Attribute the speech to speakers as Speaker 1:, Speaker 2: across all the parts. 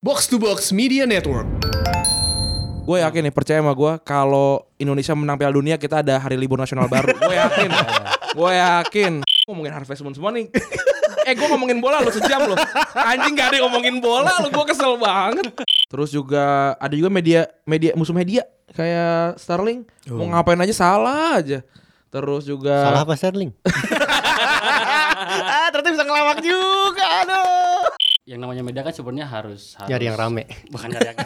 Speaker 1: Box to Box Media Network.
Speaker 2: Gue
Speaker 3: Iya.
Speaker 2: yakin nih percaya sama gue kalau Indonesia menang Piala Dunia kita ada hari libur nasional baru. Gue yakin.
Speaker 3: Iya,
Speaker 2: gue yakin. Ngomongin Harvest Moon semua nih. Eh gue ngomongin bola lo sejam lo. Anjing gak ada yang ngomongin bola lo. Gue kesel banget. Terus juga ada juga media media musuh media kayak Starling mau ngapain aja salah aja. Terus juga
Speaker 3: Oh. Salah apa Sterling?
Speaker 1: ah, ternyata bisa ngelawak juga. Aduh.
Speaker 4: yang namanya media kan sebenarnya harus, harus
Speaker 3: Nyari yang rame.
Speaker 4: bukan nyari yang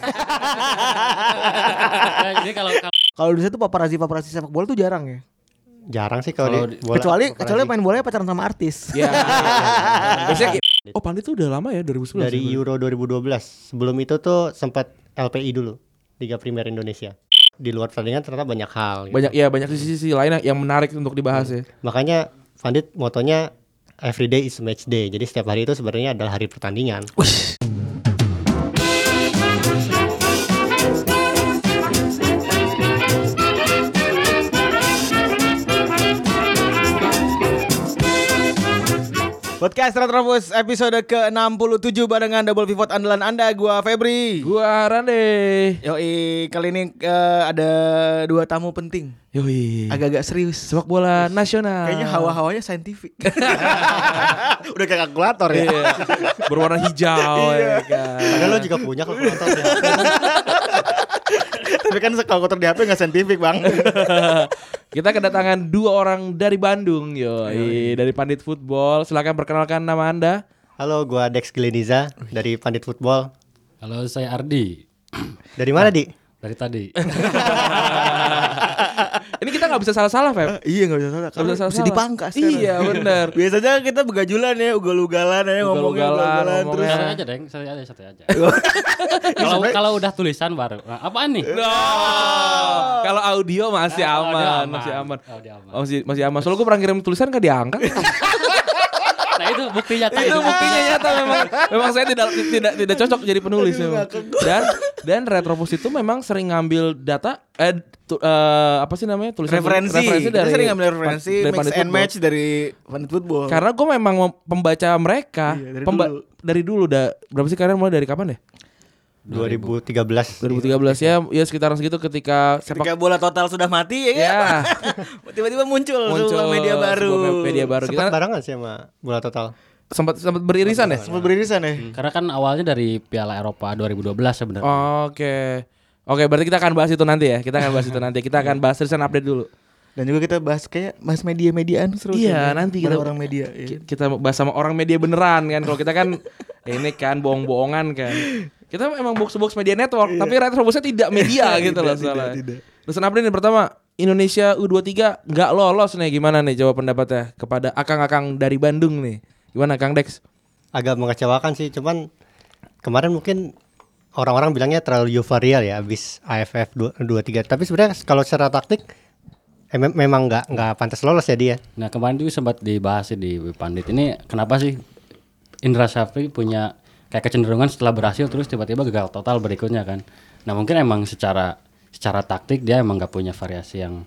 Speaker 4: Ya, jadi kalau kalau
Speaker 5: Kalau di situ paparazi paparazi sepak bola tuh jarang ya.
Speaker 3: Jarang sih
Speaker 4: Kalau
Speaker 3: kalau
Speaker 4: di-
Speaker 3: di bola.
Speaker 5: kecuali
Speaker 3: Apalagi
Speaker 5: kecuali main bolanya pacaran sama artis.
Speaker 2: ya. Biasanya kayak- Oh Pandit tuh udah lama ya 2011
Speaker 3: dari
Speaker 2: ya,
Speaker 3: Euro 2012. Sebelum itu tuh sempat LPI dulu, Liga Primer Indonesia. Di luar pertandingan ternyata banyak hal. gitu.
Speaker 2: banyak ya banyak sisi-sisi lain yang menarik untuk dibahas
Speaker 3: Hmm.
Speaker 2: ya.
Speaker 3: Makanya Vandit motonya every day is match day. Jadi setiap hari itu sebenarnya adalah hari pertandingan.
Speaker 5: Podcast Retropus episode ke-67 barengan Double Pivot andalan Anda gua Febri.
Speaker 2: Gua Rande.
Speaker 5: Yoi, kali ini eh, ada dua tamu penting.
Speaker 2: Yoi.
Speaker 5: Agak-agak serius. Ah.
Speaker 2: sepak bola nasional.
Speaker 5: Iya. Kayaknya hawa-hawanya saintifik.
Speaker 3: Udah kayak kalkulator ya.
Speaker 2: Iya. berwarna hijau
Speaker 4: Iya.
Speaker 2: ya kan.
Speaker 3: Padahal lo juga punya kalkulator. di HP. Tapi kan kalkulator di HP nggak saintifik bang.
Speaker 2: Kita kedatangan dua orang dari Bandung, yoi, dari Pandit Football. Silakan perkenalkan nama Anda.
Speaker 3: Halo, gua Dex Gleniza dari Pandit Football.
Speaker 4: kalau saya Ardi
Speaker 3: Dari mana di?
Speaker 4: dari tadi
Speaker 2: Ini kita nggak bisa salah-salah, Feb.
Speaker 5: iya nggak bisa salah.
Speaker 2: Nggak
Speaker 5: Karena
Speaker 2: bisa
Speaker 5: bisa
Speaker 2: salah-salah.
Speaker 5: dipangkas.
Speaker 2: Iya, bener.
Speaker 5: Biasanya kita begajulan ya, ugal-ugalan ya, ngomongnya
Speaker 2: Ugal-ugalan,
Speaker 5: ugal-ugalan terus.
Speaker 4: satu
Speaker 2: ngomongnya.
Speaker 3: Nah.
Speaker 4: aja deng satu aja satu aja kalau kalau udah tulisan baru nah, apaan nih
Speaker 2: Kalau audio masih
Speaker 4: Ah, audio
Speaker 2: aman,
Speaker 4: aman.
Speaker 2: masih aman.
Speaker 4: Audio aman.
Speaker 2: Oh, masih masih aman. Soalnya gue pernah ngirim tulisan gak diangkat.
Speaker 4: nah itu bukti nyata
Speaker 5: Iya,
Speaker 2: itu buktinya nyata memang memang saya tidak tidak tidak cocok jadi penulis memang. dan dan retropus itu memang sering ngambil data eh, tu- eh, apa sih namanya tulisan
Speaker 5: Referensi.
Speaker 2: referensi
Speaker 5: Kita
Speaker 2: dari
Speaker 5: sering ngambil referensi
Speaker 2: dari
Speaker 5: mix
Speaker 2: Pandit
Speaker 5: and
Speaker 2: Football.
Speaker 5: match gitu. dari Pandit Football.
Speaker 2: karena gue memang mem- pembaca mereka
Speaker 5: Iya, dari
Speaker 2: pemba-
Speaker 5: dulu. Iya,
Speaker 2: dari dulu dah berapa sih kalian mulai dari kapan ya
Speaker 3: 2013.
Speaker 2: 2013 ya ya sekitaran segitu ketika sepak
Speaker 5: Ketika bola total sudah mati ya kan?
Speaker 2: ya
Speaker 5: Tiba-tiba muncul, sebuah media
Speaker 2: sebuah
Speaker 5: baru.
Speaker 2: media baru kita
Speaker 3: Sempat barengan sih sama bola total.
Speaker 2: sempat sempat beririsan ya
Speaker 5: Sempat beririsan ya.
Speaker 4: karena kan awalnya dari Piala Eropa 2012 sebenarnya
Speaker 2: oke oke berarti kita akan bahas itu nanti ya kita akan bahas itu nanti kita akan bahas tulisan update dulu
Speaker 5: Dan juga kita bahas kayak bahas media-mediaan seru.
Speaker 2: Iya,
Speaker 5: sih.
Speaker 2: nanti kita-
Speaker 5: orang media. iya.
Speaker 2: Ki- kita bahas sama orang media beneran kan kalau kita kan ini kan bohong-bohongan kan kita emang box to box media network
Speaker 5: Iya.
Speaker 2: tapi retrobusnya tidak media gitu loh soalnya terus apa nih pertama Indonesia U23 nggak lolos nih gimana nih jawab pendapatnya kepada akang-akang dari Bandung nih gimana Kang Dex
Speaker 3: agak mengecewakan sih cuman kemarin mungkin orang-orang bilangnya terlalu euforial ya abis AFF 23 tapi sebenarnya kalau secara taktik em- memang nggak nggak pantas lolos ya dia
Speaker 4: nah kemarin juga sempat dibahas sih di Pandit ini kenapa sih Indra Syafri punya kayak kecenderungan setelah berhasil terus tiba-tiba gagal total berikutnya kan nah mungkin emang secara secara taktik dia emang nggak punya variasi yang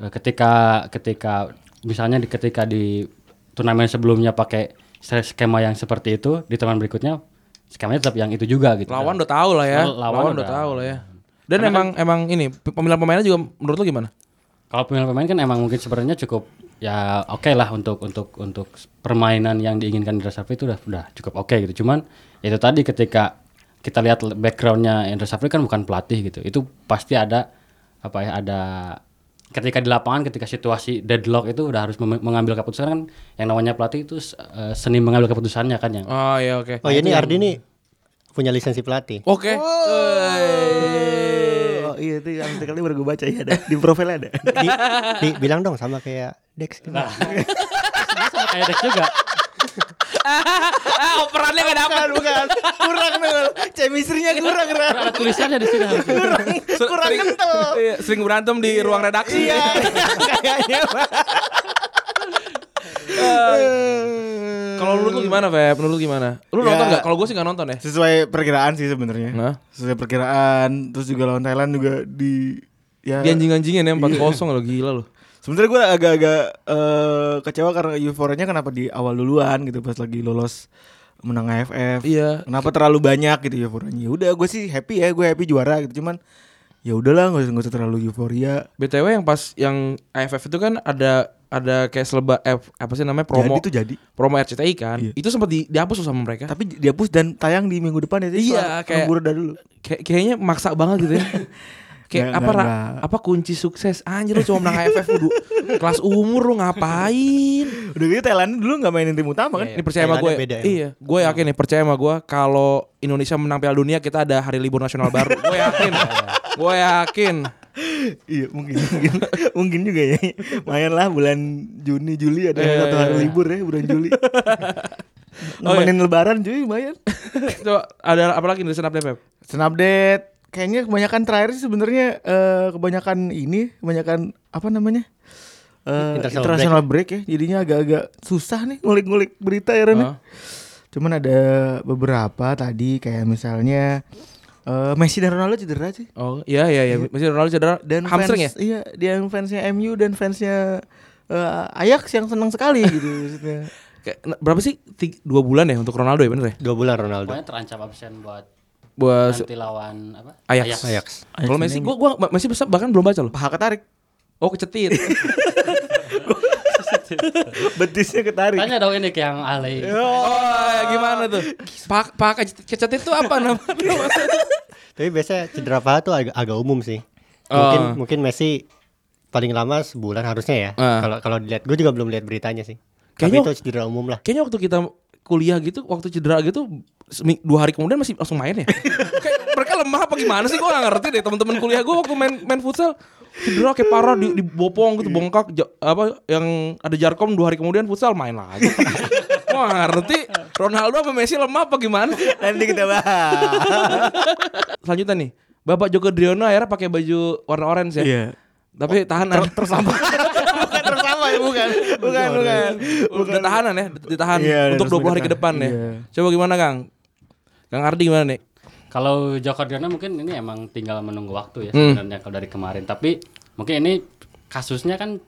Speaker 4: eh, ketika ketika misalnya di, ketika di turnamen sebelumnya pakai skema yang seperti itu di turnamen berikutnya skemanya tetap yang itu juga gitu
Speaker 2: lawan udah tahu lah ya
Speaker 4: Lawan
Speaker 2: lawan, udah kan-
Speaker 4: udah.
Speaker 2: tahu lah ya dan emang emang ini pemilihan pemainnya juga menurut lo gimana
Speaker 4: Kalau pemain-pemain kan emang mungkin sebenarnya cukup ya oke lah untuk untuk untuk permainan yang diinginkan Indra Safri itu udah udah cukup oke gitu. Cuman itu tadi ketika kita lihat backgroundnya Indra Safri kan bukan pelatih gitu. Itu pasti ada apa ya ada ketika di lapangan ketika situasi deadlock itu udah harus mem- mengambil keputusan kan yang namanya pelatih itu eh, seni mengambil keputusannya kan yang
Speaker 2: oh iya oke
Speaker 3: oh
Speaker 6: Nah,
Speaker 3: ya ini Ardi nih punya lisensi pelatih
Speaker 2: oke Oh.
Speaker 5: Oh iya itu yang kali baru gue baca ya ada di profilnya ada.
Speaker 3: Di- di- bilang dong sama kayak Dex gitu.
Speaker 6: Nah.
Speaker 4: Sebenarnya sama kayak Dex juga.
Speaker 2: ah operannya gak dapet
Speaker 5: bukan kurang dengan chemistry-nya kurang kurang
Speaker 4: Ada tulisannya di sini.
Speaker 5: kurang
Speaker 2: sering,
Speaker 5: kental.
Speaker 2: iya, sering berantem di ruang redaksi
Speaker 5: Iya kayaknya.
Speaker 2: Kalau menurut lu gimana, Feb? Menurut lu gimana? Lu
Speaker 6: Ya.
Speaker 2: nonton nggak? Kalau gue sih nggak nonton ya.
Speaker 6: sesuai perkiraan sih sebenarnya
Speaker 2: Nah.
Speaker 6: sesuai perkiraan terus juga lawan Thailand juga di ya
Speaker 2: Dia anjing-anjingin ya 4-0 lo gila lo.
Speaker 6: sebenarnya gue agak-agak eh, kecewa karena euforianya kenapa di awal duluan gitu pas lagi lolos menang AFF.
Speaker 2: Iya.
Speaker 6: Kenapa terlalu banyak gitu euforianya? Ya udah gue sih happy ya, gue happy juara gitu. Cuman ya udahlah nggak usah nggak usah terlalu euforia.
Speaker 2: BTW yang pas yang AFF itu kan ada ada kayak seleba eh, apa sih namanya promo
Speaker 6: Jadi tuh jadi.
Speaker 2: promo RCTI kan.
Speaker 6: Iya.
Speaker 2: Itu sempat di, dihapus tuh sama mereka.
Speaker 6: Tapi dihapus dan tayang di minggu depan ya. jadi
Speaker 2: Iya,
Speaker 6: soal-
Speaker 2: kayak-
Speaker 6: nunggu reda dulu.
Speaker 2: Kayak kayaknya maksa banget gitu ya.
Speaker 6: Nggak,
Speaker 2: Kayak apa
Speaker 6: nggak,
Speaker 2: Ra-
Speaker 6: nggak.
Speaker 2: apa kunci sukses anjir lu cuma menang AFF lu kelas umur lu ngapain
Speaker 6: Udah gitu Thailand dulu nggak mainin tim
Speaker 3: Iya,
Speaker 6: utama kan?
Speaker 2: ini percaya sama gue
Speaker 3: Thailandnya beda ya.
Speaker 2: iya gue
Speaker 6: Hmm.
Speaker 2: yakin nih percaya sama gue kalau Indonesia menang Piala Dunia kita ada hari libur nasional baru gue yakin gue yakin
Speaker 6: Iya mungkin mungkin, mungkin juga ya. Main lah bulan Juni Juli ada
Speaker 2: Iya,
Speaker 6: satu
Speaker 2: iya,
Speaker 6: hari
Speaker 2: iya.
Speaker 6: libur ya bulan Juli. Nemenin Lebaran cuy lumayan.
Speaker 2: coba ada apa lagi di senap Pep
Speaker 6: Snapdate kayaknya kebanyakan terakhir sih sebenarnya eh, kebanyakan ini kebanyakan apa namanya? Eh,
Speaker 3: International
Speaker 6: international break. ya. Jadinya agak-agak susah nih ngulik-ngulik berita ya Ren.
Speaker 2: Heeh.
Speaker 6: Cuman ada beberapa tadi kayak misalnya eh, Messi dan Ronaldo cedera sih.
Speaker 2: Oh iya iya iya masih Ronaldo cedera
Speaker 6: Dan
Speaker 2: hamstring ya?
Speaker 6: fans, Iya, dia yang fansnya MU dan fansnya eh, Ajax yang senang sekali gitu maksudnya.
Speaker 2: Kayak, nah, berapa sih Tig- dua bulan ya untuk Ronaldo ya bener ya?
Speaker 3: Dua bulan Ronaldo.
Speaker 4: Pokoknya terancam absen buat
Speaker 2: Buat
Speaker 4: nanti lawan apa?
Speaker 2: Eh, Ajax.
Speaker 3: Ajax.
Speaker 2: Kalau Messi gua gua ma- masih besar bahkan belum baca loh.
Speaker 6: Paha ketarik,
Speaker 2: Oh kecetit.
Speaker 6: betisnya ketarik.
Speaker 4: Tanya dong ini ke yang Ale.
Speaker 2: oh gimana tuh? Pak pak kecetit, kecetit tuh apa namanya?
Speaker 3: Tapi biasanya cedera paha tuh agak, agak umum sih.
Speaker 2: Oh.
Speaker 3: Mungkin mungkin Messi paling lama sebulan harusnya ya.
Speaker 2: Ah.
Speaker 3: Kalau kalau dilihat gue juga belum lihat beritanya sih.
Speaker 2: Kayaknya-
Speaker 3: Tapi itu cedera umum lah.
Speaker 2: Kayaknya waktu kita kuliah gitu, waktu cedera gitu semi- dua hari kemudian masih langsung main ya? Kayak mereka lemah apa gimana sih? Gua gak ngerti deh teman-teman kuliah gua waktu main main futsal cedera kayak parah di, dibopong gitu
Speaker 6: Iya.
Speaker 2: bongkak ja- apa yang ada jarkom dua hari kemudian futsal main lagi. Gua nggak ngerti Ronaldo sama Messi lemah apa gimana? sih?
Speaker 6: Nanti kita bahas.
Speaker 2: Selanjutnya nih, Bapak Joko Driono akhirnya pakai baju warna orange ya.
Speaker 6: Iya.
Speaker 2: Tapi tahanan. tersampah.
Speaker 6: bukan bersama ya, bukan. Bukan, bukan.
Speaker 2: Udah tahanan ya, ditahan
Speaker 6: Iya, udah
Speaker 2: untuk
Speaker 6: resmi
Speaker 2: 20 hari ke depan
Speaker 6: ditahan.
Speaker 2: ya.
Speaker 6: Iya.
Speaker 2: Coba gimana Kang? Kang Ardi gimana nih?
Speaker 4: Kalau Joko Driono mungkin ini emang tinggal menunggu waktu ya sebenarnya kalau dari kemarin. Tapi mungkin ini kasusnya kan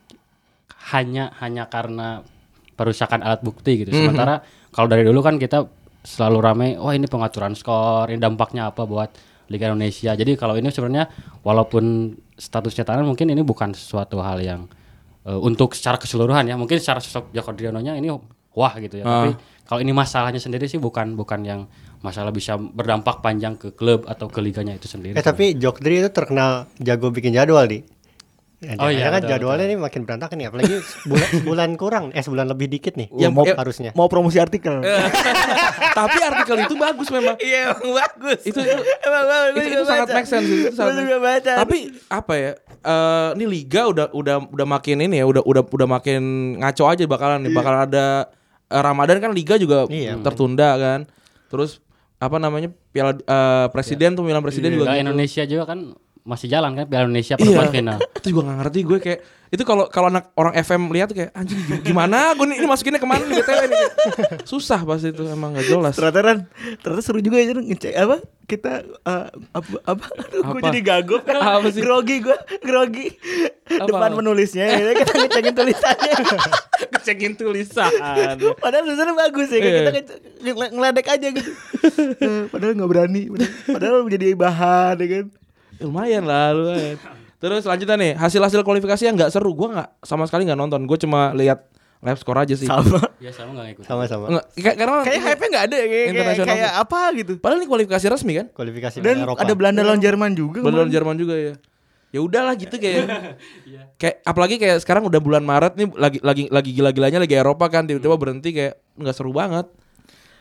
Speaker 4: hanya hanya karena perusakan alat bukti
Speaker 3: Mhm.
Speaker 4: gitu. Sementara kalau dari dulu kan kita selalu ramai, wah ini pengaturan skor, ini dampaknya apa buat Liga Indonesia. Jadi kalau ini sebenarnya walaupun statusnya tahanan mungkin ini bukan sesuatu hal yang eh, untuk secara keseluruhan ya. Mungkin secara sosok Joko Driononya ini wah gitu ya.
Speaker 3: Ah.
Speaker 4: Tapi kalau ini masalahnya sendiri sih bukan bukan yang masalah bisa berdampak panjang ke klub atau ke liganya itu sendiri.
Speaker 3: Eh tapi Jokdri itu terkenal jago bikin jadwal di. Ya,
Speaker 4: Oh iya,
Speaker 3: kan
Speaker 4: betul,
Speaker 3: jadwalnya ini makin berantakan nih apalagi sebulan, sebulan kurang eh sebulan lebih dikit nih
Speaker 2: Yang-
Speaker 3: mau
Speaker 2: yang-
Speaker 3: harusnya
Speaker 6: Mau promosi artikel.
Speaker 2: Tapi artikel itu bagus memang.
Speaker 6: Iya, emang bagus.
Speaker 2: Itu itu,
Speaker 6: Emang bagus, gua
Speaker 2: itu, itu
Speaker 6: juga
Speaker 2: sangat
Speaker 6: baca.
Speaker 2: make sense itu
Speaker 6: Gua
Speaker 2: sangat make-
Speaker 6: juga baca.
Speaker 2: Tapi apa ya? Eh ini liga udah udah udah makin ini ya, udah udah udah makin ngaco aja bakalan
Speaker 6: Iya.
Speaker 2: nih. Bakal ada eh, Ramadan kan liga juga
Speaker 3: Iya.
Speaker 2: tertunda kan. Terus apa namanya? Piala eh,
Speaker 6: Iya.
Speaker 2: presiden pemilihan presiden juga
Speaker 4: Liga
Speaker 2: gitu.
Speaker 4: Indonesia juga kan masih jalan kan Piala Indonesia
Speaker 3: Iya.
Speaker 2: Iya.
Speaker 4: perempat final.
Speaker 2: Itu juga gak ngerti gue kayak itu kalau kalau anak orang FM lihat tuh kayak anjing gi- gimana gue nih ini masukinnya kemana nih BTW nih. Susah pas itu emang gak jelas.
Speaker 6: Ternyata Ran, ternyata seru juga ya Ran, ngecek apa kita eh, apa apa gue
Speaker 2: Apa?
Speaker 6: jadi gagap kan
Speaker 2: Apa sih?
Speaker 6: grogi gue grogi depan penulisnya ya kita ngecekin tulisannya
Speaker 2: Cekin tulisan.
Speaker 6: padahal tulisannya bagus ya kan
Speaker 2: Iya.
Speaker 6: kita ngece- ngel- ngeledek aja gitu Eh, padahal nggak berani padahal- padahal menjadi bahan ya kan
Speaker 2: lumayan lah lumayan. Terus selanjutnya nih hasil-hasil kualifikasi yang gak seru gue nggak sama sekali nggak nonton gue cuma lihat live score aja sih.
Speaker 6: sama
Speaker 4: Ya sama nggak ngikutin.
Speaker 3: sama-sama
Speaker 2: Nggak, kayak- karena
Speaker 6: kayak hype nya nggak ada ya kayak- kayak
Speaker 2: Internasional.
Speaker 6: kayak apa gitu
Speaker 2: padahal ini kualifikasi resmi kan?
Speaker 3: kualifikasi
Speaker 6: dan
Speaker 3: Piala Eropa
Speaker 6: ada Belanda lawan Jerman juga
Speaker 2: Beneran
Speaker 6: kemarin.
Speaker 2: Jerman juga ya. Ya udahlah gitu kayak. kayak apalagi kayak sekarang udah bulan Maret nih lagi lagi lagi gila-gilanya lagi Eropa kan tiba-tiba berhenti kayak nggak seru banget.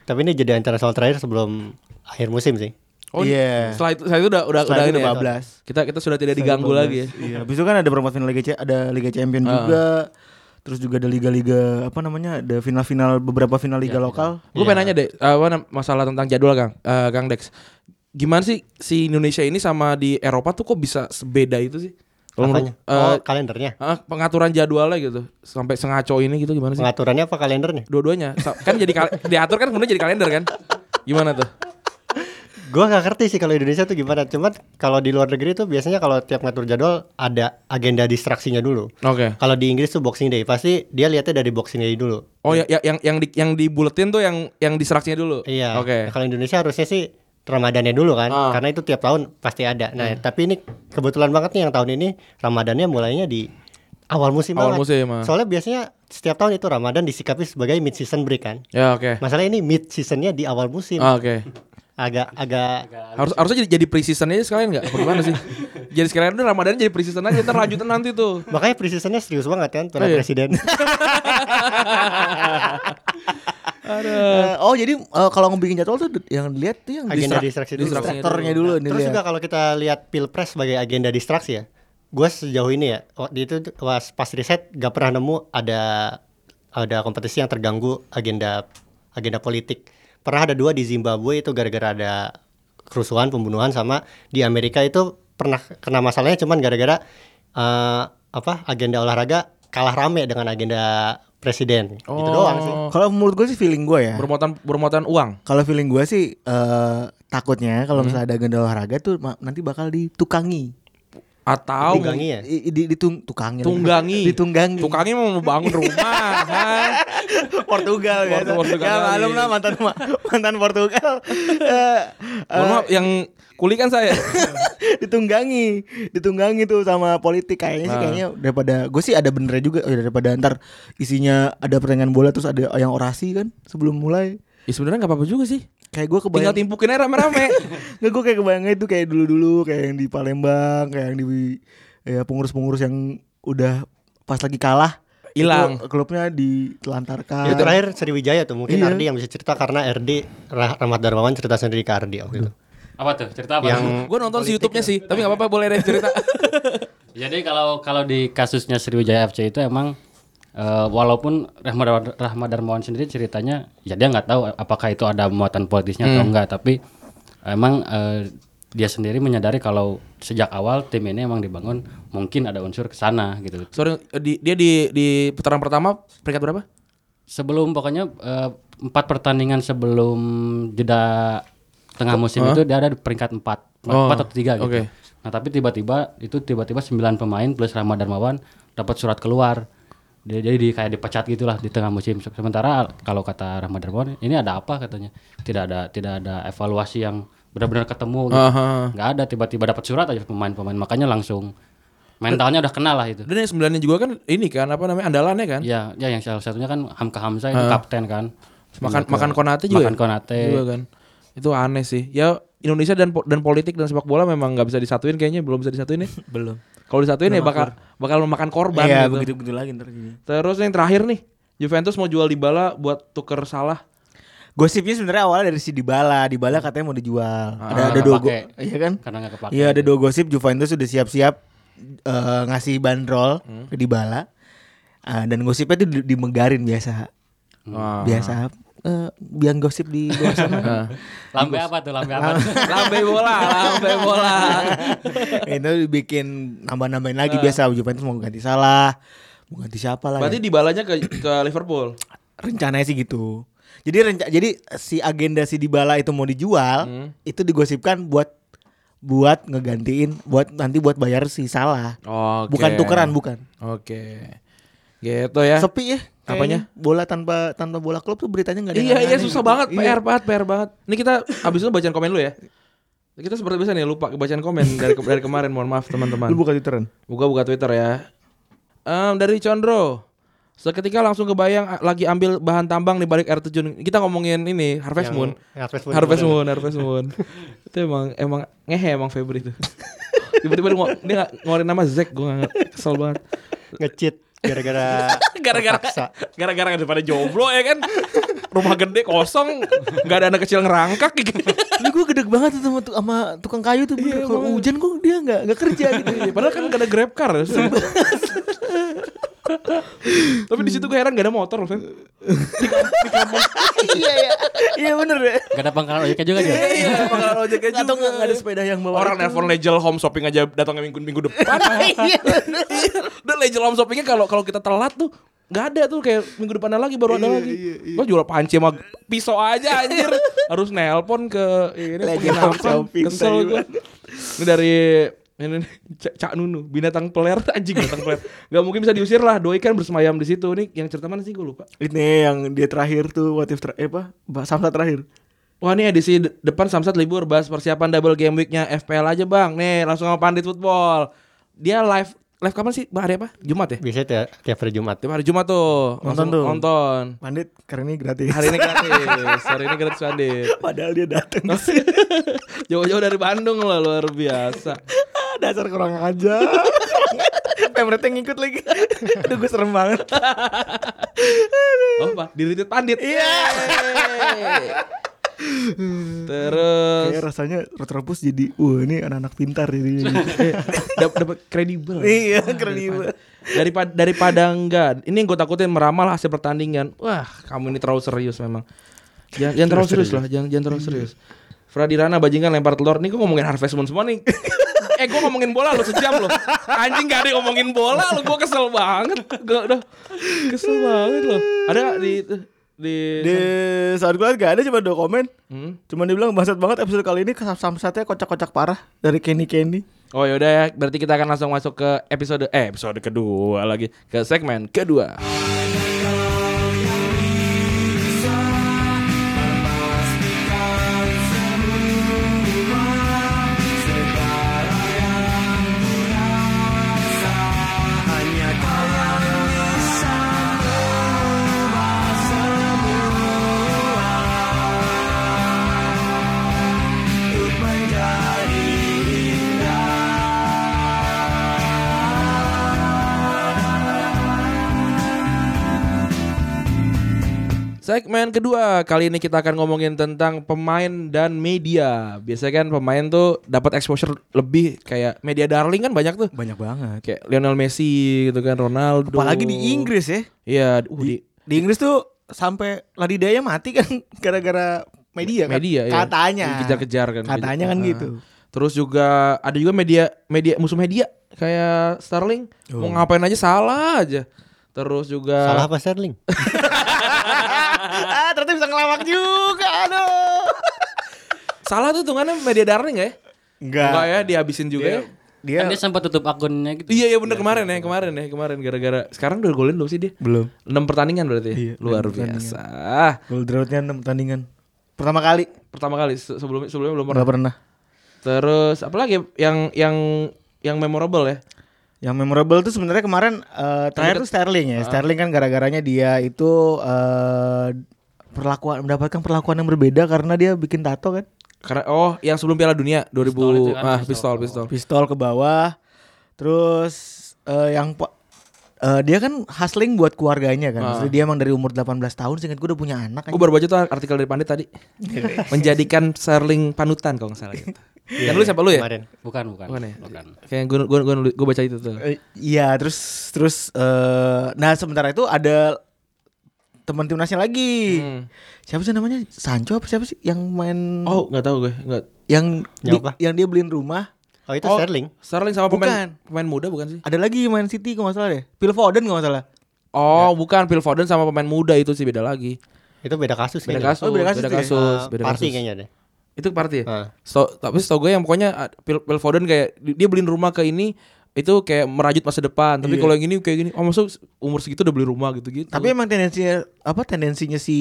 Speaker 3: tapi ini jadi internasional terakhir sebelum akhir musim sih
Speaker 2: Oh
Speaker 6: Iya.
Speaker 2: Setelah itu, setelah itu udah udah
Speaker 6: Setelah itu
Speaker 2: ini
Speaker 6: udah
Speaker 2: ya.
Speaker 6: bablas.
Speaker 2: Kita kita sudah tidak diganggu lagi ya.
Speaker 6: Iya, habis itu kan ada perempat final Liga C, ada Liga Champion
Speaker 3: Ah.
Speaker 6: juga. Terus juga ada liga-liga apa namanya? Ada final-final beberapa final liga
Speaker 3: Ya,
Speaker 6: lokal.
Speaker 2: Gue pengen nanya deh, eh, apa nam- masalah tentang jadwal Kang, Eh, Kang Dex. Gimana sih si Indonesia ini sama di Eropa tuh kok bisa sebeda itu sih? Kalau menurut-
Speaker 3: Apanya?
Speaker 2: eh,
Speaker 3: oh kalendernya
Speaker 2: eh, pengaturan jadwalnya gitu, sampai sengaco ini gitu gimana sih?
Speaker 3: pengaturannya apa kalendernya
Speaker 2: Dua-duanya Sa- kan jadi kal- diatur kan kemudian jadi kalender kan? Gimana tuh?
Speaker 3: Gue gak ngerti sih kalau Indonesia tuh gimana. Cuman kalau di luar negeri tuh biasanya kalau tiap ngatur jadwal ada agenda distraksinya dulu.
Speaker 2: Oke.
Speaker 3: Kalau di Inggris tuh Boxing Day pasti dia lihatnya dari Boxing Day dulu.
Speaker 2: Oh ya, ya- yang yang di yang dibuletin tuh yang yang distraksinya dulu.
Speaker 3: Iya.
Speaker 2: Oke.
Speaker 3: Kalau Indonesia harusnya sih Ramadannya dulu kan,
Speaker 2: Ah. Hmm.
Speaker 3: karena itu tiap tahun pasti ada. Nah, tapi ini kebetulan banget nih yang tahun ini Ramadannya mulainya di awal musim banget.
Speaker 2: Awal musim, ah.
Speaker 3: Soalnya biasanya setiap tahun itu Ramadan disikapi sebagai mid season break kan.
Speaker 2: Ya oke.
Speaker 3: Masalah ini mid seasonnya di awal musim.
Speaker 2: Ah, Oke.
Speaker 3: Agak agak
Speaker 2: Harus harusnya jadi jadi pre-season aja sekalian nggak? Apa Gimana sih? jadi sekalian udah Ramadan jadi pre-season aja ntar lanjutin nanti tuh.
Speaker 3: makanya pre-seasonnya serius banget kan para
Speaker 2: Oh, iya.
Speaker 3: presiden. ya.
Speaker 6: Eh, oh jadi eh, kalau ngebikin jadwal tuh yang dilihat tuh yang
Speaker 3: agenda
Speaker 6: distra-
Speaker 3: distraksi dulu.
Speaker 2: distraksinya
Speaker 6: distraktornya dulu nih.
Speaker 3: Nah, Terus juga kalau kita lihat Pilpres sebagai agenda distraksi ya. Gue sejauh ini ya, waktu itu pas, pas riset gak pernah nemu ada ada kompetisi yang terganggu agenda agenda politik. Pernah ada dua di Zimbabwe itu gara-gara ada kerusuhan, pembunuhan sama di Amerika itu pernah kena masalahnya cuman gara-gara eh, apa agenda olahraga kalah rame dengan agenda presiden. Gitu
Speaker 6: Oh,
Speaker 3: doang sih.
Speaker 6: Kalau menurut gue sih feeling gue ya.
Speaker 2: Bermuatan bermuatan uang.
Speaker 6: Kalau feeling gue sih eh,
Speaker 3: Hmm.
Speaker 6: takutnya kalau misalnya ada agenda olahraga tuh ma- nanti bakal ditukangi.
Speaker 2: atau
Speaker 3: Ditunggangi ya.
Speaker 6: I- i- di, ditung, tukangin.
Speaker 2: tunggangi
Speaker 6: Ditunggangi.
Speaker 2: Tukangnya mau bangun rumah kan
Speaker 6: Portugal ya.
Speaker 2: Portugal, Portugal
Speaker 6: ya
Speaker 2: kali.
Speaker 6: malum lah mantan ma- mantan Portugal. Eh,
Speaker 2: Mohon maaf yang kuli kan saya
Speaker 6: ditunggangi, ditunggangi tuh sama politik kayaknya sih kayaknya daripada gue sih ada benernya juga eh, daripada ntar isinya ada pertandingan bola terus ada yang orasi kan sebelum mulai.
Speaker 2: ya sebenarnya nggak apa-apa juga sih
Speaker 6: Kayak gue kebayang
Speaker 2: tinggal timpukin aja rame-rame
Speaker 6: Nggak gue kayak kebayangnya itu kayak dulu-dulu kayak yang di Palembang, kayak yang di ya pengurus-pengurus yang udah pas lagi kalah
Speaker 2: Hilang.
Speaker 6: itu klubnya ditelantarkan.
Speaker 2: Iya.
Speaker 3: Itu terakhir Sriwijaya tuh mungkin
Speaker 6: Iya.
Speaker 3: Ardi yang bisa cerita karena RD Ra- Rahmat Darmawan cerita sendiri ke Ardi waktu itu.
Speaker 2: Hmm.
Speaker 4: Apa tuh? Cerita apa?
Speaker 3: Yang
Speaker 2: gue nonton si YouTube-nya sih tapi nggak apa-apa boleh deh cerita
Speaker 4: Jadi kalau kalau di kasusnya Sriwijaya FC itu emang eh, walaupun Rahmat Dar- Rahmat Darmawan sendiri ceritanya ya dia nggak tahu apakah itu ada muatan politisnya atau enggak tapi emang eh, dia sendiri menyadari kalau sejak awal tim ini emang dibangun mungkin ada unsur ke sana gitu.
Speaker 2: sorry di- dia di di putaran pertama peringkat berapa
Speaker 4: Sebelum pokoknya eh, empat pertandingan sebelum jeda tengah musim itu dia ada di peringkat empat,
Speaker 2: Oh,
Speaker 4: empat atau tiga gitu.
Speaker 2: oke.
Speaker 4: Nah tapi tiba-tiba itu tiba-tiba 9 pemain plus Rahmat Darmawan dapat surat keluar. Dia- Jadi di, kayak dipecat gitulah di tengah musim. Se- Sementara kalau kata Rahmat Darmawan ini ada apa katanya? Tidak ada tidak ada evaluasi yang benar-benar ketemu. Gitu.
Speaker 2: Aha.
Speaker 4: Nggak ada tiba-tiba dapat surat aja pemain-pemain makanya langsung mentalnya udah kenal lah itu.
Speaker 2: dan yang sembilannya juga kan ini kan apa namanya andalannya kan
Speaker 4: Ya, ya yang salah satunya kan Hamka Hamzah itu kapten kan.
Speaker 2: makan
Speaker 4: Pindah ke-
Speaker 2: makan konate juga
Speaker 4: Makan
Speaker 2: ya?
Speaker 4: Konate.
Speaker 2: juga kan itu aneh sih ya Indonesia dan po- dan politik dan sepak bola memang nggak bisa disatuin kayaknya belum bisa disatuin ya belum kalau disatuin ya bakal bakal memakan korban
Speaker 6: Iya,
Speaker 2: gitu.
Speaker 6: begitu-begitu lagi ntar gini.
Speaker 2: Terus yang terakhir nih, Juventus mau jual Dybala buat tuker salah.
Speaker 6: Gosipnya sebenarnya awalnya dari si Dybala, Dybala katanya mau dijual. ada ada
Speaker 4: Ah, nggak
Speaker 6: dua go-
Speaker 4: kepake.
Speaker 6: iya kan?
Speaker 4: Karena nggak kepake.
Speaker 6: Iya, ada dua gosip Juventus sudah siap-siap eh, ngasih bandrol
Speaker 4: Hmm.
Speaker 6: ke Dybala. Ah, dan gosipnya itu di- dimegarin
Speaker 4: Ah.
Speaker 6: biasa.
Speaker 2: Wah.
Speaker 6: Biasa eh, biang gosip di luar sana.
Speaker 4: Lambe apa tuh? Lambe
Speaker 2: Ah.
Speaker 4: apa? tuh?
Speaker 2: Lambe bola, lambe bola.
Speaker 6: itu dibikin nambah-nambahin lagi
Speaker 4: Ah.
Speaker 6: biasa Juventus mau ganti salah, mau ganti siapa lah.
Speaker 2: Berarti
Speaker 6: ya.
Speaker 2: Dybalanya ke ke Liverpool.
Speaker 6: rencananya sih gitu. Jadi renca jadi si agenda si Dybala itu mau dijual,
Speaker 2: Hmm.
Speaker 6: itu digosipkan buat buat ngegantiin buat nanti buat bayar si salah.
Speaker 2: Oke.
Speaker 6: Bukan tukeran, bukan.
Speaker 2: Oke. Gitu ya.
Speaker 6: Sepi ya.
Speaker 2: Apanya?
Speaker 6: kayaknya. Bola tanpa tanpa bola klub tuh beritanya nggak ada.
Speaker 2: Iya,
Speaker 6: yang
Speaker 2: iya
Speaker 6: aneh-aneh
Speaker 2: susah
Speaker 6: gitu.
Speaker 2: banget,
Speaker 6: Iya.
Speaker 2: PR banget, PR banget. Ini kita abis itu bacaan komen lu ya. Kita seperti biasa nih lupa bacaan komen dari ke- dari kemarin, mohon maaf teman-teman.
Speaker 6: Lu buka Twitteran.
Speaker 2: Buka-buka Twitter ya. Em, dari Condro. Seketika langsung kebayang a- lagi ambil bahan tambang di balik air terjun. Kita ngomongin ini Harvest Moon.
Speaker 3: Harvest Moon.
Speaker 2: Harvest Moon, Harvest Moon. itu emang emang ngehe emang Febri itu. Tiba-tiba dia, ngo- dia nggak ngeluarin nama Zack, gue nggak kesel banget.
Speaker 3: ngecheat gara-gara
Speaker 2: Gara-gara
Speaker 3: terpaksa.
Speaker 2: gara-gara daripada jomblo ya kan. Rumah gede kosong, nggak ada anak kecil ngerangkak gitu.
Speaker 6: Tapi gue gede banget tuh sama, tu- sama tukang kayu tuh bener.
Speaker 2: Iya,
Speaker 6: Kalau hujan kok dia nggak nggak kerja gitu.
Speaker 2: Padahal kan gak ada grab car. Tapi di situ gue heran gak ada motor loh, Feb.
Speaker 6: iya iya. Iya bener ya.
Speaker 4: Gak ada pangkalan ojeknya juga dia.
Speaker 2: Iya, pengalaman ojeknya
Speaker 6: Atau nggak nggak ada sepeda yang bawa.
Speaker 2: Orang
Speaker 6: itu.
Speaker 2: nelpon Legel Home Shopping aja datangnya minggu minggu depan.
Speaker 6: Iya.
Speaker 2: Udah Legel Home Shoppingnya kalau kalau kita telat tuh nggak ada tuh kayak minggu depan ada lagi baru ada lagi. Gua jual panci sama pisau aja anjir. Harus nelpon ke ini penginapan. Kesel gua. Ini dari ini nih, Ca- Cak Nunu, binatang peler anjing binatang peler. Gak mungkin bisa diusir lah, doi kan bersemayam di situ. Nih yang cerita mana sih gue lupa.
Speaker 6: Ini yang dia terakhir tuh What if ter- eh, apa? Ba- Samsat terakhir
Speaker 2: Wah ini edisi de- depan Samsat libur bahas persiapan double game weeknya FPL aja bang. Nih langsung sama Pandit Football. Dia live live kapan sih? Bang hari apa? Jumat ya?
Speaker 3: Biasanya tiap, tiap hari Jumat.
Speaker 2: Tiap hari Jumat tuh. Langsung
Speaker 6: tuh.
Speaker 2: Nonton.
Speaker 6: Pandit keren ini gratis
Speaker 2: Hari ini gratis. hari ini gratis Pandit.
Speaker 6: Padahal dia dateng
Speaker 2: Jauh-jauh dari Bandung loh luar biasa.
Speaker 6: Dasar kurang aja Pemretnya ngikut lagi Aduh gue serem banget
Speaker 2: Oh apa? Di retweet Pandit. Iya. Terus
Speaker 6: Kayak rasanya Retropus jadi Wah ini anak-anak pintar jadi
Speaker 2: Iya. dap- dapat kredibel.
Speaker 6: Iya keren
Speaker 2: daripada daripada enggak ini yang gue takutin meramal hasil pertandingan wah kamu ini terlalu serius memang jangan, jangan terlalu serius lah jangan jangan terlalu serius Fradirana bajingan lempar telur nih gue ngomongin Harvest Moon semua nih eh gue ngomongin bola lo sejam lo anjing gak ada yang ngomongin bola lo gue kesel banget gue udah kesel banget lo ada nggak di di,
Speaker 6: Di saat gue gak ada cuma dua komen
Speaker 2: Hmm?
Speaker 6: Cuman dia bilang bangsat banget episode kali ini kesam- Samsatnya kocak-kocak parah Dari Kenny Kenny
Speaker 2: oh yaudah ya berarti kita akan langsung masuk ke episode eh episode kedua lagi ke segmen kedua Segmen kedua, kali ini kita akan ngomongin tentang pemain dan media. Biasanya kan pemain tuh dapat exposure lebih kayak media darling kan banyak tuh.
Speaker 6: Banyak banget
Speaker 2: Kayak Lionel Messi gitu kan, Ronaldo.
Speaker 6: Apalagi di Inggris ya
Speaker 2: Iya, uh, di,
Speaker 6: Di Inggris tuh sampai Ladidaya mati kan gara-gara media kan.
Speaker 2: media iya.
Speaker 6: Katanya.
Speaker 2: Dikejar-kejar kan.
Speaker 6: Katanya kan
Speaker 2: Ah.
Speaker 6: gitu.
Speaker 2: Terus juga ada juga media media musuh media kayak Starling
Speaker 6: Oh.
Speaker 2: mau ngapain aja salah aja. Terus juga
Speaker 3: Salah apa Sterling?
Speaker 6: ah, ternyata bisa ngelawak juga. Aduh.
Speaker 2: salah tuh hitungannya media darling nggak ya?
Speaker 6: Enggak.
Speaker 2: Enggak ya, dihabisin juga ya.
Speaker 6: Dia
Speaker 4: Kan dia sempat tutup akunnya gitu.
Speaker 2: Iya iya bener kemarin ya kemarin ya kemarin gara-gara sekarang udah golin belum sih dia?
Speaker 6: belum.
Speaker 2: 6 pertandingan berarti ya?
Speaker 6: Iya,
Speaker 2: Luar
Speaker 6: enam pertandingan.
Speaker 2: biasa. Ah,
Speaker 6: Gol drawnya 6 pertandingan. Pertama kali
Speaker 2: Pertama kali se- sebelumnya sebelumnya belum pernah.
Speaker 6: enggak pernah.
Speaker 2: Terus apalagi yang yang yang memorable ya?
Speaker 6: Yang memorable tuh sebenarnya kemarin eh, terakhir tuh Sterling
Speaker 2: Ah.
Speaker 6: ya. Sterling kan gara-garanya dia itu eh, perlakuan mendapatkan perlakuan yang berbeda karena dia bikin tato kan.
Speaker 2: Karena oh yang sebelum Piala Dunia 2000 ah pistol pistol.
Speaker 6: pistol ke bawah terus eh, yang po- eh, dia kan hustling buat keluarganya
Speaker 2: Ah.
Speaker 6: kan Maksudnya dia emang dari umur 18 tahun seingat gue udah punya anak kan
Speaker 2: Gue baru baca tuh artikel dari Pandit tadi. Menjadikan Sterling panutan kalau nggak salah gitu. Yang lu siapa lu ya?
Speaker 3: Iya, Kemarin.
Speaker 4: Bukan, bukan.
Speaker 2: Bukan ya?
Speaker 4: Bukan.
Speaker 2: Kayak gue gue gue gue baca itu tuh.
Speaker 6: Eh, iya terus terus eh, nah sementara itu ada teman timnasnya lagi
Speaker 2: Hmm.
Speaker 6: siapa sih namanya Sancho apa siapa sih yang main
Speaker 2: Oh nggak tahu gue nggak.
Speaker 6: yang
Speaker 3: Yang
Speaker 6: di-
Speaker 3: apa?
Speaker 6: yang dia beliin rumah
Speaker 3: Oh itu
Speaker 2: Oh.
Speaker 3: Sterling.
Speaker 2: Sterling sama
Speaker 6: Bukan.
Speaker 2: pemain pemain muda bukan sih?
Speaker 6: ada lagi main City kalau nggak salah deh Phil Foden kalau nggak salah
Speaker 2: Oh bukan Phil Foden sama pemain muda itu sih beda lagi.
Speaker 3: Itu beda kasus
Speaker 2: Beda
Speaker 3: kayaknya.
Speaker 2: kasus,
Speaker 6: Oh, beda
Speaker 2: beda
Speaker 6: kasus tuh
Speaker 2: kasus,
Speaker 6: ya?
Speaker 3: Eh,
Speaker 2: beda
Speaker 3: party
Speaker 2: kasus.
Speaker 3: kayaknya deh.
Speaker 2: Itu party ya?
Speaker 3: Ah.
Speaker 2: Setau- tapi setau gue yang pokoknya ah, Phil, Phil Foden kayak di- dia beliin rumah ke ini itu kayak merajut masa depan. Tapi kalau yang ini kayak gini, oh maksud umur segitu udah beli rumah gitu-gitu.
Speaker 6: Tapi emang tendensinya apa tendensinya si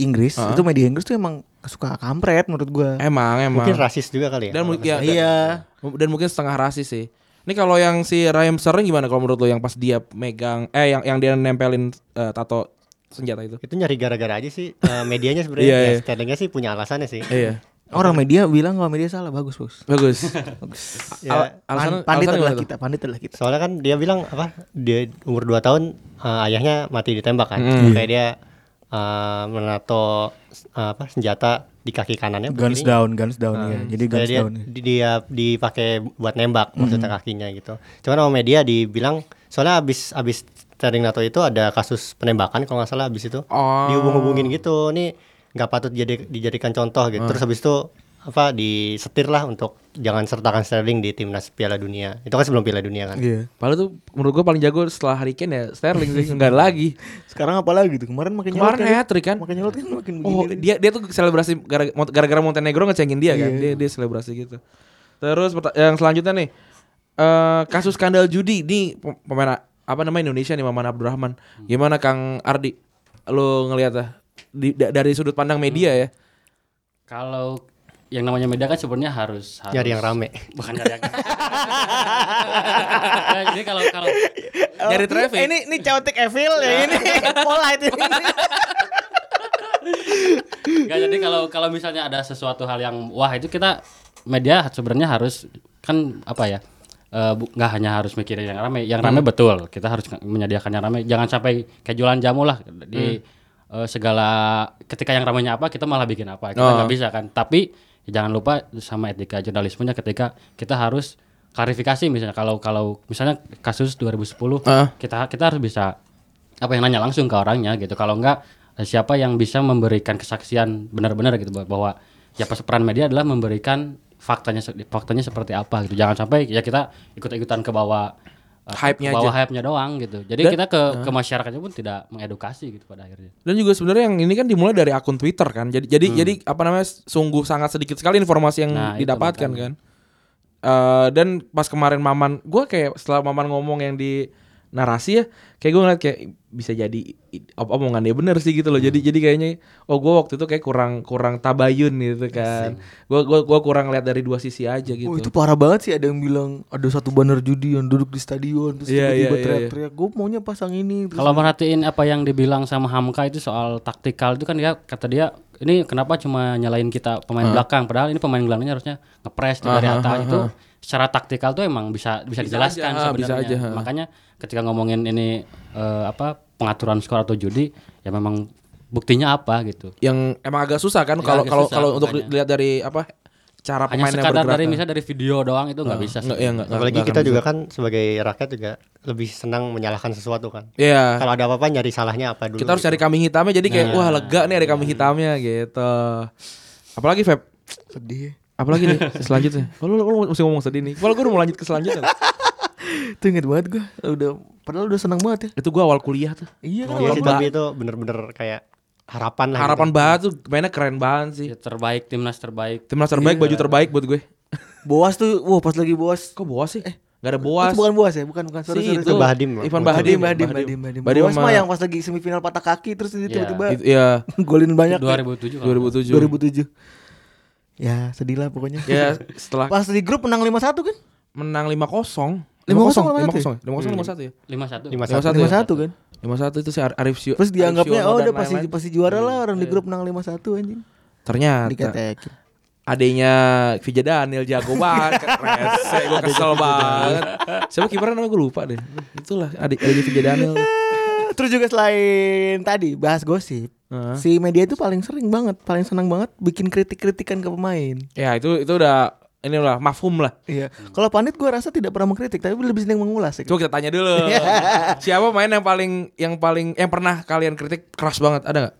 Speaker 6: Inggris
Speaker 2: Ah.
Speaker 6: itu media Inggris tuh emang suka kampret menurut gua.
Speaker 2: emang emang.
Speaker 3: Mungkin rasis juga kali ya.
Speaker 2: Ah. dan mungkin ya, dan-
Speaker 6: iya.
Speaker 2: dan mungkin setengah rasis sih. Ini kalau yang si Ryan Sterling gimana kalau menurut lo yang pas dia megang eh yang yang dia nempelin eh, tato senjata itu?
Speaker 3: itu nyari gara-gara aja sih eh, medianya sebenarnya
Speaker 2: Iya,
Speaker 3: ya,
Speaker 2: iya.
Speaker 3: Sterlingnya sih punya alasannya sih
Speaker 2: Iya.
Speaker 6: Orang media bilang kalau media salah bagus bos.
Speaker 2: Bagus.
Speaker 3: Ya,
Speaker 2: Al- alasan-
Speaker 6: Pan- pandit adalah
Speaker 2: alasan gimana tuh?
Speaker 6: kita, pandit adalah kita.
Speaker 3: soalnya kan dia bilang apa dia umur 2 tahun eh, ayahnya mati ditembak kan
Speaker 6: Hmm.
Speaker 3: kayak dia eh, menato eh, apa senjata di kaki kanannya
Speaker 6: Guns
Speaker 3: begini.
Speaker 6: down, guns down ya. Jadi
Speaker 3: Kayak
Speaker 6: guns
Speaker 3: dia,
Speaker 6: down. Hmm.
Speaker 3: di- dia dipakai buat nembak maksudnya kakinya gitu cuman sama media dibilang soalnya abis abis Sterling nato itu ada kasus penembakan kalau nggak salah abis itu
Speaker 2: Oh.
Speaker 6: Hmm.
Speaker 3: dihubung-hubungin gitu nih nggak patut jadi dijadikan contoh gitu terus habis itu apa disetir lah untuk jangan sertakan Sterling di timnas Piala Dunia. Itu kan sebelum Piala Dunia kan.
Speaker 6: Iya.
Speaker 2: Padahal tuh menurut gua paling jago setelah Harry Kane ya Sterling sih enggak lagi.
Speaker 6: Sekarang apa lagi tuh? Kemarin makin
Speaker 2: Kemarin
Speaker 6: nyolot kan?
Speaker 2: hat-trick kan?
Speaker 6: Makin nyolot kan makin
Speaker 2: Oh,
Speaker 6: begini.
Speaker 2: dia dia tuh selebrasi gara- gara-gara Montenegro ngecengin dia kan. Dia dia selebrasi gitu. Terus perta- yang selanjutnya nih. eh kasus skandal judi nih pem- pemain a- apa nama Indonesia nih Maman Abdurrahman. Gimana Kang Ardi? Lo ngelihat ah, di- da- dari sudut pandang media ya.
Speaker 4: Kalau yang namanya media kan sebenarnya harus, harus
Speaker 3: Nyari yang rame.
Speaker 4: Bukan nyari yang. Nah, Jadi kalau kalau
Speaker 2: Nyari traffic. Iya.
Speaker 5: Eh, ini ini chaotic evil ya ini polite ini.
Speaker 4: nggak jadi kalau kalau misalnya ada sesuatu hal yang wah itu kita media sebenarnya harus kan apa ya? eh, bu- nggak hanya harus mikirin yang rame, yang
Speaker 2: Hmm.
Speaker 4: rame betul. Kita harus nge- menyediakan yang rame. Jangan sampai kayak jualan jamu lah di
Speaker 2: Hmm.
Speaker 4: eh, segala ketika yang ramenya apa kita malah bikin apa. Kita
Speaker 2: Oh.
Speaker 4: nggak bisa kan. Tapi jangan lupa sama etika jurnalismenya ketika kita harus klarifikasi misalnya kalau kalau misalnya kasus 2010
Speaker 2: Heeh.
Speaker 4: kita kita harus bisa apa yang nanya langsung ke orangnya gitu. Kalau enggak eh, siapa yang bisa memberikan kesaksian benar-benar gitu bah- bahwa ya pas- peran media adalah memberikan faktanya se- faktanya seperti apa gitu. Jangan sampai ya kita ikut-ikutan ke bawah eh,
Speaker 2: Hype-nya
Speaker 4: ke bawah
Speaker 2: aja.
Speaker 4: hype-nya doang gitu. Jadi
Speaker 2: Dan-
Speaker 4: kita ke ke masyarakatnya pun tidak mengedukasi gitu pada akhirnya.
Speaker 2: Dan juga sebenarnya yang ini kan dimulai dari akun Twitter kan. Jadi jadi
Speaker 3: Hmm.
Speaker 2: jadi apa namanya sungguh sangat sedikit sekali informasi yang
Speaker 4: Nah, itu
Speaker 2: didapatkan
Speaker 4: makanya.
Speaker 2: kan. Eh dan pas kemarin Maman, gua kayak setelah Maman ngomong yang di narasi ya, kayak gue ngeliat kayak bisa jadi i- op- omongan dia bener sih gitu loh.
Speaker 3: Hmm.
Speaker 2: Jadi jadi kayaknya oh gue waktu itu kayak kurang kurang tabayun gitu kan. Gue gua gua kurang lihat dari dua sisi aja gitu.
Speaker 6: Oh itu parah banget sih ada yang bilang ada satu banner judi yang duduk di stadion terus tiba-tiba
Speaker 2: Iya, iya, iya, iya.
Speaker 6: teriak-teriak gue maunya pasang ini terus
Speaker 4: Kalau merhatiin apa yang dibilang sama Hamka itu soal taktikal itu kan dia kata dia ini kenapa cuma nyalain kita pemain belakang padahal ini pemain gelandangnya harusnya ngepres tuh dari atas itu secara taktikal tuh emang bisa bisa, dijelaskan
Speaker 2: aja, ah,
Speaker 4: sebenarnya.
Speaker 2: bisa aja, ah.
Speaker 4: Makanya ketika ngomongin ini eh, apa pengaturan skor atau judi ya memang buktinya apa gitu.
Speaker 2: Yang emang agak susah kan
Speaker 4: Iya,
Speaker 2: kalau
Speaker 4: agak
Speaker 2: kalau
Speaker 4: susah,
Speaker 2: kalau untuk
Speaker 4: makanya.
Speaker 2: dilihat dari apa cara
Speaker 4: Hanya
Speaker 2: pemainnya
Speaker 4: sekadar
Speaker 2: bergerak. kan. eh?
Speaker 4: dari misalnya dari video doang itu nggak bisa.
Speaker 2: Nggak- iya, nggak- nggak-
Speaker 3: Apalagi
Speaker 2: nggak
Speaker 3: kita
Speaker 2: akan
Speaker 3: juga
Speaker 2: bisa.
Speaker 3: kan sebagai rakyat juga lebih senang menyalahkan sesuatu kan.
Speaker 2: Iya.
Speaker 3: Kalau ada apa-apa nyari salahnya apa dulu.
Speaker 2: kita harus
Speaker 3: gitu.
Speaker 2: cari kambing hitamnya jadi kayak wah lega nih ada kambing hitamnya gitu apalagi Feb Iya.
Speaker 6: sedih
Speaker 2: apalagi nih selanjutnya oh, lu, lu mesti ngomong sedih nih kalau gue udah mau lanjut ke selanjutnya loh.
Speaker 6: itu inget banget gue udah padahal udah senang banget ya
Speaker 2: itu gue awal kuliah tuh
Speaker 6: iya
Speaker 3: Iya
Speaker 6: kan
Speaker 2: Kalau
Speaker 3: sih,
Speaker 2: Mbak-
Speaker 3: tapi itu bener-bener kayak harapan lah.
Speaker 2: harapan
Speaker 3: gitu.
Speaker 2: banget tuh mainnya keren banget sih
Speaker 4: Ya, terbaik timnas terbaik.
Speaker 2: timnas terbaik baju terbaik buat gue
Speaker 6: boas tuh wah pas lagi boas
Speaker 2: kok boas sih eh nggak ada
Speaker 6: Oh,
Speaker 2: boas
Speaker 6: itu bukan boas ya bukan bukan sorry
Speaker 2: Si
Speaker 6: sorry,
Speaker 3: itu
Speaker 2: itu,
Speaker 3: Bahdim loh.
Speaker 2: Ivan
Speaker 6: Bahdim,
Speaker 2: Bahdim
Speaker 6: Bahdim, Bahdim, Bahdim.
Speaker 2: Bahdim
Speaker 6: Boas
Speaker 2: sama-
Speaker 6: mah yang pas lagi semifinal patah kaki terus dia
Speaker 4: Iya.
Speaker 6: tiba-tiba
Speaker 2: itu ya
Speaker 6: golin banyak.
Speaker 4: 2007 kalau
Speaker 6: 2007.
Speaker 2: 2007
Speaker 6: Ya, sedih lah pokoknya.
Speaker 2: ya setelah
Speaker 6: Pas di grup menang 5-1 kan?
Speaker 2: menang 5-0
Speaker 6: 5-0,
Speaker 2: 5-0 5-0 5-1 ya
Speaker 4: 51.
Speaker 3: 51.
Speaker 6: 5-1 kan?
Speaker 2: 5-1 itu si Ar- Arif Syio
Speaker 6: Terus dianggapnya
Speaker 2: Arif Siono
Speaker 6: oh
Speaker 2: dan
Speaker 6: udah pasti
Speaker 2: lain-lain.
Speaker 6: pasti juara lah orang di grup menang 5-1 anjing.
Speaker 2: ternyata
Speaker 6: Diketekin.
Speaker 2: adenya Vija Daniel jago banget rese gue kesel banget siapa kipernya namanya gue lupa deh itulah adik adiknya Vija Daniel
Speaker 6: Terus juga selain tadi bahas gosip,
Speaker 2: Heeh.
Speaker 6: si media itu paling sering banget, paling senang banget bikin kritik-kritikan ke pemain.
Speaker 2: ya itu itu udah ini lah mafhum lah
Speaker 6: Iya. Kalau Pandit gua rasa tidak pernah mengkritik, tapi lebih sering mengulas. Ya.
Speaker 2: coba kita tanya dulu siapa main yang paling yang paling yang pernah kalian kritik keras banget ada nggak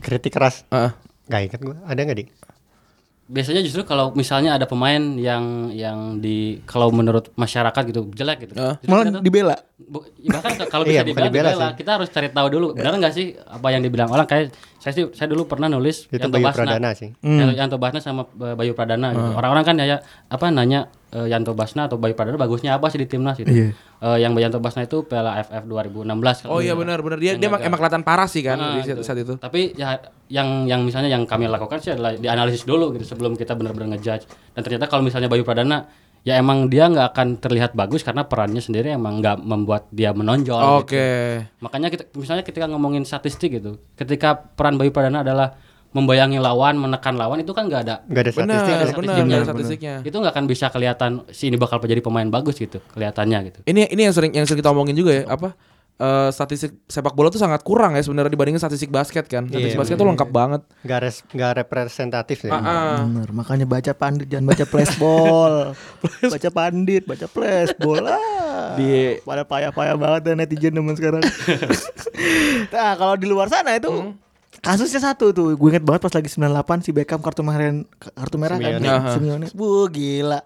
Speaker 3: Kritik keras.
Speaker 2: Heeh.
Speaker 3: Gak inget gue. Ada gak di?
Speaker 4: biasanya justru kalau misalnya ada pemain yang yang di kalau menurut masyarakat gitu jelek gitu.
Speaker 2: Heeh.
Speaker 4: Justru kita
Speaker 6: Malah
Speaker 4: tuh-
Speaker 6: dibela.
Speaker 4: bu- ya bahkan ke- kalau bisa
Speaker 3: Iya, bukan
Speaker 4: dibilang
Speaker 3: dibela
Speaker 4: dibela,
Speaker 3: sih. Iya.
Speaker 4: kita harus cari tahu dulu benar nggak sih apa yang dibilang orang kayak saya sih saya dulu pernah nulis
Speaker 3: Itu
Speaker 4: Yanto
Speaker 3: Bayu
Speaker 4: Basna.
Speaker 3: Pradana sih. Hmm.
Speaker 4: Yang, Yanto Basna sama eh, Bayu Pradana gitu. Orang-orang kan ya apa nanya eh, Yanto Basna atau Bayu Pradana bagusnya apa sih di timnas gitu.
Speaker 3: Iya.
Speaker 4: Eh, yang Yanto Basna itu Piala AFF 2016 kalau
Speaker 2: oh
Speaker 4: nggak
Speaker 2: iya
Speaker 4: salah.
Speaker 2: benar benar dia dia
Speaker 4: Yang
Speaker 2: emang, emang kelihatan parah sih kan
Speaker 4: Ah,
Speaker 2: di saat,
Speaker 4: gitu.
Speaker 2: saat itu
Speaker 4: Tapi ya yang yang misalnya yang kami lakukan sih adalah dianalisis dulu gitu sebelum kita benar-benar ngejudge. Dan ternyata kalau misalnya Bayu Pradana ya emang dia nggak akan terlihat bagus karena perannya sendiri emang nggak membuat dia menonjol.
Speaker 2: oke
Speaker 4: gitu. Makanya kita misalnya ketika ngomongin statistik gitu, ketika peran Bayu Pradana adalah membayangi lawan, menekan lawan itu kan nggak ada.
Speaker 3: Gak ada
Speaker 2: benar
Speaker 3: statistik. ya?
Speaker 4: ada
Speaker 2: benar
Speaker 4: statistiknya.
Speaker 2: ada statistiknya
Speaker 4: Itu nggak akan bisa kelihatan si ini bakal jadi pemain bagus gitu kelihatannya gitu.
Speaker 2: Ini ini yang sering yang sering kita omongin juga ya apa eh, statistik sepak bola tuh sangat kurang ya sebenarnya dibandingin statistik basket kan. Statistik
Speaker 3: Iya,
Speaker 2: basket tuh lengkap banget.
Speaker 3: Gak, res, gak representatif ya.
Speaker 2: Ah, ah.
Speaker 6: Bener, makanya baca Pandit jangan baca flashball. baca Pandit, baca flashball lah.
Speaker 2: Di- Hmm.
Speaker 6: Pada payah-payah banget ya netizen zaman sekarang. nah, kalau di luar sana itu Kasusnya satu tuh, gue inget banget pas lagi 98 si Beckham kartu merah kartu merah kan.
Speaker 2: Simeone.
Speaker 6: Nah, Simeone. Wuh, gila.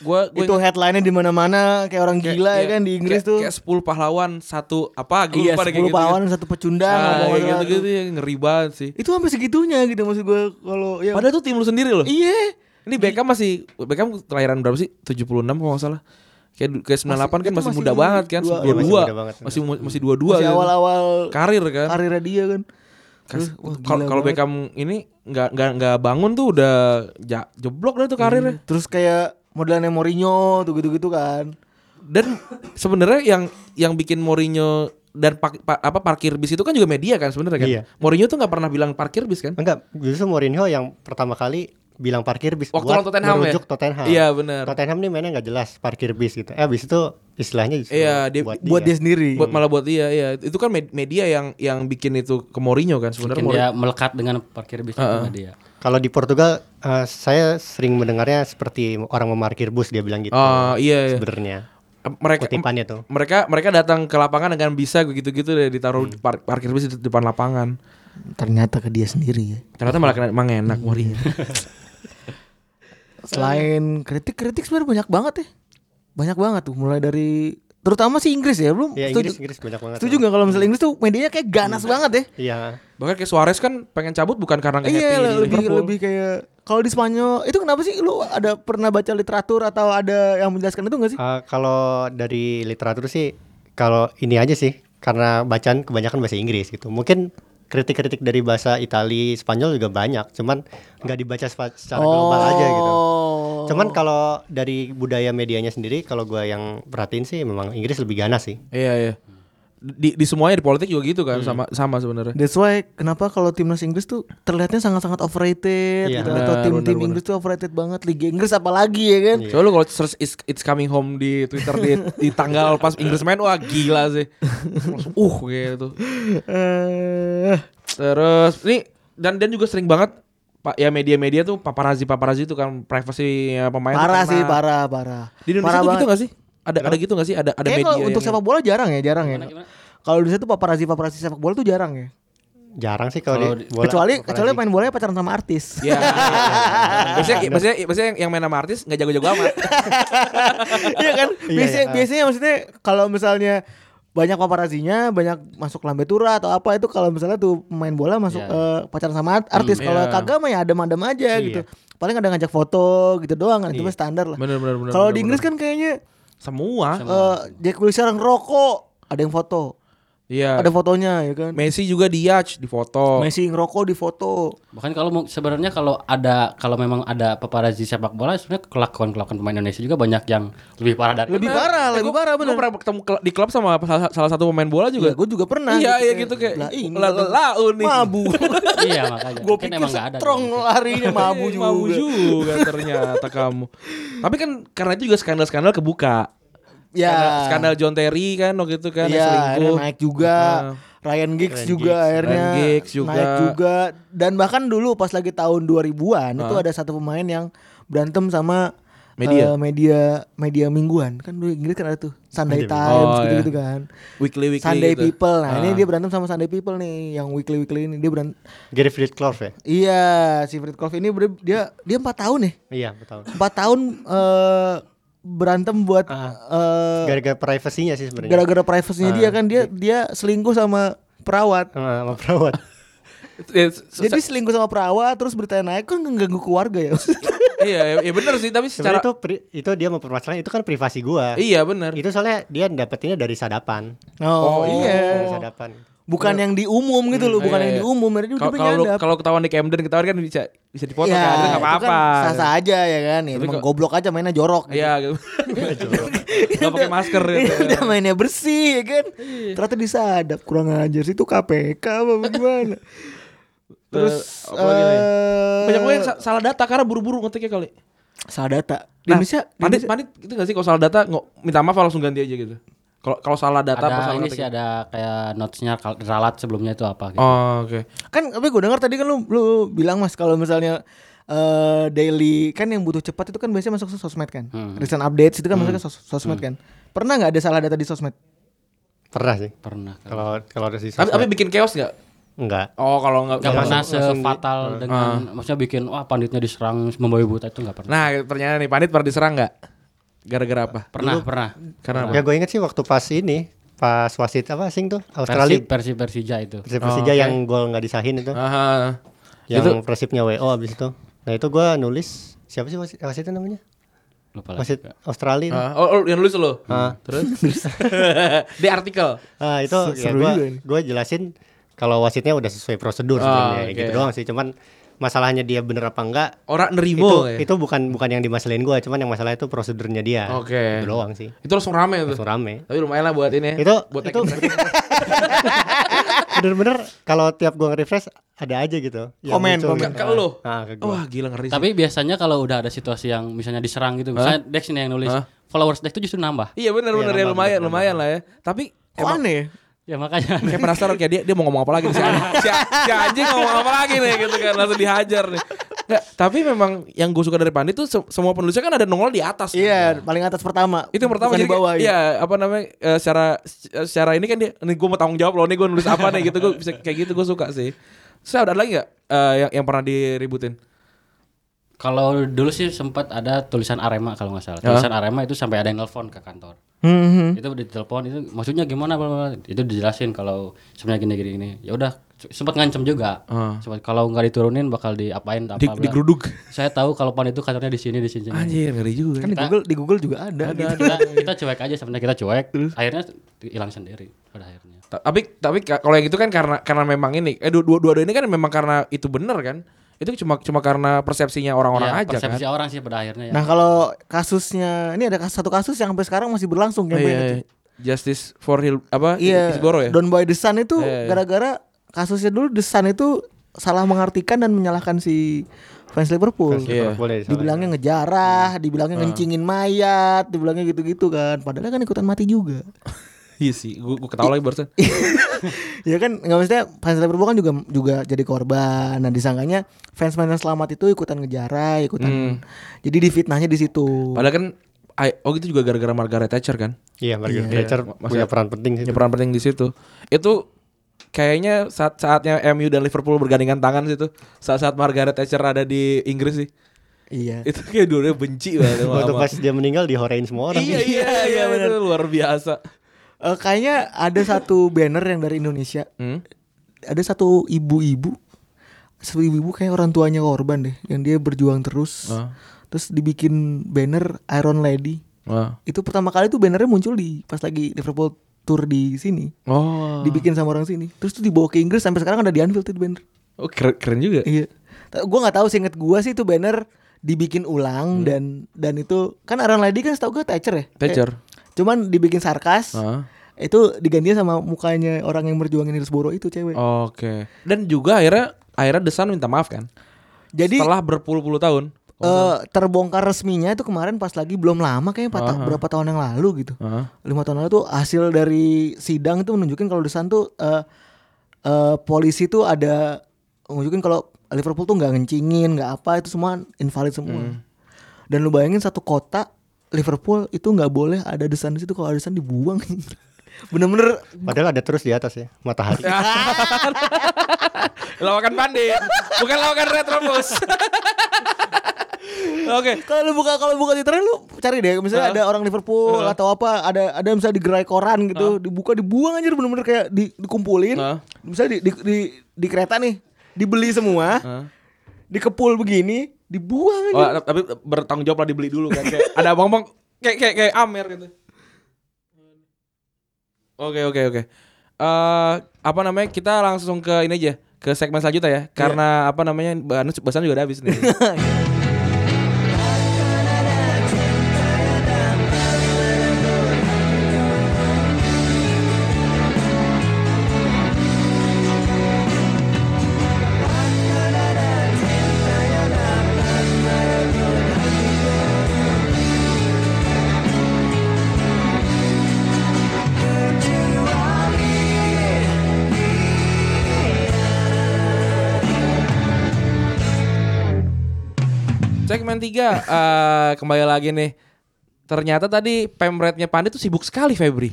Speaker 2: Gue gue
Speaker 6: itu headline-nya di mana-mana kayak orang gila ya kan di Inggris tuh.
Speaker 2: Iya, kayak 10 pahlawan satu apa gue
Speaker 6: Iya,
Speaker 2: lupa deh, kayak gitu
Speaker 6: 10 pahlawan satu pecundang
Speaker 2: Nah,
Speaker 6: ngomong
Speaker 2: kayak
Speaker 6: gitu,
Speaker 2: gitu-gitu ya, ngeri banget sih.
Speaker 6: Itu sampai segitunya gitu maksud gue kalau ya
Speaker 2: Padahal tuh tim lu sendiri loh.
Speaker 6: iya.
Speaker 2: Ini Beckham masih Beckham kelahiran berapa sih? 76 kalau nggak salah. Kayak du- kayak 98 kan
Speaker 6: itu
Speaker 2: masih
Speaker 6: masih
Speaker 2: muda banget kan,
Speaker 6: dua-
Speaker 3: iya, masih
Speaker 2: 22.
Speaker 3: muda banget.
Speaker 2: Masih mu- masih 22
Speaker 6: Masih
Speaker 2: gitu.
Speaker 6: awal-awal
Speaker 2: karir kan.
Speaker 6: karirnya dia kan. Terus,
Speaker 2: Kas-
Speaker 6: wah,
Speaker 2: Kalau
Speaker 6: gila
Speaker 2: kalau
Speaker 6: banget.
Speaker 2: Beckham ini nggak nggak nggak bangun tuh udah ja- jeblok dah tuh karirnya.
Speaker 6: Iya. Terus kayak modelannya Mourinho tuh gitu-gitu kan.
Speaker 2: Dan sebenarnya yang yang bikin Mourinho dan pak- pa- apa parkir bis itu kan juga media kan sebenarnya kan.
Speaker 3: Iya.
Speaker 2: Mourinho tuh nggak pernah bilang parkir bis kan.
Speaker 3: Enggak, justru Mourinho yang pertama kali bilang parkir bis
Speaker 2: Waktu lawan Tottenham ya?
Speaker 3: merujuk Tottenham.
Speaker 2: Iya, benar.
Speaker 3: Tottenham nih mainnya nggak jelas parkir bis gitu. Eh abis itu istilahnya justru
Speaker 2: Iya, dia-
Speaker 6: Buat dia sendiri.
Speaker 2: Buat malah buat dia ya. Itu kan med- media yang yang bikin itu ke Mourinho kan sebenarnya.
Speaker 4: Mungkin
Speaker 2: Mourinho-
Speaker 4: dia melekat dengan parkir bis itu sama dia.
Speaker 3: Kalau di Portugal eh, saya sering mendengarnya seperti orang memarkir bus dia bilang gitu.
Speaker 6: Oh,
Speaker 2: Ah, iya, iya.
Speaker 3: Sebenarnya.
Speaker 2: mereka
Speaker 3: Kutipannya tuh.
Speaker 2: mereka mereka datang ke lapangan dengan bisa gitu gitu deh ditaruh di par- parkir bis di depan lapangan
Speaker 6: Ternyata ke dia sendiri ya.
Speaker 2: ternyata malah kena- emang enak Mourinho
Speaker 6: Selain kritik-kritik sebenarnya banyak banget ya. Banyak banget tuh mulai dari terutama sih Inggris Hmm. ya, belum?
Speaker 3: Ya Inggris Inggris banyak banget.
Speaker 6: Setuju nggak kalau misalnya Inggris tuh medianya kayak ganas banget ya?
Speaker 3: Iya.
Speaker 2: bahkan kayak Suarez kan pengen cabut bukan karena nggak
Speaker 6: Iya
Speaker 2: happy di
Speaker 6: lebih
Speaker 2: Liverpool.
Speaker 6: lebih kayak kalau di Spanyol itu kenapa sih lu ada pernah baca literatur atau ada yang menjelaskan itu nggak sih?
Speaker 3: Eh, kalau dari literatur sih kalau ini aja sih karena bacaan kebanyakan bahasa Inggris gitu. Mungkin kritik-kritik dari bahasa Itali, Spanyol juga banyak, cuman nggak dibaca spa- secara global aja gitu.
Speaker 6: Oh.
Speaker 3: Cuman kalau dari budaya medianya sendiri kalau gua yang perhatiin sih memang Inggris lebih ganas sih.
Speaker 2: iya iya di, di semuanya di politik juga gitu kan sama sama sebenarnya
Speaker 6: That's why kenapa kalau timnas Inggris tuh terlihatnya sangat-sangat overrated
Speaker 3: Iya.
Speaker 6: gitu atau
Speaker 2: Benar,
Speaker 6: tim-tim
Speaker 2: benar, Iya.
Speaker 6: Inggris tuh overrated banget Liga Inggris apalagi ya kan?
Speaker 2: Coba lu kalau search is, it's coming home di Twitter di, di tanggal pas Inggris main wah gila sih. Langsung uh gitu.
Speaker 6: Eh,
Speaker 2: Terus nih dan dan juga sering banget Pak ya media-media tuh paparazi paparazi itu kan privasi pemain tuh
Speaker 6: parah
Speaker 2: kena.
Speaker 6: sih, parah, parah.
Speaker 2: Di Indonesia
Speaker 6: parah
Speaker 2: tuh gitu
Speaker 6: banget.
Speaker 2: gak sih? Ada ada gitu gak sih? Ada ada
Speaker 6: Kayaknya
Speaker 2: media
Speaker 6: kalau untuk
Speaker 2: yang-
Speaker 6: sepak bola jarang ya, jarang ya. Kalau di Indonesia tuh paparazi-paparazi sepak bola tuh jarang ya.
Speaker 3: Jarang sih kalau
Speaker 4: Kalau
Speaker 3: di
Speaker 4: di-
Speaker 3: bola-
Speaker 6: kecuali
Speaker 3: operasi.
Speaker 6: kecuali main bolanya pacaran sama artis.
Speaker 2: Iya. Biasanya biasanya biasanya yang- yang main sama artis gak jago-jago amat.
Speaker 6: Iya kan? Biasanya,
Speaker 3: iya.
Speaker 6: biasanya maksudnya kalau misalnya banyak paparazinya, banyak masuk lambe tura atau apa itu kalau misalnya tuh main bola masuk
Speaker 4: Iya.
Speaker 6: eh, pacaran sama art- artis. Kalau
Speaker 2: iya.
Speaker 6: kagak mah ya adem-adem aja gitu. Paling ada ngajak foto gitu doang kan itu mah standar lah.
Speaker 2: Iya. Bener bener bener.
Speaker 6: Kalau
Speaker 2: bener,
Speaker 6: di Inggris
Speaker 2: bener.
Speaker 6: kan kayaknya
Speaker 2: semua.
Speaker 6: eh Jack Wilshere ngerokok, ada yang foto.
Speaker 2: Iya.
Speaker 6: Ada fotonya ya kan.
Speaker 2: Messi juga di yacht di foto.
Speaker 6: Messi ngerokok di foto.
Speaker 4: Bahkan kalau mau- sebenarnya kalau ada kalau memang ada paparazi sepak bola sebenarnya kelakuan-kelakuan pemain Indonesia juga banyak yang lebih parah dari
Speaker 2: Nah,
Speaker 6: Lebih parah, lebih parah bener.
Speaker 2: Gue eh, pernah ketemu ke- di klub sama salah, salah satu pemain bola
Speaker 6: Iya,
Speaker 2: juga.
Speaker 6: gue juga pernah. kan.
Speaker 2: Iya, iya gitu kayak oh,
Speaker 6: Lah, ini kan.
Speaker 2: la- la- laun nih.
Speaker 6: mabu.
Speaker 4: Iya makanya.
Speaker 6: gue
Speaker 4: Mungkin
Speaker 6: pikir
Speaker 4: emang nggak ada gitu. di
Speaker 6: strong
Speaker 4: Indonesia.
Speaker 6: larinya mabu
Speaker 2: Eh,
Speaker 6: juga.
Speaker 2: Mabu juga ternyata kamu. Tapi kan karena itu juga skandal-skandal kebuka.
Speaker 6: Ya.
Speaker 2: Skandal, skandal John Terry kan waktu itu kan yang
Speaker 6: Iya, akhirnya
Speaker 2: selingkuh.
Speaker 6: naik juga.
Speaker 2: Ah.
Speaker 6: Ryan Giggs
Speaker 3: Ryan
Speaker 6: juga
Speaker 3: Giggs.
Speaker 6: akhirnya
Speaker 2: Ryan Giggs juga.
Speaker 6: naik juga dan bahkan dulu pas lagi tahun 2000-an itu ada satu pemain yang berantem sama
Speaker 2: Media.
Speaker 6: eh, media media mingguan kan dulu Inggris kan ada tuh Sunday Times
Speaker 2: Oh,
Speaker 6: gitu-gitu
Speaker 2: iya.
Speaker 6: kan.
Speaker 2: Weekly weekly
Speaker 6: Sunday
Speaker 2: gitu.
Speaker 6: People. Nah, ini
Speaker 2: Ah.
Speaker 6: dia berantem sama Sunday People nih yang weekly weekly ini dia berantem.
Speaker 3: Gary Flitcroft ya?
Speaker 6: Iya, si Fred Kolf ini ber- dia dia 4 tahun ya.
Speaker 3: Iya, betul.
Speaker 6: 4 tahun eh, berantem buat
Speaker 2: Ah.
Speaker 6: eh,
Speaker 3: Gara-gara privasinya sih sebenarnya.
Speaker 6: gara-gara privasinya dia kan dia dia selingkuh sama perawat.
Speaker 3: Sama sama perawat.
Speaker 2: Eh, se- se-
Speaker 6: Jadi selingkuh sama perawat terus beritanya naik kan ngeganggu keluarga ya.
Speaker 2: iya, iya benar sih tapi
Speaker 3: Sebenarnya
Speaker 2: secara
Speaker 3: itu pri- itu dia mempermasalahkan itu kan privasi gua.
Speaker 2: Iya benar.
Speaker 3: Itu soalnya dia dapetinnya dari sadapan.
Speaker 6: Oh,
Speaker 3: Dari
Speaker 6: iya.
Speaker 3: sadapan.
Speaker 6: Bukan yang di umum gitu loh, bukan
Speaker 2: Iya,
Speaker 6: yang
Speaker 2: iya.
Speaker 6: di umum, mereka
Speaker 2: Kalau
Speaker 6: juga
Speaker 2: kalau
Speaker 6: nyadap.
Speaker 2: kalau ketahuan di Camden ketahuan kan bisa bisa dipotong
Speaker 6: Ya,
Speaker 2: kan, itu nggak
Speaker 6: itu kan
Speaker 2: apa-apa.
Speaker 6: Sah-sah aja ya kan. Ya,
Speaker 2: Tapi
Speaker 6: emang
Speaker 2: kok-
Speaker 6: goblok aja mainnya jorok.
Speaker 2: Iya gitu. Enggak
Speaker 6: Iya,
Speaker 2: pakai masker gitu.
Speaker 6: Udah mainnya bersih ya kan.
Speaker 2: Iya.
Speaker 6: Ternyata disadap kurang ajar sih itu KPK apa gimana. Terus
Speaker 2: apa lagi nih?
Speaker 6: eh,
Speaker 2: Banyak gue yang sa- salah data karena buru-buru ngetiknya kali.
Speaker 6: salah data. Di
Speaker 2: Nah,
Speaker 6: Indonesia, di
Speaker 2: panit
Speaker 6: Indonesia-
Speaker 2: panit itu gak sih kalau salah data nggak minta maaf langsung ganti aja gitu. Kalau kalau salah data apa
Speaker 4: Ada
Speaker 2: salah
Speaker 4: ini
Speaker 2: ngetik?
Speaker 4: sih ada kayak notesnya kal- ralat sebelumnya itu apa gitu.
Speaker 2: Oh, oke.
Speaker 6: Kan tapi gue dengar tadi kan lu lu bilang Mas kalau misalnya eh daily kan yang butuh cepat itu kan biasanya masuk ke sos- sosmed kan.
Speaker 2: Hmm.
Speaker 6: Recent updates itu kan masuk ke sos- sosmed kan. Pernah nggak ada salah data di sosmed?
Speaker 3: Pernah sih.
Speaker 4: Pernah kan.
Speaker 3: Kalau kalau ada sih.
Speaker 2: Tapi tapi bikin chaos nggak?
Speaker 3: Enggak.
Speaker 2: Oh kalau nggak
Speaker 4: Gak
Speaker 2: nggak
Speaker 4: pernah
Speaker 2: masuk. Ah.
Speaker 4: sefatal dengan maksudnya bikin wah panditnya diserang membawa buta itu nggak pernah.
Speaker 2: Nah pertanyaan nih Pandit pernah diserang nggak? Gara-gara apa?
Speaker 4: Pernah, pernah.
Speaker 2: Karena apa?
Speaker 3: Ya gue inget sih waktu pas ini pas wasit apa sing tuh
Speaker 4: Persi,
Speaker 3: Australia
Speaker 4: Persi Persija itu.
Speaker 3: Persib Persija
Speaker 2: oke.
Speaker 3: yang gol nggak disahin itu
Speaker 2: Aha.
Speaker 3: yang
Speaker 2: Itu-
Speaker 3: persibnya WO abis itu nah itu gue nulis siapa sih wasit, wasitnya namanya
Speaker 4: Lupa lagi.
Speaker 3: wasit Australia itu.
Speaker 2: Ah, oh, oh, yang nulis lo. Terus di artikel.
Speaker 3: Ah, itu ya
Speaker 6: seru
Speaker 3: gua
Speaker 6: juga ini.
Speaker 3: gua jelasin kalau wasitnya udah sesuai prosedur
Speaker 2: Ah,
Speaker 3: sebenarnya
Speaker 2: oke.
Speaker 3: gitu doang sih cuman masalahnya dia bener apa enggak
Speaker 2: Orang
Speaker 3: itu
Speaker 2: nerimo ya.
Speaker 3: itu bukan bukan yang dimasalahin gua cuman yang masalah itu prosedurnya dia
Speaker 2: Oke.
Speaker 3: Itu doang sih
Speaker 2: Itu langsung rame tuh.
Speaker 3: langsung rame
Speaker 2: Tapi lumayan lah buat ini. ya.
Speaker 3: itu
Speaker 2: buat
Speaker 3: itu bener-bener kalau tiap gua nge-refresh ada aja gitu yang
Speaker 6: Komen,
Speaker 3: muncul
Speaker 6: komen.
Speaker 2: Ke-
Speaker 3: gitu.
Speaker 2: ke lo.
Speaker 3: Ah, ke gua.
Speaker 2: Wah gila ngeri. sih.
Speaker 4: Tapi biasanya kalau udah ada situasi yang misalnya diserang gitu, misalnya Dex nih yang nulis,
Speaker 2: Hah?
Speaker 4: followers Dex itu justru nambah.
Speaker 2: iya benar benar ya lumayan lumayan lah ya. Tapi
Speaker 6: Kok aneh ya?
Speaker 4: Ya makanya.
Speaker 2: kayak penasaran kayak dia dia mau ngomong apa lagi nih, si, anjing, si, si anjing ngomong apa lagi nih gitu kan langsung dihajar nih. Nggak, tapi memang yang gue suka dari Pandit tuh se- semua penulisnya kan ada nongol di atas. kan.
Speaker 6: Iya, paling atas pertama.
Speaker 2: Itu yang pertama
Speaker 6: Bukan di
Speaker 2: jadi kayak-
Speaker 6: bawah. ya.
Speaker 2: Iya, apa namanya? eh, secara secara ini kan dia nih gue mau tanggung jawab loh nih gue nulis apa nih gitu gue bisa kayak gitu gue suka sih. Terus ada lagi nggak eh, yang yang pernah diributin?
Speaker 4: Kalau dulu sih sempat ada tulisan Arema kalau nggak salah. Tulisan Arema itu sampai ada yang nelpon ke kantor.
Speaker 6: Hmm,
Speaker 2: Hmm?
Speaker 4: Itu ditelepon itu maksudnya gimana bla, bla, bla. itu dijelasin kalau sebenarnya gini gini gini. Ya udah sempat ngancem juga. Sempat kalau nggak diturunin bakal diapain apa
Speaker 2: Di, digeruduk.
Speaker 4: Saya tahu kalau pan itu kantornya di sini di sini. sini.
Speaker 2: Anjir ngeri juga.
Speaker 6: Kan di Google di Google juga ada. gitu.
Speaker 4: Kita, kita cuek aja sebenarnya kita cuek. Akhirnya hilang sendiri pada akhirnya.
Speaker 2: Ta- tapi tapi ka- kalau yang itu kan karena karena memang ini eh dua dua, dua ini kan memang karena itu bener kan itu cuma cuma karena persepsinya
Speaker 6: Iya,
Speaker 2: orang-orang
Speaker 4: Ya,
Speaker 2: aja
Speaker 4: persepsi
Speaker 2: kan
Speaker 4: orang sih pada akhirnya ya.
Speaker 6: Nah, kalau kasusnya ini ada kas- satu kasus yang sampai sekarang masih berlangsung
Speaker 2: Oh,
Speaker 6: campaign
Speaker 2: iya,
Speaker 6: itu.
Speaker 2: iya. justice for Hill apa
Speaker 6: gitu. Iya.
Speaker 2: Hillsborough ya
Speaker 6: Don Boy The Sun itu
Speaker 2: Iya, iya.
Speaker 6: gara-gara kasusnya dulu The Sun itu salah mengartikan dan menyalahkan si fans Liverpool. ya,
Speaker 2: Iya. Ah.
Speaker 3: Boleh disalahin.
Speaker 6: Dibilangnya ngejarah, dibilangnya ngencingin mayat, dibilangnya gitu-gitu kan. Padahal kan ikutan mati juga.
Speaker 2: iya sih gua, gua ketawa lagi barusan
Speaker 6: ya kan nggak maksudnya fans Liverpool kan juga juga jadi korban. Nah disangkanya fans fans yang selamat itu ikutan ngejarah, ikutan. Jadi difitnahnya di situ.
Speaker 2: Hmm. padahal kan I- oh itu juga gara-gara Margaret Thatcher kan
Speaker 3: Iya, Margaret Thatcher punya peran penting sih.
Speaker 2: yang peran penting di situ itu kayaknya saat saatnya MU dan Liverpool bergandengan tangan situ saat saat Margaret Thatcher ada di Inggris sih
Speaker 6: Iya.
Speaker 2: itu kayak dua benci banget sama-
Speaker 3: Waktu
Speaker 2: sama-
Speaker 3: pas dia meninggal dihorein semua orang.
Speaker 2: iya iya iya itu luar biasa
Speaker 6: Eh, kayaknya ada satu banner yang dari Indonesia.
Speaker 2: Hmm?
Speaker 6: Ada satu ibu-ibu, satu ibu-ibu kayak orang tuanya korban deh, yang dia berjuang terus.
Speaker 2: Ah.
Speaker 6: Terus dibikin banner Iron Lady.
Speaker 2: Wah.
Speaker 6: Itu pertama kali tuh bannernya muncul di pas lagi Liverpool tour di sini.
Speaker 2: Oh,
Speaker 6: Dibikin sama orang sini. Terus tuh dibawa ke Inggris sampai sekarang ada di Anfield itu banner.
Speaker 2: oh keren, keren juga.
Speaker 6: Iya. Ta- Gua nggak tahu seinget gua sih itu banner dibikin
Speaker 2: Hmm.
Speaker 6: ulang dan dan itu kan Iron Lady kan setahu gua Thatcher ya.
Speaker 2: Thatcher.
Speaker 6: Eh, cuman dibikin sarkas.
Speaker 2: Ah.
Speaker 6: Itu diganti sama mukanya orang yang berjuangin Hillsborough itu cewek.
Speaker 2: Oh, Oke. Dan juga akhirnya akhirnya The Sun minta maaf kan?
Speaker 6: Jadi
Speaker 2: Setelah berpuluh-puluh tahun.
Speaker 6: eh, terbongkar resminya itu kemarin pas lagi belum lama kayaknya empat ta- berapa tahun yang lalu gitu.
Speaker 2: Heeh.
Speaker 6: Lima tahun lalu tuh hasil dari sidang itu menunjukkan kalau Desan tuh eh, eh, polisi tuh ada menunjukkan kalau Liverpool tuh nggak ngencingin, nggak apa itu semua invalid semua. Dan lu bayangin satu kota Liverpool itu nggak boleh ada Desan di situ kalau ada Desan dibuang. Bener-bener
Speaker 3: Padahal ada terus di atas ya, matahari.
Speaker 2: Iya. lawakan pandai, bukan lawakan retrobus. Oke.
Speaker 6: kalau lu buka kalau buka Twitter lu cari deh misalnya ada orang Liverpool atau apa ada ada misalnya di gerai koran gitu dibuka dibuang aja bener-bener kayak di- dikumpulin
Speaker 2: Ah.
Speaker 6: misalnya di di, di di kereta nih dibeli semua dikepul begini dibuang aja
Speaker 2: Oh, tapi bertanggung jawab lah dibeli dulu kan. Kayak ada abang-abang kayak kayak kayak Amer gitu. Oke oke oke. Eh apa namanya? Kita langsung ke ini aja ke segmen selanjutnya ya. Karena apa namanya? Bahan bahasan juga udah habis nih. Segmen 3 eh kembali lagi nih Ternyata tadi pemretnya Pandit tuh sibuk sekali Febri.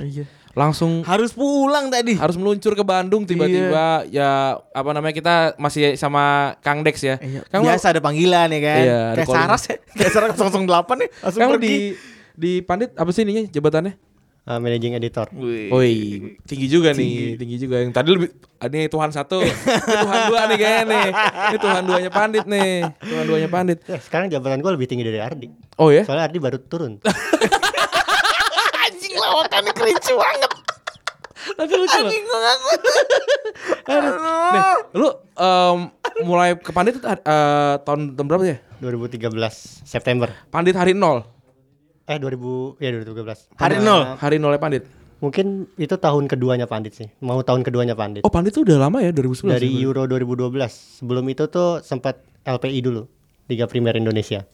Speaker 2: Langsung
Speaker 5: Harus pulang tadi.
Speaker 2: harus meluncur ke Bandung tiba-tiba ya apa namanya kita masih sama Kang Dex ya. Kang lu-
Speaker 5: Iya. Biasa ada panggilan ya kan.
Speaker 2: Iya, ada
Speaker 5: kayak
Speaker 2: calling.
Speaker 5: Saras ya. Kayak Saras 008 nih langsung
Speaker 2: Kang lu
Speaker 5: pergi.
Speaker 2: di di Pandit apa sih ininya jabatannya?
Speaker 3: Eh, managing editor.
Speaker 2: Iya. Woi, tinggi juga nih, tinggi juga. Yang tadi lebih ah, ini Tuhan satu, ini Tuhan dua nih kayaknya nih. Ini Tuhan duanya Pandit nih, Tuhan duanya Pandit.
Speaker 3: Ya, sekarang jabatan gue lebih tinggi dari Ardi.
Speaker 2: Oh ya?
Speaker 3: Soalnya Ardi baru turun.
Speaker 5: Anjing lawakannya kerinci banget.
Speaker 2: Tapi lucu loh.
Speaker 5: Anjing gue ngaku.
Speaker 2: Nih, lu em, mulai ke Pandit itu eh, tahun, tahun berapa ya?
Speaker 3: 2013 September.
Speaker 2: Pandit hari nol.
Speaker 3: Eh 2000 ya 2013.
Speaker 5: Hari nol.
Speaker 2: Hari nolnya Pandit.
Speaker 3: Mungkin itu tahun keduanya Pandit sih. Mau tahun keduanya Pandit.
Speaker 2: Oh, Pandit tuh udah lama ya 2011.
Speaker 3: dari
Speaker 2: ya?
Speaker 3: Euro 2012. Sebelum itu tuh sempat LPI dulu, Liga Primer Indonesia.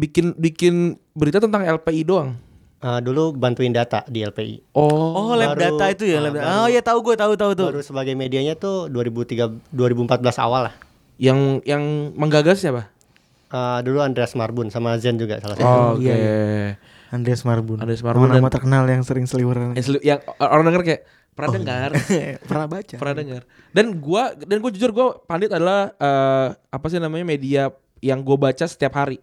Speaker 2: bikin bikin berita tentang LPI doang.
Speaker 3: Eh, dulu bantuin data di LPI.
Speaker 2: Oh.
Speaker 5: Oh, lab
Speaker 3: Baru-
Speaker 5: data itu ya,
Speaker 3: ah,
Speaker 5: lab data.
Speaker 3: baru-
Speaker 5: Oh iya tahu gue, tahu tahu tuh.
Speaker 3: Baru sebagai medianya tuh 2003 2014 awal lah.
Speaker 2: Yang yang menggagas siapa?
Speaker 3: Eh, dulu Andreas Marbun sama Zen juga salah satu.
Speaker 2: Oh, Oke.
Speaker 6: iya, Andreas Marbun.
Speaker 2: Andreas Marbun
Speaker 6: Nama,
Speaker 2: dan-
Speaker 6: terkenal yang sering seliweran.
Speaker 2: Yang selu- Yang orang denger kayak pernah dengar,
Speaker 6: Pernah baca.
Speaker 2: pernah dengar. Dan gua dan gua jujur gua Pandit adalah eh, apa sih namanya media yang gua baca setiap hari.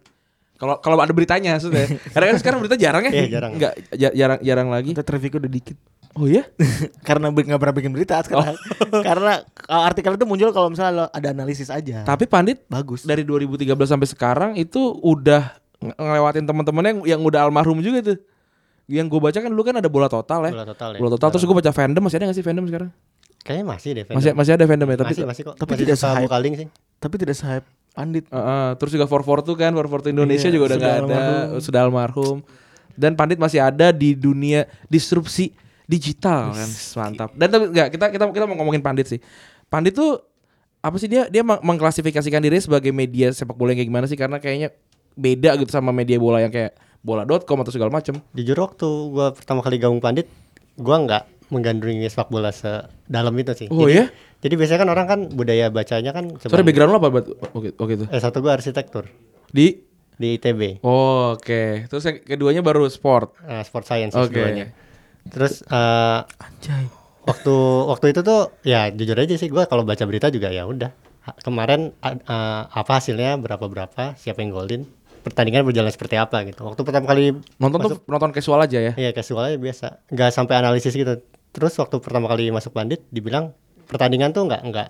Speaker 2: Kalau kalau ada beritanya maksudnya. Karena kan sekarang berita jarang ya.
Speaker 3: Iya, jarang.
Speaker 2: Nggak, ja- jarang jarang lagi.
Speaker 6: Kita traffic udah dikit.
Speaker 2: Oh iya.
Speaker 6: karena bi- nggak pernah bikin berita sekarang.
Speaker 2: Oh.
Speaker 6: karena uh, artikel itu muncul kalau misalnya lo ada analisis aja.
Speaker 2: Tapi Pandit
Speaker 6: bagus.
Speaker 2: dari 2013 sampai sekarang itu udah nge- ngelewatin teman-temannya yang, yang udah almarhum juga tuh. Yang gue baca kan dulu kan ada bola total ya.
Speaker 3: Bola Total ya.
Speaker 2: Bola total terus gue baca fandom masih ada gak sih fandom sekarang?
Speaker 3: Kayaknya masih deh. Fandom.
Speaker 2: Masih masih ada fandom ya tapi
Speaker 3: masih, masih kok.
Speaker 6: tapi
Speaker 3: masih
Speaker 6: tidak
Speaker 3: suka
Speaker 6: sehype.
Speaker 3: buka link sih.
Speaker 6: Tapi tidak sehype Pandit.
Speaker 2: Eh, eh, terus juga 442 kan 442 Indonesia
Speaker 6: Iya,
Speaker 2: juga udah
Speaker 6: sudah
Speaker 2: nggak ada
Speaker 6: almarhum.
Speaker 2: sudah almarhum dan Pandit masih ada di dunia disrupsi digital kan mantap dan tapi nggak kita kita kita mau ngomongin Pandit sih Pandit tuh apa sih dia dia meng- mengklasifikasikan diri sebagai media sepak bola yang kayak gimana sih karena kayaknya beda gitu sama media bola yang kayak bola.com atau segala macem
Speaker 3: Jujur waktu gua pertama kali gabung Pandit, gua nggak menggandrungi sepak bola sedalam itu sih.
Speaker 2: Oh,
Speaker 3: jadi,
Speaker 2: iya?
Speaker 3: Jadi biasanya kan orang kan budaya bacanya kan cuman-
Speaker 2: Sorry background lo apa buat oke oke itu
Speaker 3: Eh satu gua arsitektur
Speaker 2: di
Speaker 3: di ITB.
Speaker 2: oh, oke terus yang keduanya baru sport
Speaker 3: eh, sport science
Speaker 2: Oke.
Speaker 3: seduanya. Terus eh, waktu waktu itu tuh ya jujur aja sih gua kalau baca berita juga ya udah Ha- kemarin a- eh, apa hasilnya berapa berapa siapa yang golin pertandingan berjalan seperti apa gitu. Waktu pertama kali
Speaker 2: nonton tuh nonton casual aja ya
Speaker 3: Iya casual aja biasa, nggak sampai analisis gitu. Terus waktu pertama kali masuk Bandit, dibilang pertandingan tuh nggak nggak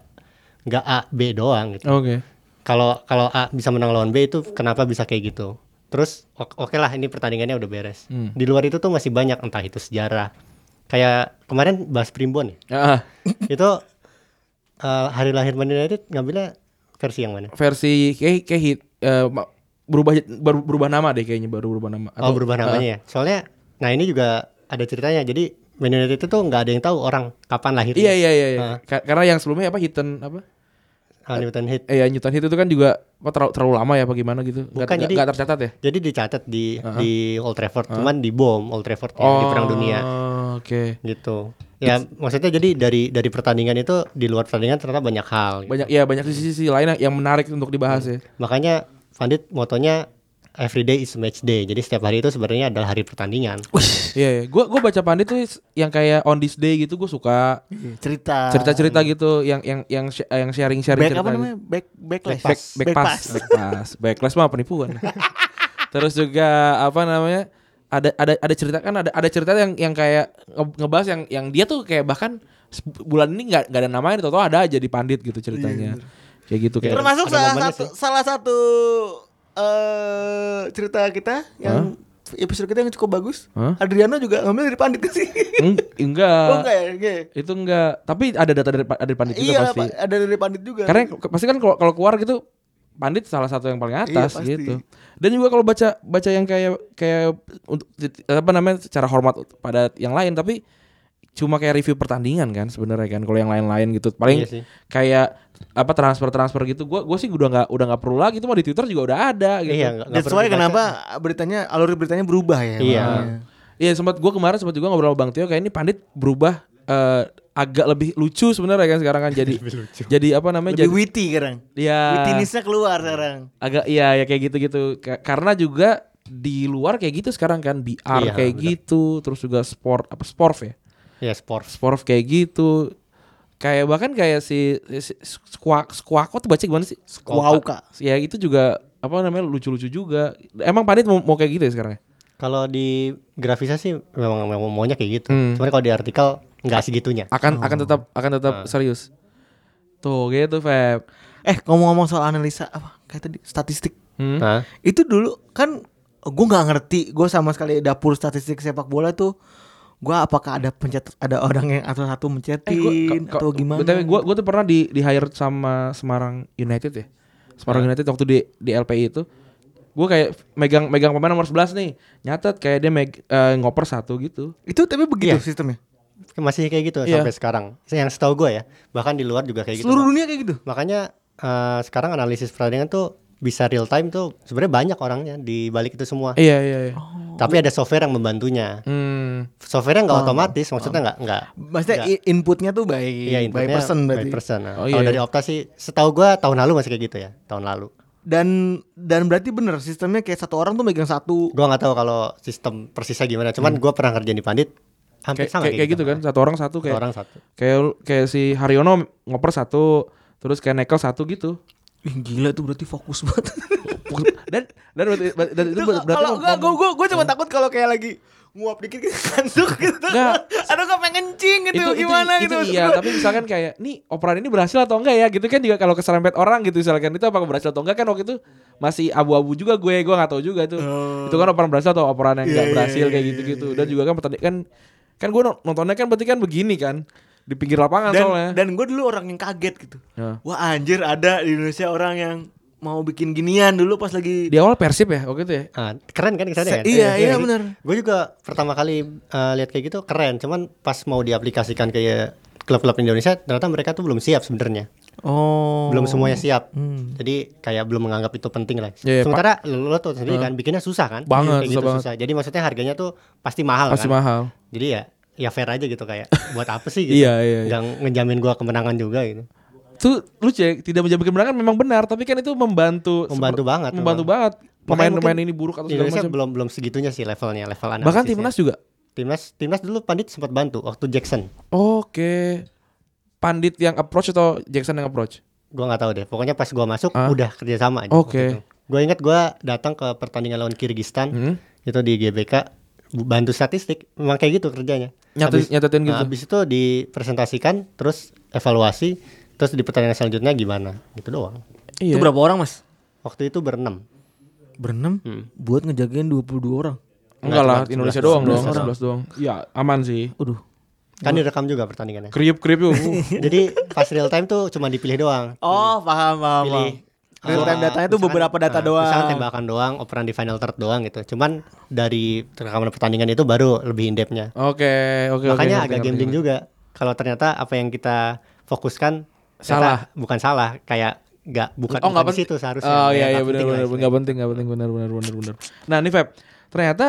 Speaker 3: nggak A B doang gitu.
Speaker 2: oke
Speaker 3: Kalau kalau A bisa menang lawan B itu kenapa bisa kayak gitu? Terus ok- oke lah ini pertandingannya udah beres.
Speaker 2: Hmm.
Speaker 3: Di luar itu tuh masih banyak entah itu sejarah. Kayak kemarin bahas Primbon ya.
Speaker 2: Ah,
Speaker 3: itu eh, hari lahir Bandit United ngambilnya versi yang mana?
Speaker 2: versi kayak kayak hit eh, ma- berubah baru- berubah nama deh kayaknya baru berubah nama
Speaker 3: oh berubah namanya
Speaker 2: Ah.
Speaker 3: ya. Soalnya nah ini juga ada ceritanya. Jadi Man United itu tuh nggak ada yang tahu orang kapan
Speaker 2: Ah,
Speaker 3: lahirnya.
Speaker 2: iya iya iya, iya.
Speaker 3: Ah.
Speaker 2: Ka- karena yang sebelumnya apa Hiten apa
Speaker 3: Unlimited hit.
Speaker 2: eh ya Newton Hit itu kan juga apa terlalu, terlalu lama ya apa gimana gitu nggak
Speaker 3: Bukan,
Speaker 2: nggak-
Speaker 3: jadi-
Speaker 2: nggak tercatat ya
Speaker 3: Jadi dicatat di di Old Trafford, cuman dibom Old Trafford ya, di Perang Dunia
Speaker 2: Oh, oke
Speaker 3: gitu. Ya maksudnya jadi dari dari pertandingan itu di luar pertandingan ternyata banyak hal. gitu.
Speaker 2: banyak ya banyak sisi-sisi lain yang menarik untuk dibahas ya
Speaker 3: Hmm. Makanya Pandit motonya every day is match day. Jadi setiap hari itu sebenarnya adalah hari pertandingan.
Speaker 2: Iya, iya. gua gua baca pandit tuh yang kayak on this day gitu gue suka
Speaker 6: Iya,
Speaker 3: Ah.
Speaker 6: cerita.
Speaker 2: cerita-cerita gitu yang yang yang sh- yang sharing-sharing
Speaker 6: Back
Speaker 2: cerita
Speaker 6: apa
Speaker 2: gitu.
Speaker 6: namanya? Back backlash.
Speaker 2: back, back, pass, back pass, backlash mah penipuan. Terus juga apa namanya? Ada ada ada cerita kan ada ada cerita yang yang kayak nge- ngebahas yang yang dia tuh kayak bahkan se- bulan ini nggak nggak ada namanya tau ada aja di pandit gitu ceritanya. Kayak gitu kayak.
Speaker 3: Ada
Speaker 6: Termasuk salah
Speaker 3: momennya
Speaker 6: satu salah satu eh cerita kita yang episode kita yang cukup bagus.
Speaker 2: Hah?
Speaker 6: Adriano juga ngambil dari Pandit kan sih.
Speaker 2: Eng- enggak.
Speaker 6: oh enggak ya? Enggak. ya?
Speaker 2: Itu enggak. Tapi ada data dari, pa- dari pandit juga
Speaker 6: Iya,
Speaker 2: pasti.
Speaker 6: Pak, ada dari Pandit juga.
Speaker 2: Karena ke- pasti kan kalau kalau keluar gitu Pandit salah satu yang paling atas
Speaker 6: Iya, pasti.
Speaker 2: gitu. Dan juga kalau baca baca yang kayak kayak untuk apa namanya secara hormat pada yang lain tapi cuma kayak review pertandingan kan sebenarnya kan kalau yang lain-lain gitu. Paling
Speaker 3: Iya sih.
Speaker 2: kayak apa transfer-transfer gitu gua gua sih udah nggak udah nggak perlu lagi itu mah di Twitter juga udah ada gitu.
Speaker 3: Iya, nggak- nggak
Speaker 6: That's
Speaker 3: perlu
Speaker 6: why
Speaker 3: dibaca.
Speaker 6: kenapa beritanya alur beritanya berubah ya.
Speaker 3: Iya.
Speaker 6: makanya.
Speaker 2: Iya sempat gue kemarin sempat juga ngobrol sama Bang Tio kayak ini Pandit berubah eh, agak lebih lucu sebenarnya kan sekarang kan jadi jadi apa namanya
Speaker 6: Lebih
Speaker 2: jadi
Speaker 6: witty sekarang.
Speaker 3: Iya.
Speaker 2: ya
Speaker 6: Wittinessnya keluar sekarang.
Speaker 2: agak iya ya kayak gitu-gitu Ka- karena juga di luar kayak gitu sekarang kan
Speaker 3: Iya,
Speaker 2: BR kayak
Speaker 3: bener.
Speaker 2: gitu terus juga sport apa sporf ya
Speaker 3: Ya sport.
Speaker 2: sporf kayak gitu kayak bahkan kayak si, si, si squawk squawko tuh baca gimana sih
Speaker 6: Squawka.
Speaker 2: ya itu juga apa namanya lucu-lucu juga emang Pandit mau, mau kayak gitu ya sekarang ya?
Speaker 3: Kalau di grafisnya sih memang memang maunya kayak gitu.
Speaker 2: Hmm.
Speaker 3: Cuman kalau di artikel nggak segitunya.
Speaker 2: akan akan tetap akan tetap serius tuh gitu Feb
Speaker 6: Eh ngomong-ngomong soal analisa apa kayak tadi statistik
Speaker 2: Hmm.
Speaker 3: Nah,
Speaker 6: itu dulu kan gue nggak ngerti gue sama sekali dapur statistik sepak bola tuh gue apakah ada pencet ada orang yang atau
Speaker 3: Eh,
Speaker 6: satu mencetin atau gimana?
Speaker 2: Tapi gue tuh pernah di di hire sama Semarang United ya. Semarang United waktu di di LPI itu gue kayak megang megang pemain nomor 11 nih. Nyatet kayak dia meg- eh, ngoper satu gitu.
Speaker 6: itu tapi
Speaker 3: Iya.
Speaker 6: begitu sistemnya
Speaker 3: masih kayak gitu
Speaker 2: Iya.
Speaker 3: sampai sekarang. Yang setahu gue ya, bahkan di luar juga kayak gitu.
Speaker 6: seluruh dunia kayak gitu.
Speaker 3: Makanya eh, sekarang analisis pertandingan tuh bisa real time tuh sebenarnya banyak orangnya di balik itu semua.
Speaker 2: Iya iya iya.
Speaker 3: Tapi ada software yang membantunya.
Speaker 2: Hmm.
Speaker 3: Softwarenya nggak otomatis,
Speaker 2: oh.
Speaker 3: maksudnya nggak nggak.
Speaker 6: Maksudnya i- inputnya tuh by
Speaker 3: Iya
Speaker 6: by
Speaker 3: intinya
Speaker 6: person
Speaker 3: by
Speaker 6: berarti.
Speaker 3: person, nah.
Speaker 2: Oh,
Speaker 3: Kalau
Speaker 2: iya.
Speaker 3: dari Opta sih, setahu gue tahun lalu masih kayak gitu ya, tahun lalu.
Speaker 6: Dan dan berarti bener sistemnya kayak satu orang tuh megang satu.
Speaker 3: Gue nggak tahu kalau sistem persisnya gimana. Cuman gue pernah kerja di Pandit, hampir
Speaker 2: Hmm. Kayak
Speaker 3: sama
Speaker 2: kayak- kayak gitu kan satu orang satu
Speaker 3: Satu
Speaker 2: kayak
Speaker 3: orang satu.
Speaker 2: kayak lu- kayak si Haryono ngoper satu terus kayak Nekel satu gitu.
Speaker 6: Ih, gila tuh berarti fokus banget.
Speaker 2: Dan dan berarti, dan itu
Speaker 6: Itu
Speaker 2: berarti Iya.
Speaker 6: kalau
Speaker 2: mem-
Speaker 6: enggak gue gue gue cuma takut kalau kayak lagi nguap dikit gitu kantuk gitu.
Speaker 2: Enggak.
Speaker 6: Aduh gak pengen cing gitu gimana
Speaker 2: itu,
Speaker 6: gitu. maksud
Speaker 2: iya
Speaker 6: gua.
Speaker 2: tapi misalkan kayak nih operan ini berhasil atau enggak ya gitu kan juga kalau keserempet orang gitu misalkan itu apakah berhasil atau enggak kan waktu itu masih abu-abu juga gue gue nggak tahu juga tuh
Speaker 6: Oh.
Speaker 2: itu kan operan berhasil atau operan yang
Speaker 6: Iya,
Speaker 2: enggak berhasil kayak gitu gitu dan juga kan pertandingan kan kan gue no- nontonnya kan berarti kan begini kan di pinggir lapangan
Speaker 6: Dan
Speaker 2: soalnya
Speaker 6: dan gue dulu orang yang kaget gitu.
Speaker 2: Ya.
Speaker 6: Wah anjir ada di Indonesia orang yang mau bikin ginian dulu pas lagi
Speaker 2: di awal persib ya waktu itu ya
Speaker 3: Ah, keren kan
Speaker 6: Se-
Speaker 3: kesannya kan?
Speaker 6: iya, iya, benar.
Speaker 3: Gue juga pertama kali eh, lihat kayak gitu keren, cuman pas mau diaplikasikan kayak klub-klub Indonesia ternyata mereka tuh belum siap sebenarnya.
Speaker 6: oh
Speaker 3: Belum semuanya siap. Jadi kayak belum menganggap itu penting lah.
Speaker 2: Hmm. Iya, iya,
Speaker 3: Sementara lo, lo tuh sendiri kan bikinnya susah kan?
Speaker 2: Banget,
Speaker 3: Kayak
Speaker 2: susah
Speaker 3: gitu,
Speaker 2: banget.
Speaker 3: Jadi maksudnya harganya tuh pasti mahal
Speaker 2: pasti
Speaker 3: kan?
Speaker 2: mahal
Speaker 3: Jadi ya ya fair aja gitu kayak buat apa sih gitu.
Speaker 2: Iya, iya, iya.
Speaker 3: Nggak ngejamin gua kemenangan juga gitu.
Speaker 2: tuh lu cek ya, tidak menjamin kemenangan memang benar tapi kan itu membantu
Speaker 3: Membantu
Speaker 2: seper-
Speaker 3: banget,
Speaker 2: membantu
Speaker 3: memang.
Speaker 2: banget
Speaker 3: Makanya
Speaker 2: pemain-pemain
Speaker 3: mungkin
Speaker 2: ini buruk atau
Speaker 3: di
Speaker 2: segala
Speaker 3: Indonesia
Speaker 2: macam
Speaker 3: belum belum segitunya sih levelnya, level analisisnya.
Speaker 2: bahkan timnas juga
Speaker 3: timnas timnas dulu Pandit sempat bantu waktu Jackson.
Speaker 2: Oke. Pandit yang approach atau Jackson yang approach?
Speaker 3: Gua nggak tahu deh. Pokoknya pas gua masuk
Speaker 2: Ah.
Speaker 3: udah kerjasama aja.
Speaker 2: Oke.
Speaker 3: Gue ingat gua datang ke pertandingan lawan Kirgistan
Speaker 2: Hmm.
Speaker 3: itu di GBK bu- bantu statistik memang kayak gitu kerjanya.
Speaker 2: Nyatet- nyatetin gitu.
Speaker 3: nah, habis itu dipresentasikan terus evaluasi terus di pertandingan selanjutnya gimana gitu doang.
Speaker 2: Iya.
Speaker 5: Itu berapa orang mas?
Speaker 3: Waktu itu berenam.
Speaker 6: berenam buat ngejagain 22 orang.
Speaker 2: Enggak lah,
Speaker 3: Sebelas-
Speaker 2: Indonesia
Speaker 3: sebelas-
Speaker 2: doang dong,
Speaker 3: sebelas orang.
Speaker 2: 11 doang. Iya, aman sih.
Speaker 6: Aduh.
Speaker 3: Kan direkam juga pertandingannya.
Speaker 2: Kriup-kriup yuk. Uh.
Speaker 3: Jadi pas real time tuh cuma dipilih doang.
Speaker 6: Oh paham paham.
Speaker 3: Pilih.
Speaker 6: Real time
Speaker 3: eh,
Speaker 6: datanya tuh
Speaker 3: misalkan-
Speaker 6: beberapa data
Speaker 3: eh,
Speaker 6: doang.
Speaker 3: Misalkan tembakan doang, operan di final third doang gitu. Cuman dari rekaman pertandingan itu baru lebih in-depth-nya.
Speaker 2: Oke, oke, oke.
Speaker 3: Makanya
Speaker 2: ngerti,
Speaker 3: agak
Speaker 2: ngerti,
Speaker 3: gambling
Speaker 2: ngerti.
Speaker 3: juga. Kalau ternyata apa yang kita fokuskan ternyata
Speaker 2: Salah.
Speaker 3: bukan salah, kayak nggak bukan,
Speaker 2: Oh,
Speaker 3: bukan
Speaker 2: enggak
Speaker 3: di
Speaker 2: penting.
Speaker 3: situ seharusnya.
Speaker 2: Oh iya
Speaker 3: Ya, nggak
Speaker 2: iya
Speaker 3: penting
Speaker 2: benar
Speaker 3: lah
Speaker 2: benar
Speaker 3: istilahnya.
Speaker 2: enggak penting, enggak penting benar benar benar benar. Nah, ini Feb, ternyata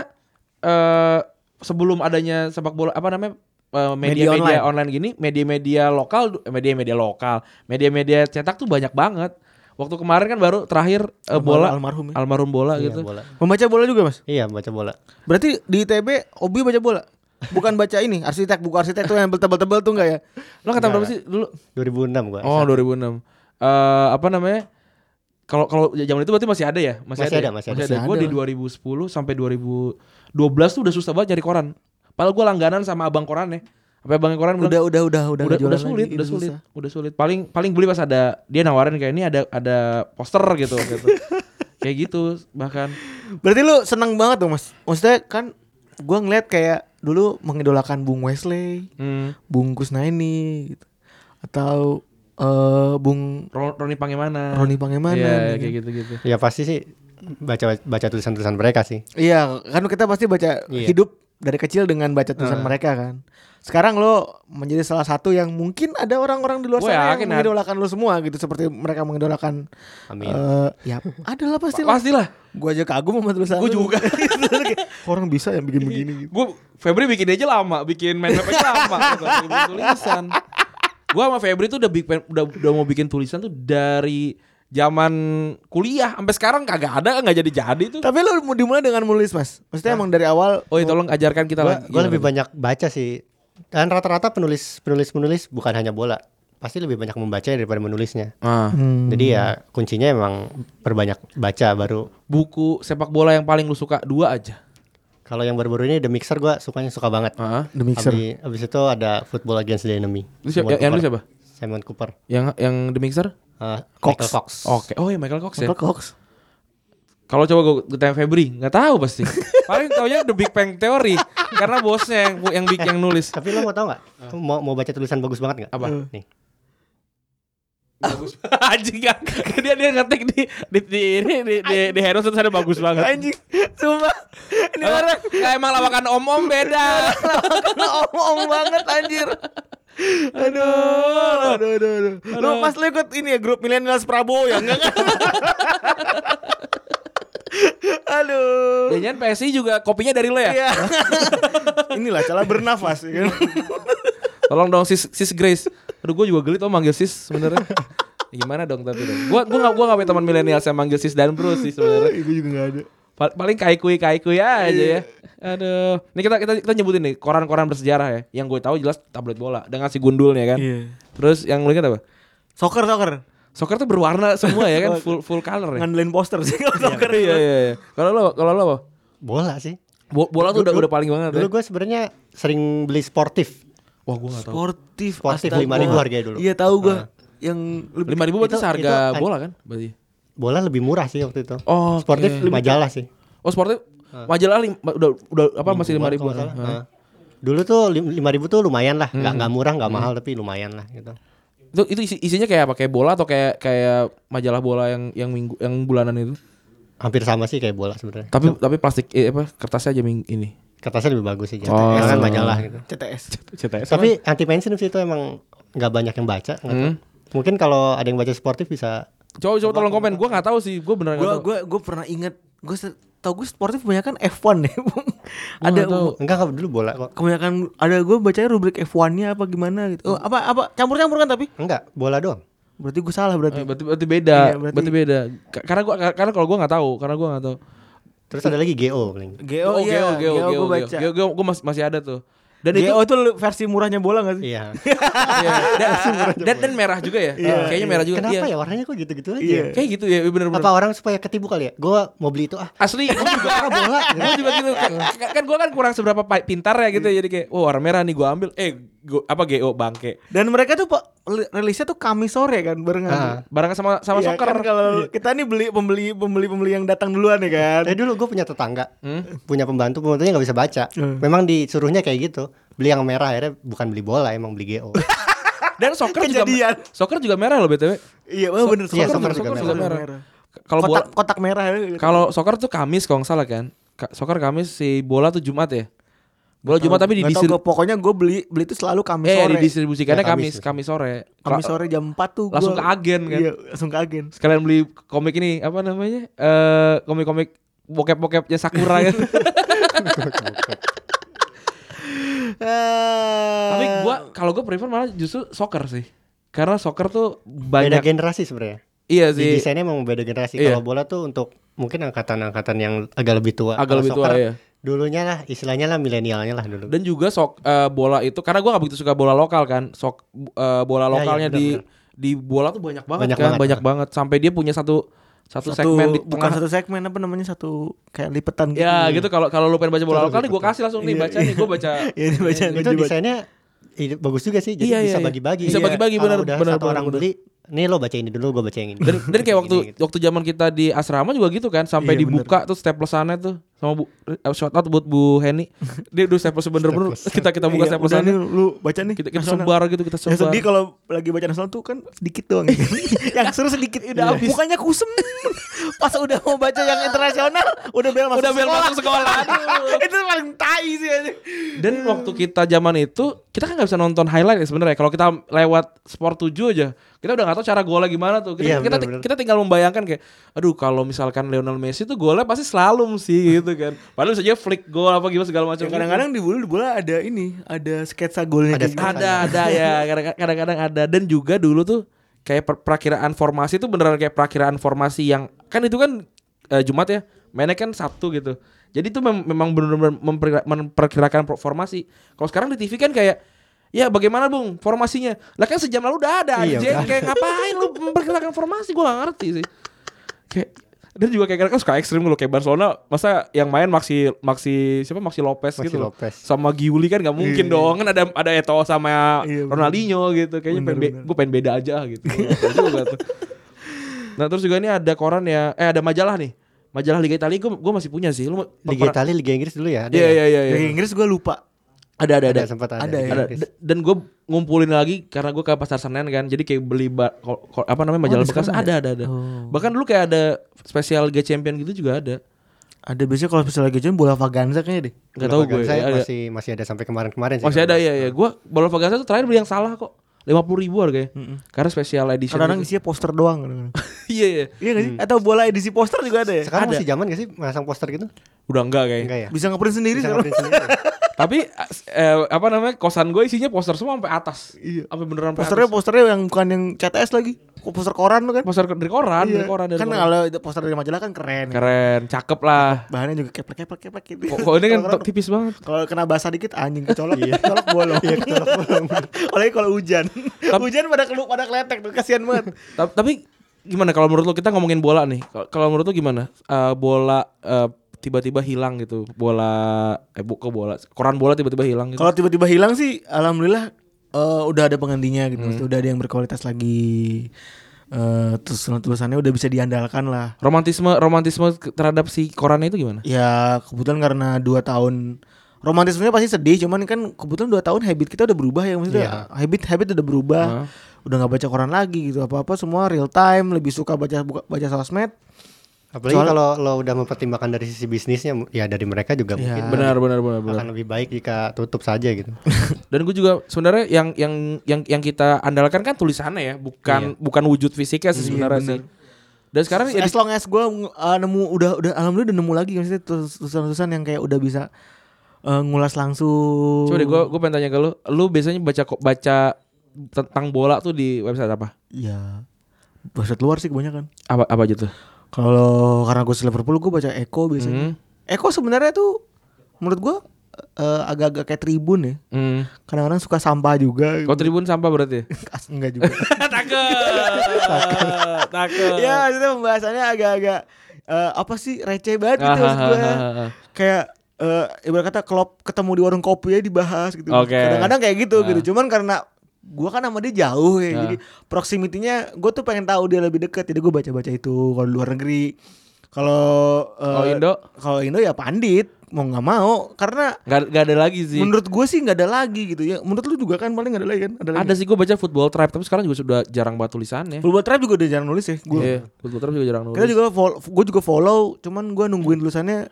Speaker 2: eh sebelum adanya sepak bola apa namanya? eh, media-media
Speaker 5: Media
Speaker 2: online. gini, media-media lokal, eh, media-media lokal, media-media cetak tuh banyak banget. Waktu kemarin kan baru terakhir eh, bola
Speaker 6: almarhum ya.
Speaker 2: almarhum bola
Speaker 3: Iya,
Speaker 2: gitu.
Speaker 3: bola.
Speaker 5: Membaca bola juga mas?
Speaker 3: Iya, baca bola.
Speaker 5: Berarti di ITB hobi baca bola?
Speaker 6: Bukan baca ini arsitek buku arsitek tuh yang tebel-tebel tuh enggak ya?
Speaker 2: Lo kata berapa sih dulu?
Speaker 3: 2006 gua.
Speaker 2: Oh 2006. Eh apa namanya? Kalau kalau zaman itu berarti masih ada ya?
Speaker 3: Masih ada,
Speaker 2: ya?
Speaker 3: masih
Speaker 2: masih
Speaker 3: ada.
Speaker 2: ada. Gue di 2010 sampai 2012 tuh udah susah banget nyari koran. Padahal gue langganan sama abang koran ya. Sampai abang koran bilang,
Speaker 6: Udah udah udah udah
Speaker 2: udah,
Speaker 6: nggak
Speaker 2: udah,
Speaker 6: jualan
Speaker 2: sulit,
Speaker 6: lagi,
Speaker 2: udah
Speaker 6: itu
Speaker 2: sulit,
Speaker 6: susah.
Speaker 2: udah sulit. Paling paling beli pas ada dia nawarin kayak ini ada ada poster gitu gitu. kayak gitu bahkan
Speaker 6: Berarti lu seneng banget dong mas. Maksudnya kan gua ngeliat kayak dulu mengidolakan Bung Wesley,
Speaker 2: hmm,
Speaker 6: Bung Kusnaini, gitu. atau eh Bung
Speaker 2: Ron- Roni Pangemana.
Speaker 6: Roni Pangemana, gitu.
Speaker 2: Iya, kayak gitu-gitu.
Speaker 3: Ya pasti sih baca baca tulisan-tulisan mereka sih.
Speaker 6: Iya, kan kita pasti baca
Speaker 3: Iya.
Speaker 6: hidup dari kecil dengan baca tulisan mereka kan. Sekarang lo menjadi salah satu yang mungkin ada orang-orang di luar
Speaker 2: Gua
Speaker 6: sana yang
Speaker 2: yakin ada.
Speaker 6: mengidolakan lo semua gitu seperti mereka mengidolakan
Speaker 3: Amin.
Speaker 6: eh, ya ada lah pasti lah.
Speaker 2: Pastilah.
Speaker 6: Gue aja kagum sama tulisan
Speaker 2: Gua
Speaker 6: lu.
Speaker 2: juga.
Speaker 6: Kayak, orang bisa yang bikin begini gitu.
Speaker 2: gue Febri bikin aja lama, bikin main mapnya lama, gitu, bikin tulisan. Gue sama Febri tuh udah, big, udah udah mau bikin tulisan tuh dari zaman kuliah sampai sekarang kagak ada nggak jadi-jadi tuh.
Speaker 6: Tapi lu mu- dimulai dengan menulis mas. Maksudnya emang dari awal.
Speaker 2: Oh, tolong ajarkan kita
Speaker 3: Gua
Speaker 2: lagi.
Speaker 3: gua lebih
Speaker 2: Gimana
Speaker 3: banyak baca sih. Dan rata-rata penulis penulis penulis bukan hanya bola, pasti lebih banyak membaca daripada menulisnya.
Speaker 2: tuh? Ah,
Speaker 6: hmm,
Speaker 3: Jadi ya kuncinya emang perbanyak baca baru.
Speaker 2: buku sepak bola yang paling lu suka dua aja.
Speaker 3: Kalau yang baru-baru ini The Mixer gua sukanya suka banget.
Speaker 2: Ah.
Speaker 6: The Mixer.
Speaker 3: Abis, abis itu ada Football Against the Enemy.
Speaker 2: Itu siapa-
Speaker 3: Simon
Speaker 2: yang-
Speaker 3: Cooper.
Speaker 2: yang lu siapa?
Speaker 3: Simon Cooper.
Speaker 2: Yang yang The Mixer?
Speaker 3: Uh,
Speaker 6: Cox.
Speaker 3: Michael Cox.
Speaker 2: Oke. Oh, ya Michael Cox ya.
Speaker 6: Michael Cox.
Speaker 2: Kalau coba gue tanya Febri, nggak tahu pasti. Paling taunya The Big Bang Theory karena bosnya yang yang bikin yang nulis.
Speaker 3: Tapi lo mau tau nggak? Mau mau baca tulisan bagus banget nggak?
Speaker 2: Apa?
Speaker 3: Nih.
Speaker 2: Anjing kan. Dia dia ngetik di di di ini di di, di Heroes terus ada bagus banget.
Speaker 6: Anjing. Sumpah. Ini
Speaker 2: Oh,
Speaker 6: orang
Speaker 2: nah, emang lawakan om-om beda.
Speaker 6: om-om banget anjir. Aduh, aduh, aduh, aduh. Lu mas lu ikut ini ya grup millennials Prabowo ya? Enggak kan? aduh.
Speaker 2: Jangan PSI juga kopinya dari lo ya.
Speaker 6: Iya. Inilah cara bernafas ya kan.
Speaker 2: Tolong dong sis sis Grace. Aduh gue juga geli tau manggil sis sebenarnya. Gimana dong tapi dong. Gua gua enggak gua enggak punya teman milenial saya manggil sis dan bro sih sebenarnya.
Speaker 6: Itu juga enggak ada. Iya.
Speaker 2: Pa- paling kaikui kaikui aja ya. Aduh. Ini kita kita kita nyebutin nih koran-koran bersejarah ya. Yang gue tahu jelas tabloid bola dengan si gundulnya kan.
Speaker 6: Iya.
Speaker 2: Terus yang lu ingat apa?
Speaker 6: Soccer soccer.
Speaker 2: Soccer tuh berwarna semua ya kan, full full color ya.
Speaker 6: Ngandelin poster sih kalau soccer.
Speaker 2: Iya iya iya. Kalau lo kalau lo apa?
Speaker 3: Bola sih.
Speaker 2: Bo- bola tuh udah udah paling banget. ya.
Speaker 3: Dulu gue sebenarnya sering beli sportif.
Speaker 2: Wah gue gak tau.
Speaker 6: Sportif.
Speaker 3: Sportif
Speaker 6: astaga.
Speaker 3: 5.000 harganya dulu.
Speaker 6: Iya tahu gua. Yang lebih
Speaker 2: Lima ribu berarti
Speaker 3: Itu-
Speaker 2: seharga
Speaker 3: itu-
Speaker 2: bola kan? Berarti.
Speaker 3: Bola lebih murah sih waktu itu.
Speaker 2: Oh, oke.
Speaker 3: sportif
Speaker 2: Lebih-
Speaker 3: majalah sih.
Speaker 2: Oh sportif majalah lim- udah udah apa masih lima
Speaker 3: Buat
Speaker 2: ribu?
Speaker 3: kalau nggak salah. Nah. Dulu tuh lim- 5000 tuh lumayan lah,
Speaker 2: Hmm.
Speaker 3: nggak nggak murah, nggak mahal tapi lumayan lah gitu.
Speaker 2: Itu itu isi- isinya kayak apa? Kayak bola atau kayak kayak majalah bola yang yang minggu yang bulanan itu?
Speaker 3: Hampir sama sih kayak bola sebenarnya.
Speaker 2: Tapi tapi plastik eh, apa kertasnya aja ming- ini.
Speaker 3: Kertasnya lebih bagus sih jatuh.
Speaker 2: Oh.
Speaker 3: kan majalah gitu.
Speaker 6: CTS.
Speaker 2: CTS.
Speaker 3: Tapi anti mainstream sih itu emang nggak banyak yang baca. nggak
Speaker 2: Hmm.
Speaker 3: tahu. Mungkin kalau ada yang baca sportif bisa
Speaker 2: Coba coba tolong komen. Gue nggak tahu sih. Gue beneran
Speaker 6: Gue
Speaker 2: nggak tahu.
Speaker 6: gue gue pernah inget gue tau gue sportif kebanyakan F1 deh. ada
Speaker 2: nggak tahu.
Speaker 3: enggak enggak dulu bola kok.
Speaker 6: kebanyakan ada gue bacanya rubrik F1-nya apa gimana gitu. Oh, apa apa campur-campur kan tapi
Speaker 3: Enggak, bola doang.
Speaker 6: berarti gue salah
Speaker 2: Eh,
Speaker 6: berarti.
Speaker 2: berarti berarti beda.
Speaker 6: Iya, berarti-
Speaker 2: berarti beda. Ka- Karena gua ka- karena kalau gue nggak tahu. Karena gue nggak tahu. Oh,
Speaker 3: Terus ada lagi GO paling.
Speaker 6: Geo iya, Geo, gue baca.
Speaker 2: Geo, geo, gua masih masih ada tuh. Dan
Speaker 6: Dan
Speaker 2: itu
Speaker 6: Geo itu versi murahnya bola gak sih?
Speaker 3: Iya.
Speaker 2: Iya. dan, dan, dan merah juga ya. Kayaknya merah juga.
Speaker 3: Kenapa
Speaker 2: iya.
Speaker 3: ya warnanya kok gitu-gitu aja?
Speaker 6: Iya.
Speaker 2: Kayak gitu ya, bener-bener.
Speaker 3: Apa orang supaya ketipu kali ya? Gua mau beli itu ah.
Speaker 2: Asli, gue juga
Speaker 3: Karena bola. gitu.
Speaker 2: gue juga gitu kan, kan gue kan kurang seberapa pa- pintar ya gitu jadi kayak wah warna merah nih gue ambil eh gua, apa GO bangke
Speaker 6: Dan mereka tuh pak rilisnya tuh Kamis sore kan barengan.
Speaker 3: Ah.
Speaker 2: barengan sama sama
Speaker 6: Iya,
Speaker 2: soccer
Speaker 6: kan kalau kita nih beli pembeli pembeli pembeli yang datang duluan ya kan.
Speaker 3: Tapi dulu gue punya tetangga,
Speaker 2: Hmm.
Speaker 3: punya pembantu, pembantunya nggak bisa baca. Memang disuruhnya kayak gitu, beli yang merah akhirnya bukan beli bola, emang beli GO.
Speaker 2: dan soccer juga
Speaker 6: Kejadian.
Speaker 2: soccer juga merah loh btw
Speaker 6: Iya, oh, bener
Speaker 3: Iya,
Speaker 6: soccer,
Speaker 3: soccer
Speaker 6: soccer,
Speaker 3: juga
Speaker 6: soccer
Speaker 2: merah.
Speaker 6: merah.
Speaker 2: kalau bola
Speaker 6: kotak kotak merah ya.
Speaker 2: kalau soccer tuh kamis kalau nggak salah kan Ka- soccer kamis si bola tuh jumat ya bola jumat tapi
Speaker 6: Nggak tahu
Speaker 2: didisir
Speaker 6: gua, pokoknya gue beli beli itu selalu Kamis
Speaker 2: eh
Speaker 6: sore.
Speaker 2: didistribusikannya
Speaker 3: Ya,
Speaker 2: kamis
Speaker 3: Kamis.
Speaker 2: kamis sore
Speaker 6: Kamis
Speaker 2: Kla-
Speaker 6: sore jam 4 tuh gua-
Speaker 2: langsung ke agen kan?
Speaker 6: Iya, langsung ke agen.
Speaker 2: sekalian beli komik ini apa namanya eh komik-komik bokep-bokepnya Sakura kan
Speaker 6: Ah.
Speaker 2: tapi gua kalau gua prefer malah justru soccer sih karena soccer tuh
Speaker 3: Beda
Speaker 2: banyak
Speaker 3: generasi sebenarnya.
Speaker 2: iya
Speaker 3: Di
Speaker 2: sih
Speaker 3: desainnya emang beda generasi.
Speaker 2: Iya.
Speaker 3: Kalau bola tuh untuk mungkin angkatan-angkatan yang agak lebih tua. Kalau
Speaker 2: Agak lebih tua, iya.
Speaker 3: Dulunya lah, istilahnya lah milenialnya lah dulu.
Speaker 2: dan juga sok eh, bola itu karena gua nggak begitu suka bola lokal kan sok eh, bola
Speaker 3: iya,
Speaker 2: lokalnya di
Speaker 3: benar-benar.
Speaker 2: di bola tuh banyak banget
Speaker 3: Banyak
Speaker 2: kan
Speaker 3: banget.
Speaker 2: banyak banget sampai dia punya satu satu,
Speaker 6: Satu
Speaker 2: segmen di
Speaker 6: bukan
Speaker 2: tengah
Speaker 6: satu segmen apa namanya satu kayak lipetan gitu.
Speaker 2: ya gitu kalau kalau lu pengen baca bola lokal nih gua kasih langsung nih baca nih gua baca
Speaker 6: Iya, ini baca
Speaker 3: itu desainnya i- bagus juga sih, jadi
Speaker 2: Iya,
Speaker 3: bisa
Speaker 2: iya, iya.
Speaker 3: bagi-bagi.
Speaker 2: Bisa bagi-bagi,
Speaker 3: Kalau
Speaker 2: benar,
Speaker 3: udah
Speaker 2: benar,
Speaker 3: satu
Speaker 2: benar,
Speaker 3: orang
Speaker 2: benar.
Speaker 3: beli, nih lo baca ini dulu, gue baca yang ini.
Speaker 2: dan, dan kayak waktu
Speaker 3: Gini, gitu.
Speaker 2: waktu zaman kita di asrama juga gitu kan sampai
Speaker 6: Iya,
Speaker 2: dibuka tuh staplesannya tuh sama bu eh, shout out buat Bu Heni dia udah staples bener-bener kita
Speaker 6: Iya,
Speaker 2: kita buka
Speaker 6: udah nih
Speaker 2: staplesannya
Speaker 6: lu baca nih.
Speaker 2: kita, kita
Speaker 6: nasional.
Speaker 2: sebar gitu kita
Speaker 6: Yang
Speaker 2: sebar
Speaker 6: sedih kalau lagi baca nasional tuh kan sedikit doang. ya. yang seru sedikit udah habis. Mukanya kusem. Pas udah mau baca yang internasional, udah bel masuk
Speaker 2: udah bel
Speaker 6: sekolah.
Speaker 2: masuk sekolah
Speaker 6: itu paling tai sih anjing.
Speaker 2: dan waktu kita zaman itu kita kan nggak bisa nonton highlight ya sebenarnya kalau kita lewat sport 7 aja kita udah nggak tahu cara golnya gimana tuh
Speaker 3: Iya,
Speaker 2: kita kita,
Speaker 3: benar-benar.
Speaker 2: kita tinggal membayangkan kayak aduh kalau misalkan Lionel Messi tuh golnya pasti slalom sih gitu kan padahal saja flick gol apa gimana segala macam
Speaker 6: Ya, Kadang-kadang di bola di bola ada ini, ada sketsa golnya
Speaker 3: Ada
Speaker 6: kayak gitu.
Speaker 3: sketsa.
Speaker 2: ada ada ya kadang- kadang-kadang ada dan juga dulu tuh kayak per- perakiraan formasi itu beneran kayak perakiraan formasi yang kan itu kan eh, Jumat ya mainnya kan Sabtu gitu jadi itu mem- memang benar-benar memperkira- memperkirakan pro- formasi kalau sekarang di TV kan kayak ya bagaimana bung formasinya lah kan sejam lalu udah ada
Speaker 3: Iya,
Speaker 2: anjing
Speaker 3: udah.
Speaker 2: kayak ngapain lu memperkirakan formasi gue gak ngerti sih kayak dan juga kayak kadang kan suka ekstrim loh kayak Barcelona masa yang main Maxi Maxi siapa Maxi Lopez
Speaker 3: Maxi
Speaker 2: gitu loh.
Speaker 3: Lopez.
Speaker 2: sama Giuli kan nggak mungkin dong kan ada ada Eto sama
Speaker 6: Iya, bener.
Speaker 2: Ronaldinho gitu kayaknya pengen be- gue pengen beda aja gitu Gua juga tuh. nah terus juga ini ada koran ya eh ada majalah nih majalah Liga Italia gue gue masih punya sih lu
Speaker 3: Liga Italia, Liga Inggris dulu ya. ada
Speaker 2: Iya
Speaker 3: ya?
Speaker 2: iya iya iya.
Speaker 6: Dari Inggris gue lupa.
Speaker 2: ada ada ada
Speaker 3: Ada, sempat ada.
Speaker 6: Ada ya?
Speaker 3: Liga
Speaker 2: ada.
Speaker 3: Inggris.
Speaker 2: D- dan gue ngumpulin lagi karena gue ke pasar Senen kan jadi kayak beli ba- ko- ko- apa namanya majalah
Speaker 6: ada
Speaker 2: bekas
Speaker 6: sekarang
Speaker 2: ada ada ada bahkan dulu kayak ada spesial Liga Champion gitu juga ada
Speaker 6: Ada biasanya kalau misalnya lagi join bola vaganza kayaknya deh.
Speaker 2: nggak tahu
Speaker 3: kan?
Speaker 2: gue
Speaker 3: Saya
Speaker 2: ada.
Speaker 3: masih masih ada sampai kemarin-kemarin sih.
Speaker 2: masih ada ya ya gue bola Vaganza tuh terakhir beli yang salah kok lima puluh ribu harganya karena spesial edition
Speaker 6: Kadang-kadang isinya
Speaker 2: gitu.
Speaker 6: poster doang. kadang-kadang.
Speaker 2: iya iya
Speaker 6: Iya gak sih? Atau bola edisi poster juga ada ya?
Speaker 3: Sekarang masih zaman gak sih masang poster gitu?
Speaker 2: udah enggak kayaknya
Speaker 3: Enggak ya?
Speaker 6: Bisa ngeprint sendiri
Speaker 3: Bisa
Speaker 6: sekarang.
Speaker 3: ngeprint sendiri.
Speaker 2: tapi eh, apa namanya kosan gue isinya poster semua sampai atas
Speaker 6: Iya.
Speaker 2: sampai beneran sampai
Speaker 6: Posternya
Speaker 2: atas.
Speaker 6: posternya yang bukan yang CTS lagi. Kok Poster koran lu kan?
Speaker 2: poster dari koran
Speaker 6: Iya.
Speaker 2: dari koran dari
Speaker 6: kan
Speaker 2: koran.
Speaker 6: kalau itu poster dari majalah kan keren.
Speaker 2: keren cakep lah
Speaker 6: Bahannya juga keplek keplek keplek gitu.
Speaker 2: kok kok ini kan
Speaker 6: Kalau-
Speaker 2: tipis banget
Speaker 6: kalau kena basah dikit anjing kecolok, kecolok bolong. Iya, kecolok bolong. Apalagi kalau hujan. hujan pada kelu pada keletek tuh kasihan banget.
Speaker 2: Ta- tapi gimana kalau menurut lo kita ngomongin bola nih Kal- kalau menurut lo gimana Eh, bola eh, tiba-tiba hilang gitu bola eh bu- kok bola koran bola tiba-tiba hilang gitu
Speaker 6: Kalau tiba-tiba hilang sih, alhamdulillah eh, udah ada penggantinya gitu. Maksudnya udah ada yang berkualitas lagi. Eh terus tulisannya udah bisa diandalkan lah.
Speaker 2: romantisme romantisme ke- terhadap si korannya itu gimana
Speaker 6: Ya kebetulan karena dua tahun romantismenya pasti sedih. Cuman kan kebetulan dua tahun habit kita udah berubah ya
Speaker 2: Iya.
Speaker 6: maksudnya. Habit habit udah berubah. Udah nggak baca koran lagi gitu. Apa apa semua real time. Lebih suka baca buka- baca sosmed.
Speaker 3: Apalagi kalau lo udah mempertimbangkan dari sisi bisnisnya, ya dari mereka juga mungkin
Speaker 2: Iya, benar benar benar benar
Speaker 3: akan lebih baik jika tutup saja gitu.
Speaker 2: dan gue juga sebenarnya yang yang yang yang kita andalkan kan tulisannya ya
Speaker 6: Iya.
Speaker 2: bukan bukan wujud fisiknya sih sebenarnya sih dan sekarang ya
Speaker 6: as long as gue nemu udah udah alhamdulillah udah nemu lagi maksudnya terus- tulisan-tulisan yang kayak udah bisa eh, ngulas langsung.
Speaker 2: coba deh gue gue pengen tanya ke lu lu biasanya baca kok baca tentang bola tuh di website apa
Speaker 6: Ya bahasa luar sih kebanyakan.
Speaker 2: apa apa aja tuh
Speaker 6: Kalau karena gue Liverpool gue baca Eko biasanya.
Speaker 2: Hmm.
Speaker 6: Eko sebenarnya tuh menurut gue eh, agak-agak kayak Tribun ya.
Speaker 2: hmm.
Speaker 6: Kadang-kadang suka sampah juga.
Speaker 2: Kau tribun sampah berarti ya?
Speaker 6: As- Enggak juga.
Speaker 2: takut takut
Speaker 6: ya maksudnya pembahasannya agak-agak eh, apa sih receh banget
Speaker 2: Ah,
Speaker 6: gitu maksud gue. Kayak eh ibarat kata klop ketemu di warung kopi ya dibahas gitu.
Speaker 2: Oke. Ah.
Speaker 6: Kadang-kadang kayak gitu gitu. Cuman karena gua kan sama dia jauh ya. Jadi proximity-nya gue tuh pengen tahu dia lebih dekat. Jadi gue baca-baca itu kalau di luar negeri. Kalau eh,
Speaker 2: Kalau Indo?
Speaker 6: kalau Indo ya pandit mau nggak mau karena
Speaker 2: Gak, gak ada lagi sih
Speaker 6: menurut gue sih nggak ada lagi gitu ya. Menurut lu juga kan paling nggak ada lagi kan? Ada lagi.
Speaker 2: Ada sih gue baca football tribe Tapi sekarang juga sudah jarang banget tulisannya
Speaker 6: Football Tribe juga udah jarang nulis ya. Gue
Speaker 2: Iya Football tribe juga jarang
Speaker 6: kita
Speaker 2: nulis
Speaker 6: juga follow, gue juga follow, cuman gue nungguin tulisannya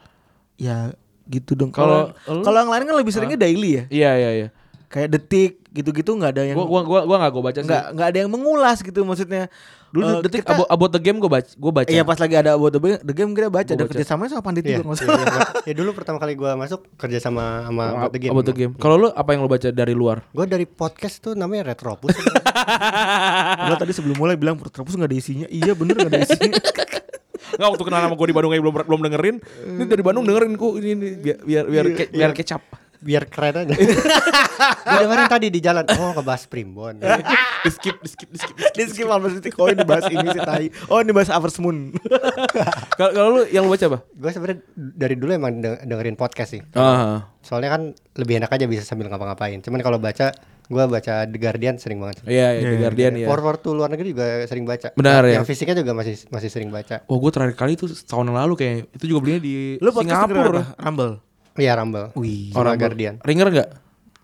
Speaker 6: ya gitu dong. Kalau
Speaker 2: Kalau-
Speaker 6: kalau yang lain kan lebih seringnya daily ya,
Speaker 2: Iya iya iya
Speaker 6: kayak detik gitu-gitu nggak ada yang
Speaker 2: Gue gua, gua, gua gak gue baca sih
Speaker 6: nggak nggak ada yang mengulas gitu maksudnya.
Speaker 2: Dulu
Speaker 6: Eh,
Speaker 2: detik
Speaker 6: kita-
Speaker 2: about, about the game gue baca, gua baca.
Speaker 6: Iya pas lagi ada buat the Ba- The game kita baca ada
Speaker 2: baca.
Speaker 6: kerjasamanya sama pandit
Speaker 3: Iya.
Speaker 6: juga nggak
Speaker 3: iya,
Speaker 6: usah.
Speaker 3: iya. ya dulu pertama kali gua masuk kerja sama sama About the Game.
Speaker 2: About the game. Kalau lu apa yang lu baca dari luar?
Speaker 3: Gua dari podcast tuh namanya Retropus.
Speaker 6: Lo tadi sebelum mulai bilang terus nggak ada isinya. Iya bener nggak ada isinya.
Speaker 2: Enggak waktu kenal sama gue di Bandung aja belum belum dengerin. Ini dari Bandung dengerin kok ini, ini. biar biar biar, ke-
Speaker 6: Iya.
Speaker 2: biar kecap.
Speaker 3: Biar keren aja. Gua dengerin tadi di jalan. Oh, ngebahas Primbon.
Speaker 2: Di skip di skip di skip.
Speaker 6: Dia skip 15 detik. Oh ini bahas ini sih tai. Oh ini bahas Avers Moon.
Speaker 2: Kalau kalau lu yang lu baca apa?
Speaker 3: Gua sebenarnya dari dulu emang de- dengerin podcast sih.
Speaker 2: Ah.
Speaker 3: Soalnya kan lebih enak aja bisa sambil ngapa-ngapain. Cuman kalau baca, gua baca The Guardian sering banget.
Speaker 2: Iya, iya, The Guardian ya.
Speaker 3: Forward to luar negeri juga sering baca.
Speaker 2: Benar, ya.
Speaker 3: Yang fisiknya juga masih masih sering baca.
Speaker 2: Oh, gue terakhir kali itu tahun yang lalu kayak itu juga belinya di
Speaker 6: Lo podcast dengerin apa?
Speaker 2: Singapura.
Speaker 6: Rumble.
Speaker 3: Iya Rumble.
Speaker 6: Wih.
Speaker 3: Sama
Speaker 2: Orang
Speaker 3: Guardian.
Speaker 2: Ringer enggak?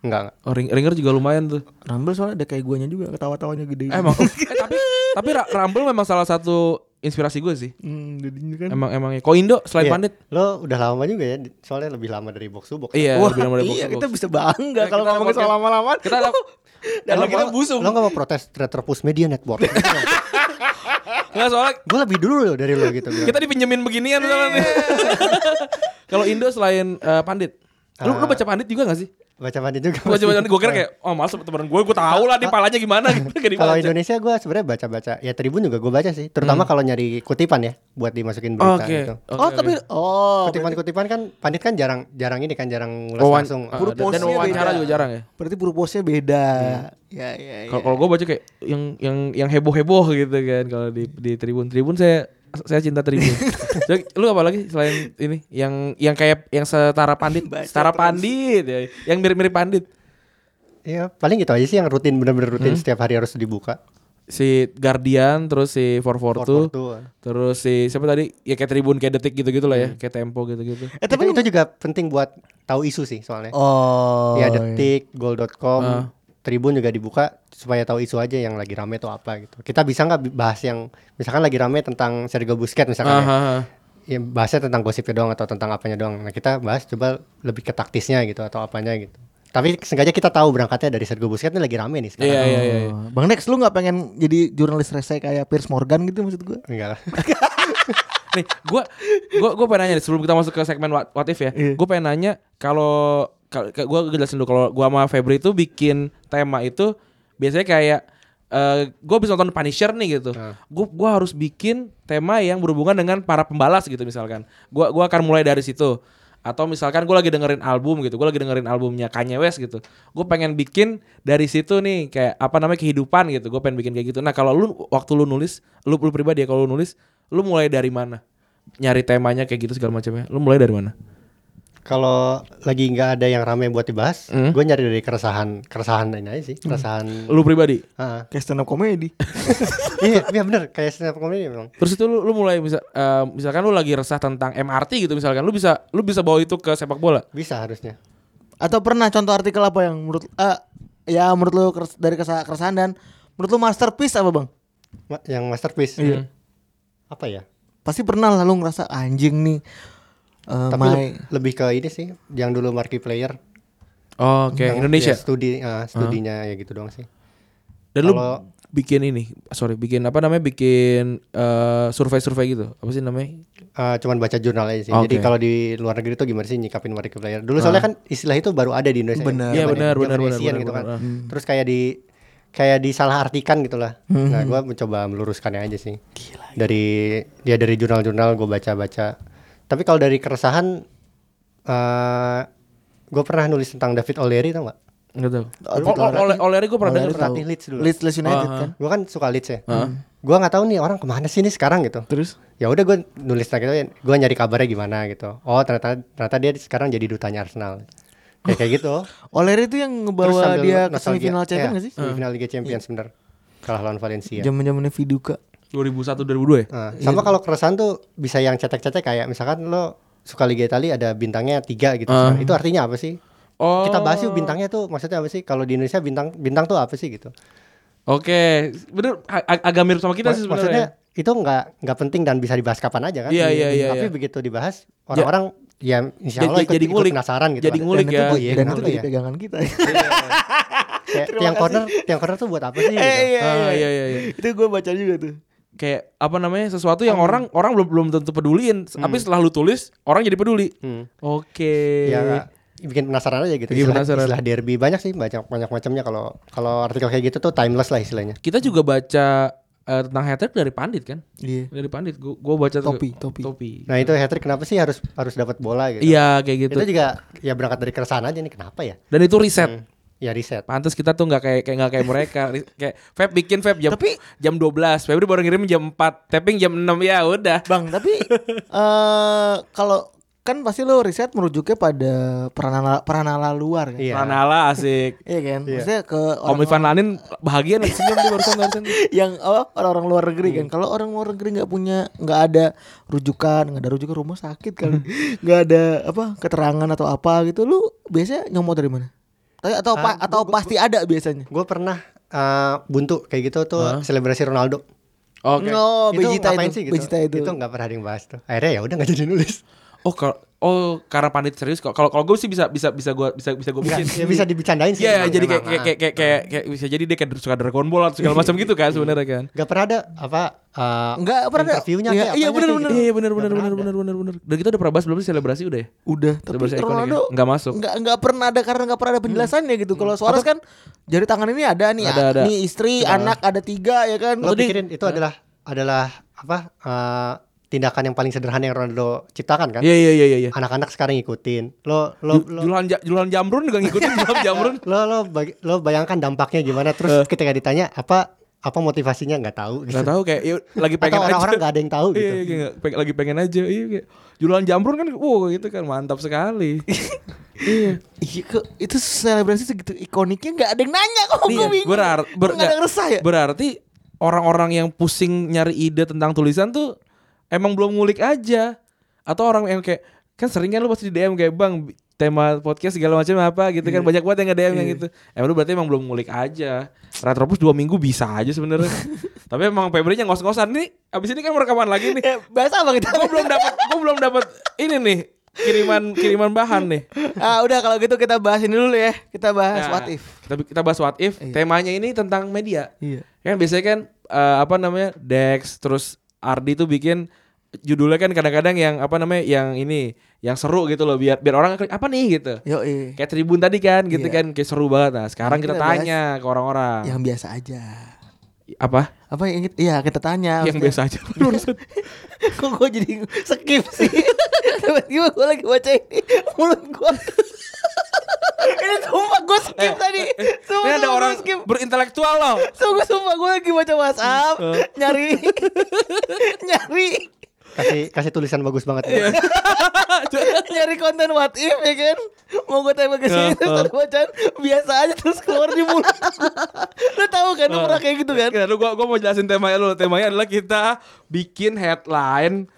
Speaker 3: Enggak, enggak.
Speaker 2: Oh, Ring- Ringer juga lumayan tuh.
Speaker 6: Rumble soalnya ada kayak guanya juga ketawa-tawanya gede.
Speaker 2: Emang eh, tapi tapi Ra- Rumble memang salah satu inspirasi gue sih.
Speaker 6: Hmm, jadinya kan.
Speaker 2: Emang emangnya. Kok Indo
Speaker 3: Iya.
Speaker 2: selain Pandit?
Speaker 3: Lo udah lama juga ya, di- soalnya lebih lama dari box to box.
Speaker 2: Iya,
Speaker 6: Wah,
Speaker 2: lebih lama dari
Speaker 6: iya
Speaker 2: box to
Speaker 6: kita
Speaker 2: box.
Speaker 6: bisa bangga
Speaker 2: Nah,
Speaker 6: kalau
Speaker 2: kita
Speaker 6: ngomongin soal
Speaker 2: podcast-
Speaker 6: lama-lama.
Speaker 2: Kita ada-
Speaker 6: Dan
Speaker 3: Lo
Speaker 6: kita
Speaker 3: nggak-
Speaker 6: busuk.
Speaker 3: Lo gak mau protes Retropus Media Network?
Speaker 2: Enggak soalnya
Speaker 3: gue lebih dulu loh dari lo gitu. bilang.
Speaker 2: kita dipinjemin beginian soalnya nih. Kalau Indo selain eh, Pandit, lu, lu baca Pandit juga gak sih?
Speaker 3: baca-baca juga.
Speaker 2: Gue cuma gue kira kayak oh males sama temen gue, gue tahu lah nih palanya gimana gitu kayak
Speaker 3: kalau
Speaker 2: dibaca.
Speaker 3: Indonesia gue sebenarnya baca-baca ya Tribun juga gue baca sih, terutama kalau nyari kutipan ya buat dimasukin berita
Speaker 2: Hmm. Oke.
Speaker 3: gitu.
Speaker 2: oke,
Speaker 6: oh
Speaker 2: oke.
Speaker 6: tapi oh
Speaker 3: Kutipan-kutipan kan pandit kan jarang jarang ini kan jarang ngulas
Speaker 2: Wawan-
Speaker 3: langsung.
Speaker 2: eh,
Speaker 6: Pur-
Speaker 2: dan- dan
Speaker 6: postnya
Speaker 2: wawancara
Speaker 6: beda.
Speaker 2: juga jarang ya.
Speaker 6: berarti purpose-nya beda. Ya ya ya.
Speaker 2: Kalau kalau gue baca kayak yang yang yang heboh heboh gitu kan kalau di di Tribun Tribun saya saya cinta Tribun. Jadi, lu apa lagi selain ini yang yang kayak yang setara pandit,
Speaker 6: Baca
Speaker 2: setara
Speaker 6: terus.
Speaker 2: pandit ya, yang mirip mirip pandit.
Speaker 3: Iya, paling gitu aja sih yang rutin bener-bener
Speaker 2: Hmm.
Speaker 3: rutin setiap hari harus dibuka.
Speaker 2: Si Guardian terus si 442
Speaker 3: Fortu.
Speaker 2: terus si siapa tadi ya kayak Tribun kayak detik gitu-gitu lah ya, kayak tempo gitu-gitu.
Speaker 3: Itu,
Speaker 6: eh tapi
Speaker 3: itu juga penting buat tahu isu sih soalnya.
Speaker 6: oh
Speaker 2: iya.
Speaker 3: ya detik, goal.com,
Speaker 2: Ah.
Speaker 3: Tribun juga dibuka supaya tahu isu aja yang lagi rame tuh apa gitu. Kita bisa nggak bi- bahas yang misalkan lagi rame tentang Sergio Busquets misalkan ya.
Speaker 2: Aha.
Speaker 3: ya, bahasnya tentang gosipnya doang atau tentang apanya doang. Nah kita bahas coba lebih ke taktisnya gitu atau apanya gitu. Tapi sengaja kita tahu berangkatnya dari Sergio Busquets ini lagi rame nih sekarang.
Speaker 2: Iya iya iya. iya.
Speaker 6: Oh. Bang Nex lu nggak pengen jadi jurnalis rese kayak Piers Morgan gitu maksud gue?
Speaker 3: Enggak lah.
Speaker 2: Nih, gua gua gua pengen nanya deh, sebelum kita masuk ke segmen what, what if ya. Gua pengen nanya kalau kalau- kayak gua jelasin dulu kalau gua sama Febri itu bikin tema itu biasanya kayak eh gue bisa nonton Punisher nih gitu. Gue gua harus bikin tema yang berhubungan dengan para pembalas gitu misalkan. Gua gua akan mulai dari situ. Atau misalkan gue lagi dengerin album gitu, gue lagi dengerin albumnya Kanye West gitu. Gue pengen bikin dari situ nih kayak apa namanya kehidupan gitu. Gue pengen bikin kayak gitu. Nah kalau lu waktu lu nulis, lu, lu pribadi ya kalau lu nulis, lu mulai dari mana? Nyari temanya kayak gitu segala macamnya. Lu mulai dari mana?
Speaker 3: Kalau lagi nggak ada yang rame buat dibahas,
Speaker 2: Hmm.
Speaker 3: gue nyari dari keresahan keresahan ini aja sih, keresahan.
Speaker 2: Lu pribadi.
Speaker 3: Ah,
Speaker 6: Kayak stand up comedy.
Speaker 3: iya, iya bener kayak stand up comedy memang.
Speaker 2: Terus itu lu, lu mulai bisa eh, misalkan lu lagi resah tentang MRT gitu misalkan lu bisa lu bisa bawa itu ke sepak bola.
Speaker 3: Bisa harusnya.
Speaker 6: Atau pernah contoh artikel apa yang menurut eh, ya menurut lu keres- dari kesa- keresahan dan menurut lu masterpiece apa bang?
Speaker 3: Ma- yang masterpiece.
Speaker 2: Iya.
Speaker 3: Apa ya?
Speaker 6: Pasti pernah lah lu ngerasa anjing nih. eh,
Speaker 3: Tapi
Speaker 6: my-
Speaker 3: le- lebih ke ini sih, yang dulu marquee player.
Speaker 2: Oke,
Speaker 3: Yang-
Speaker 2: Indonesia.
Speaker 3: ya, studi ah, studinya ya gitu doang sih.
Speaker 2: Dan lu
Speaker 3: Kalau-
Speaker 2: bikin ini, sorry, bikin apa namanya? Bikin eh, survei-survei gitu. Apa sih namanya?
Speaker 3: Ah, cuman baca jurnal aja sih. Jadi
Speaker 2: Oke. Ah.
Speaker 3: kalau di luar negeri tuh gimana sih nyikapin marquee player? Dulu soalnya kan istilah itu baru ada di Indonesia.
Speaker 6: Benar.
Speaker 2: Iya,
Speaker 3: Zaman-
Speaker 2: benar,
Speaker 3: zaman
Speaker 2: benar, benar,
Speaker 3: Asian
Speaker 2: benar,
Speaker 3: gitu kan.
Speaker 2: benar.
Speaker 3: Terus kayak di kayak disalahartikan gitu lah.
Speaker 2: Hmm.
Speaker 3: Nah, gua mencoba meluruskannya aja sih. Dari dia dari jurnal-jurnal gua baca-baca. Tapi kalau dari keresahan eh gua pernah nulis tentang David O'Leary tau gak?
Speaker 2: Enggak tahu.
Speaker 6: Tapi
Speaker 2: Oh,
Speaker 6: kalau
Speaker 2: oh, Ole- Oleri gue pernah
Speaker 3: Oleri
Speaker 2: denger.
Speaker 3: pelatih Leeds dulu.
Speaker 6: Leeds, Leeds United
Speaker 2: Ah,
Speaker 6: kan.
Speaker 3: Gue kan suka Leeds ya. Gue nggak tahu nih orang kemana sih nih sekarang gitu.
Speaker 2: Terus?
Speaker 3: Ya udah gue nulis gitu, gue nyari kabarnya gimana gitu. Oh ternyata ternyata dia sekarang jadi dutanya Arsenal. Ya kayak gitu.
Speaker 6: Oleri itu yang
Speaker 3: Terus
Speaker 6: ngebawa
Speaker 3: sambil
Speaker 6: dia ke
Speaker 3: nostalgia.
Speaker 6: semifinal
Speaker 3: Iya,
Speaker 6: Champions nggak sih?
Speaker 3: Semifinal Liga Champions bener. Kalah lawan
Speaker 6: Iya.
Speaker 3: Valencia.
Speaker 6: Zaman-zamannya Viduka.
Speaker 2: 2001 2002 ya?
Speaker 6: Iya.
Speaker 3: Nah, sama kalau keresahan tuh bisa yang cetek-cetek kayak misalkan lo suka Liga Italia ada bintangnya tiga gitu.
Speaker 2: Ah.
Speaker 3: Itu artinya apa sih?
Speaker 2: Oh.
Speaker 3: Kita bahas yuk bintangnya tuh maksudnya apa sih? Kalau di Indonesia bintang bintang tuh apa sih gitu?
Speaker 2: Oke, bener ag- ag- agak mirip sama kita
Speaker 3: Mak-
Speaker 2: sih
Speaker 3: maksudnya
Speaker 2: sebenarnya. ya.
Speaker 3: itu nggak nggak penting dan bisa dibahas kapan aja kan
Speaker 2: Iya, iya, iya,
Speaker 3: tapi
Speaker 2: iya.
Speaker 3: begitu dibahas orang-orang ya insya Allah
Speaker 2: Jadi-
Speaker 3: ikut,
Speaker 2: jadi
Speaker 3: ikut
Speaker 2: ngulik.
Speaker 3: penasaran gitu
Speaker 2: Jadi
Speaker 3: kan.
Speaker 2: ngulik
Speaker 3: dan
Speaker 2: ya.
Speaker 3: itu, oh, iya,
Speaker 6: Dan itu
Speaker 3: kenapa
Speaker 6: jadi
Speaker 3: ya?
Speaker 6: pegangan kita.
Speaker 3: Kayak tiang corner tiang corner tuh buat apa sih gitu.
Speaker 2: Ah, iya iya iya.
Speaker 6: itu gue baca juga tuh.
Speaker 2: Kayak apa namanya? Sesuatu yang orang orang belum belum tentu peduliin, tapi setelah lu tulis, orang jadi peduli. Oke.
Speaker 3: ya bikin penasaran aja gitu
Speaker 2: Bikin
Speaker 3: istilah,
Speaker 2: penasaran.
Speaker 3: istilah derby banyak sih banyak banyak macamnya kalau kalau artikel kayak gitu tuh timeless lah istilahnya
Speaker 2: Kita juga baca eh, tentang hat trick dari Pandit kan?
Speaker 6: Iya.
Speaker 2: Dari Pandit gua, gua baca tuh-
Speaker 6: Topi, topi.
Speaker 2: Topi.
Speaker 3: nah itu hat trick kenapa sih harus harus dapat bola gitu
Speaker 2: Iya, kayak gitu.
Speaker 3: itu juga ya berangkat dari keresahan aja nih kenapa ya
Speaker 2: Dan itu riset.
Speaker 3: ya riset
Speaker 2: Pantes kita tuh nggak kayak kayak nggak kayak mereka. Ri- kayak Feb bikin Feb jam jam 12. Febri baru ngirim jam 4. Tapping jam 6 ya udah.
Speaker 6: Bang, tapi eh kalau kan pasti lo riset merujuknya pada peranala peranala luar kan.
Speaker 3: Iya.
Speaker 2: Ranala asik.
Speaker 6: Iya kan? Maksudnya ke
Speaker 2: Om
Speaker 6: orang
Speaker 2: Ivan Lanin bahagia nih senyum dia barusan barusan.
Speaker 6: yang apa, orang-orang luar negeri kan. Kalau orang luar negeri nggak punya nggak ada rujukan, nggak ada rujukan rumah sakit kali. nggak ada apa keterangan atau apa gitu. Lu biasanya nyomot dari mana? Tapi- Atau apa- atau pasti ada biasanya.
Speaker 3: gue pernah eh, buntu kayak gitu tuh selebrasi Ronaldo
Speaker 2: Oke.
Speaker 6: No, Bejita
Speaker 3: ngapain
Speaker 6: Oh,
Speaker 3: gitu?
Speaker 6: itu, Bejita itu.
Speaker 3: nggak pernah ada yang bahas tuh akhirnya ya udah nggak jadi nulis
Speaker 2: oh kalau oh karena pandit serius kok. Kalau kalau gue sih bisa bisa bisa gue bisa bisa gue
Speaker 3: Enggak,
Speaker 2: bikin.
Speaker 3: ya bisa dibicandain sih.
Speaker 2: Iya,
Speaker 3: emang,
Speaker 2: jadi kayak
Speaker 3: emang.
Speaker 2: kayak, kayak kayak kayak kayak bisa jadi dia kayak suka Dragon Ball atau segala macam gitu
Speaker 3: Iya.
Speaker 2: kan sebenarnya kan.
Speaker 3: Gak pernah ada apa eh,
Speaker 6: Enggak pernah ada.
Speaker 3: interviewnya
Speaker 6: Iya,
Speaker 3: kayak
Speaker 6: iya,
Speaker 3: apanya
Speaker 6: bener,
Speaker 3: kayak
Speaker 6: bener.
Speaker 3: gitu.
Speaker 2: Iya,
Speaker 3: Nggak
Speaker 2: benar benar
Speaker 3: pernah
Speaker 2: benar
Speaker 3: ada.
Speaker 2: benar benar benar. Dan kita udah pernah bahas belum sih selebrasi udah ya?
Speaker 6: Udah, tapi
Speaker 2: Sebelas ekor
Speaker 6: Ronaldo
Speaker 2: lagi. Nggak masuk.
Speaker 6: Nggak nggak pernah ada karena nggak pernah ada penjelasannya gitu. Kalau Suarez kan jari tangan ini ada nih,
Speaker 2: Ada, ada.
Speaker 6: nih istri, anak ada tiga ya kan.
Speaker 3: Lo pikirin itu adalah adalah apa eh, tindakan yang paling sederhana yang Ronaldo ciptakan kan?
Speaker 2: Iya iya iya iya, iya.
Speaker 3: Anak-anak sekarang ngikutin. Lo lo
Speaker 2: Ju-
Speaker 3: lo
Speaker 2: Jualan ja- jualan jamrun juga ngikutin jualan jamrun.
Speaker 3: lo lo, bagi- lo bayangkan dampaknya gimana
Speaker 6: Eh.
Speaker 3: terus ketika ditanya apa apa motivasinya nggak tahu gitu.
Speaker 6: Kan.
Speaker 2: Gak tahu kayak ya, lagi pengen
Speaker 3: Atau orang-orang
Speaker 2: aja.
Speaker 3: nggak ada yang tahu
Speaker 2: Iya,
Speaker 3: gitu.
Speaker 2: iya, kayak peng- lagi pengen aja. Iya, kayak jualan jamrun kan, wow gitu kan mantap sekali.
Speaker 6: Iya, ke- itu selebrasi segitu ikoniknya nggak ada yang nanya kok gue
Speaker 2: Iya,
Speaker 6: bingung.
Speaker 2: berar- ber-
Speaker 6: Nggak ada yang resah ya.
Speaker 2: Berarti orang-orang yang pusing nyari ide tentang tulisan tuh emang belum ngulik aja. Atau orang yang kayak kan sering kan lu pasti di DM kayak bang bi- tema podcast segala macam apa gitu
Speaker 6: Iya.
Speaker 2: kan banyak banget yang nge-DM yang gitu. Emang lu berarti emang belum ngulik aja. Retropus dua minggu bisa aja sebenarnya. Tapi emang Febri-nya ngos-ngosan nih. Abis ini kan rekaman lagi nih.
Speaker 6: Ya, bahasa apa kita?
Speaker 2: Gue belum dapat, gue belum dapat ini nih kiriman kiriman bahan nih.
Speaker 6: ah, udah kalau gitu kita bahas ini dulu ya. Kita bahas
Speaker 2: Nah,
Speaker 6: what if.
Speaker 2: Kita kita bahas what if. Temanya ini tentang media.
Speaker 6: Iya.
Speaker 2: Kan biasanya kan eh, apa namanya Dex terus Ardi tuh bikin judulnya kan kadang-kadang yang apa namanya yang ini yang seru gitu loh biar biar orang klik, apa nih gitu.
Speaker 6: Yo,
Speaker 2: Kayak Tribun tadi kan gitu
Speaker 6: Iya.
Speaker 2: kan kayak seru banget. Nah, sekarang
Speaker 6: Kita
Speaker 2: kita
Speaker 6: bahas Iya.
Speaker 2: tanya ke orang-orang.
Speaker 6: yang biasa aja.
Speaker 2: Apa?
Speaker 6: Apa yang iya kita tanya
Speaker 2: Yang biasa aja.
Speaker 6: Kok gue jadi skip sih Tiba-tiba gue lagi baca ini Mulut gue Ini sumpah gue skip tadi Sumpah,
Speaker 2: Eh, ini ada
Speaker 6: sumpah gua
Speaker 2: orang
Speaker 6: skip
Speaker 2: berintelektual loh.
Speaker 6: Sumpah, sumpah gue lagi baca WhatsApp
Speaker 2: Eh.
Speaker 6: Nyari Nyari
Speaker 3: Kasih kasih tulisan bagus banget.
Speaker 6: Iya. Nyari konten what if ya kan Mau gue tembak ke
Speaker 2: Eh,
Speaker 6: sini Terus ada bacaan Biasa aja terus keluar di mulut Lu tahu kan
Speaker 2: Eh.
Speaker 6: lu pernah kayak gitu kan
Speaker 2: Oke, lalu gua gua mau jelasin temanya dulu. Temanya adalah kita bikin headline.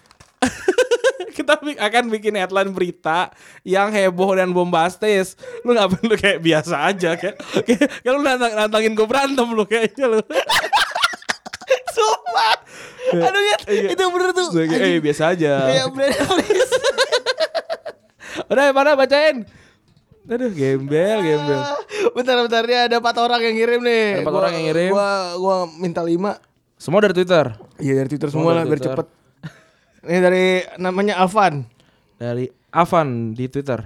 Speaker 2: kita bi- akan bikin headline berita yang heboh dan bombastis. Lu ngapain lu kayak biasa aja kayak kayak, kayak lu nantang, nantangin gua berantem lu kayaknya lu.
Speaker 6: Sumpah Aduh ya Itu bener tuh
Speaker 2: Gua kayak, iya. eh biasa aja.
Speaker 6: Kayak bener
Speaker 2: Udah ya, mana bacain. Aduh gembel gembel.
Speaker 6: Ah. Bentar bentar dia ada empat orang yang ngirim nih.
Speaker 2: Ada empat
Speaker 6: Gua-
Speaker 2: orang yang ngirim.
Speaker 6: Gua gua minta lima.
Speaker 2: Semua dari Twitter.
Speaker 6: Iya dari Twitter semua lah
Speaker 2: dari
Speaker 6: biar
Speaker 2: Twitter.
Speaker 6: cepet. Ini dari namanya Alvan.
Speaker 2: Dari Avan di Twitter.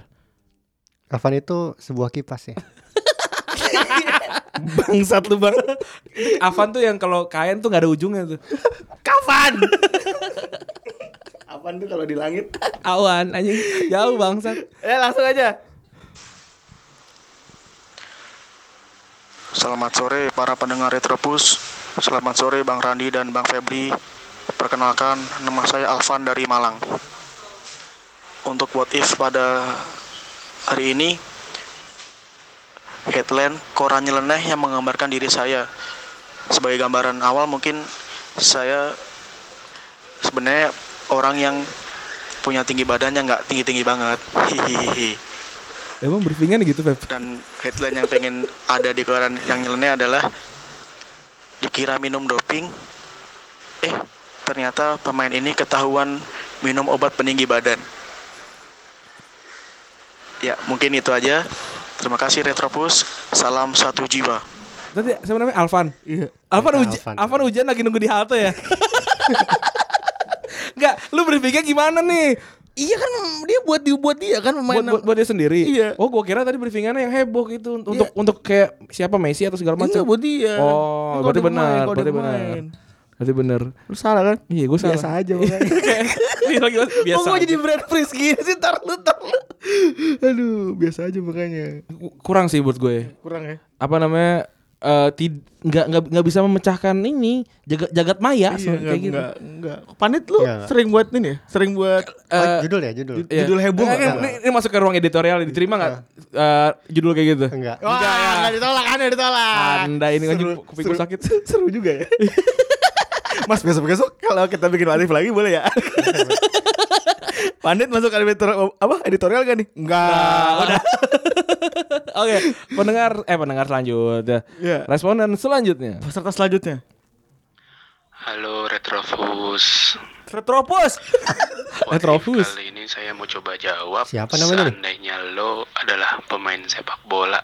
Speaker 3: Ravan itu sebuah kipas ya.
Speaker 6: Bangsat lu bang.
Speaker 2: Avan tuh yang kalau kain tuh nggak ada ujungnya tuh.
Speaker 6: Alvan tuh kalau di langit.
Speaker 2: Awan anjing jauh bangsat.
Speaker 6: Eh langsung aja.
Speaker 7: Selamat sore para pendengar Retropus. Selamat sore Bang Randi dan Bang Febri. Perkenalkan, nama saya Alvan dari Malang. Untuk what if pada hari ini headline koran nyeleneh yang menggambarkan diri saya. Sebagai gambaran awal mungkin saya sebenarnya orang yang punya tinggi badan yang nggak tinggi-tinggi banget. Hihihi
Speaker 2: Emang briefingan gitu Pep.
Speaker 7: dan headline yang pengen ada di koran yang nyeleneh adalah dikira minum doping eh ternyata pemain ini ketahuan minum obat peninggi badan ya mungkin itu aja terima kasih Retropus salam satu jiwa
Speaker 2: Tadi siapa namanya Alvan? Iya. Alvan,
Speaker 3: Alvan.
Speaker 2: uj Alvan hujan lagi nunggu di halte ya. Enggak, lu berpikir gimana nih?
Speaker 6: Iya kan dia buat dibuat dia kan
Speaker 2: Buat,
Speaker 6: pemain.
Speaker 2: buat, buat dia sendiri.
Speaker 6: Iya.
Speaker 2: Oh, gua kira tadi briefingannya yang heboh gitu untuk untuk untuk kayak siapa Messi atau segala macam.
Speaker 6: Iya, buat dia.
Speaker 2: Oh,
Speaker 6: Kalau
Speaker 2: berarti
Speaker 6: dia pemain,
Speaker 2: benar,
Speaker 6: kalau dia
Speaker 2: berarti benar.
Speaker 6: pemain.
Speaker 2: Berarti benar.
Speaker 6: Lu salah kan?
Speaker 2: Iya, gua salah.
Speaker 6: Biasa aja pokoknya.
Speaker 2: Ini lagi Iya, biasa.
Speaker 6: Kok gue
Speaker 2: aja.
Speaker 6: jadi brand freeze gini sih tar lu tar lu. Aduh, biasa aja makanya.
Speaker 2: kurang sih buat gue.
Speaker 6: Kurang ya.
Speaker 2: Apa namanya? eh tid nggak nggak nggak bisa memecahkan ini jagat jagat maya so-
Speaker 6: Iya,
Speaker 2: kayak gitu.
Speaker 6: enggak, enggak. Panit lu
Speaker 3: Iya, enggak.
Speaker 6: sering buat ini ya? Sering buat
Speaker 3: Oh, judul ya judul.
Speaker 2: Iya.
Speaker 6: Judul heboh
Speaker 2: Nggak,
Speaker 6: nggak? Iya.
Speaker 2: ini, ini masuk ke ruang editorial diterima nggak eh, judul kayak gitu?
Speaker 3: Enggak.
Speaker 6: Wah, enggak ditolak, anda ditolak.
Speaker 2: Anda ini lagi kupingku sakit.
Speaker 6: Seru juga ya. Mas besok-besok kalau kita bikin latif lagi boleh ya? Pandit masuk editor apa editorial gak nih? Enggak.
Speaker 2: Oke, pendengar eh pendengar selanjutnya.
Speaker 6: Iya.
Speaker 2: Responden selanjutnya.
Speaker 6: Peserta selanjutnya.
Speaker 8: Halo Retrofus.
Speaker 6: Retropus.
Speaker 2: Retropus.
Speaker 8: Kali ini saya mau coba jawab.
Speaker 3: Siapa namanya nih?
Speaker 8: Seandainya lo adalah pemain sepak bola,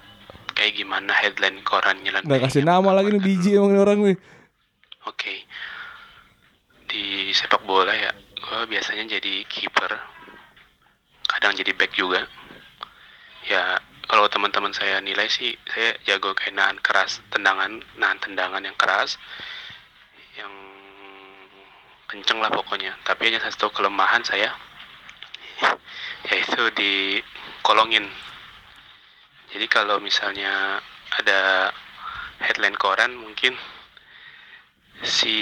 Speaker 8: kayak gimana headline korannya lah.
Speaker 2: Gak kasih nama lagi nih biji emang ini orang nih.
Speaker 8: Oke. Di sepak bola ya, gue biasanya jadi kiper. Kadang jadi back juga. Ya, kalau teman-teman saya nilai sih, saya jago kayak nahan keras tendangan, nahan tendangan yang keras, yang kenceng lah pokoknya. Tapi hanya satu kelemahan saya, yaitu di kolongin. Jadi kalau misalnya ada headline koran mungkin si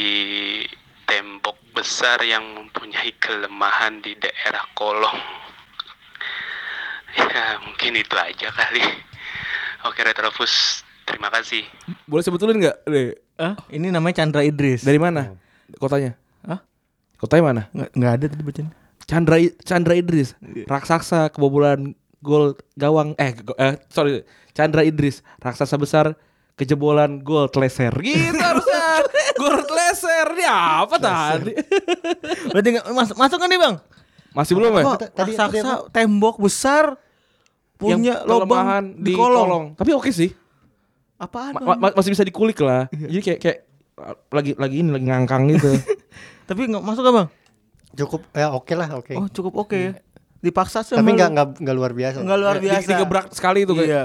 Speaker 8: tembok besar yang mempunyai kelemahan di daerah kolong. Ya, mungkin itu aja kali. Oke, Retrofus, terima kasih.
Speaker 2: Boleh sebetulin nggak? Deh,
Speaker 6: Ini namanya Chandra Idris.
Speaker 2: Dari mana? Kotanya?
Speaker 6: Hah?
Speaker 2: Kotanya mana?
Speaker 6: Nggak, nggak ada tadi bacaan.
Speaker 2: Chandra Chandra Idris, raksasa kebobolan gol gawang eh, go- eh, sorry Chandra Idris, raksasa besar kejebolan gol teleser. Gitu harusnya. gol teleser. Ini apa tadi?
Speaker 6: Berarti nggak- mas, masuk kan nih bang?
Speaker 2: Masih belum ya?
Speaker 6: Kok
Speaker 3: tadi- tadi
Speaker 6: raksasa tembok besar punya
Speaker 2: Yang kelemahan
Speaker 6: lubang di kolong.
Speaker 2: Tapi oke sih.
Speaker 6: Apaan?
Speaker 2: Ma-
Speaker 6: Bang?
Speaker 2: ma- masih bisa dikulik lah.
Speaker 6: Iya.
Speaker 2: Jadi kayak kayak uh, lagi lagi ini lagi ngangkang gitu.
Speaker 6: Tapi nggak masuk kan bang?
Speaker 3: Cukup ya oke lah oke.
Speaker 6: Oh cukup oke ya. Dipaksa sih.
Speaker 3: Tapi
Speaker 6: sama
Speaker 3: nggak
Speaker 6: lu.
Speaker 3: nggak nggak luar biasa.
Speaker 6: Nggak luar
Speaker 2: Di-
Speaker 6: biasa.
Speaker 2: Digebrak sekali itu kayak
Speaker 6: Iya.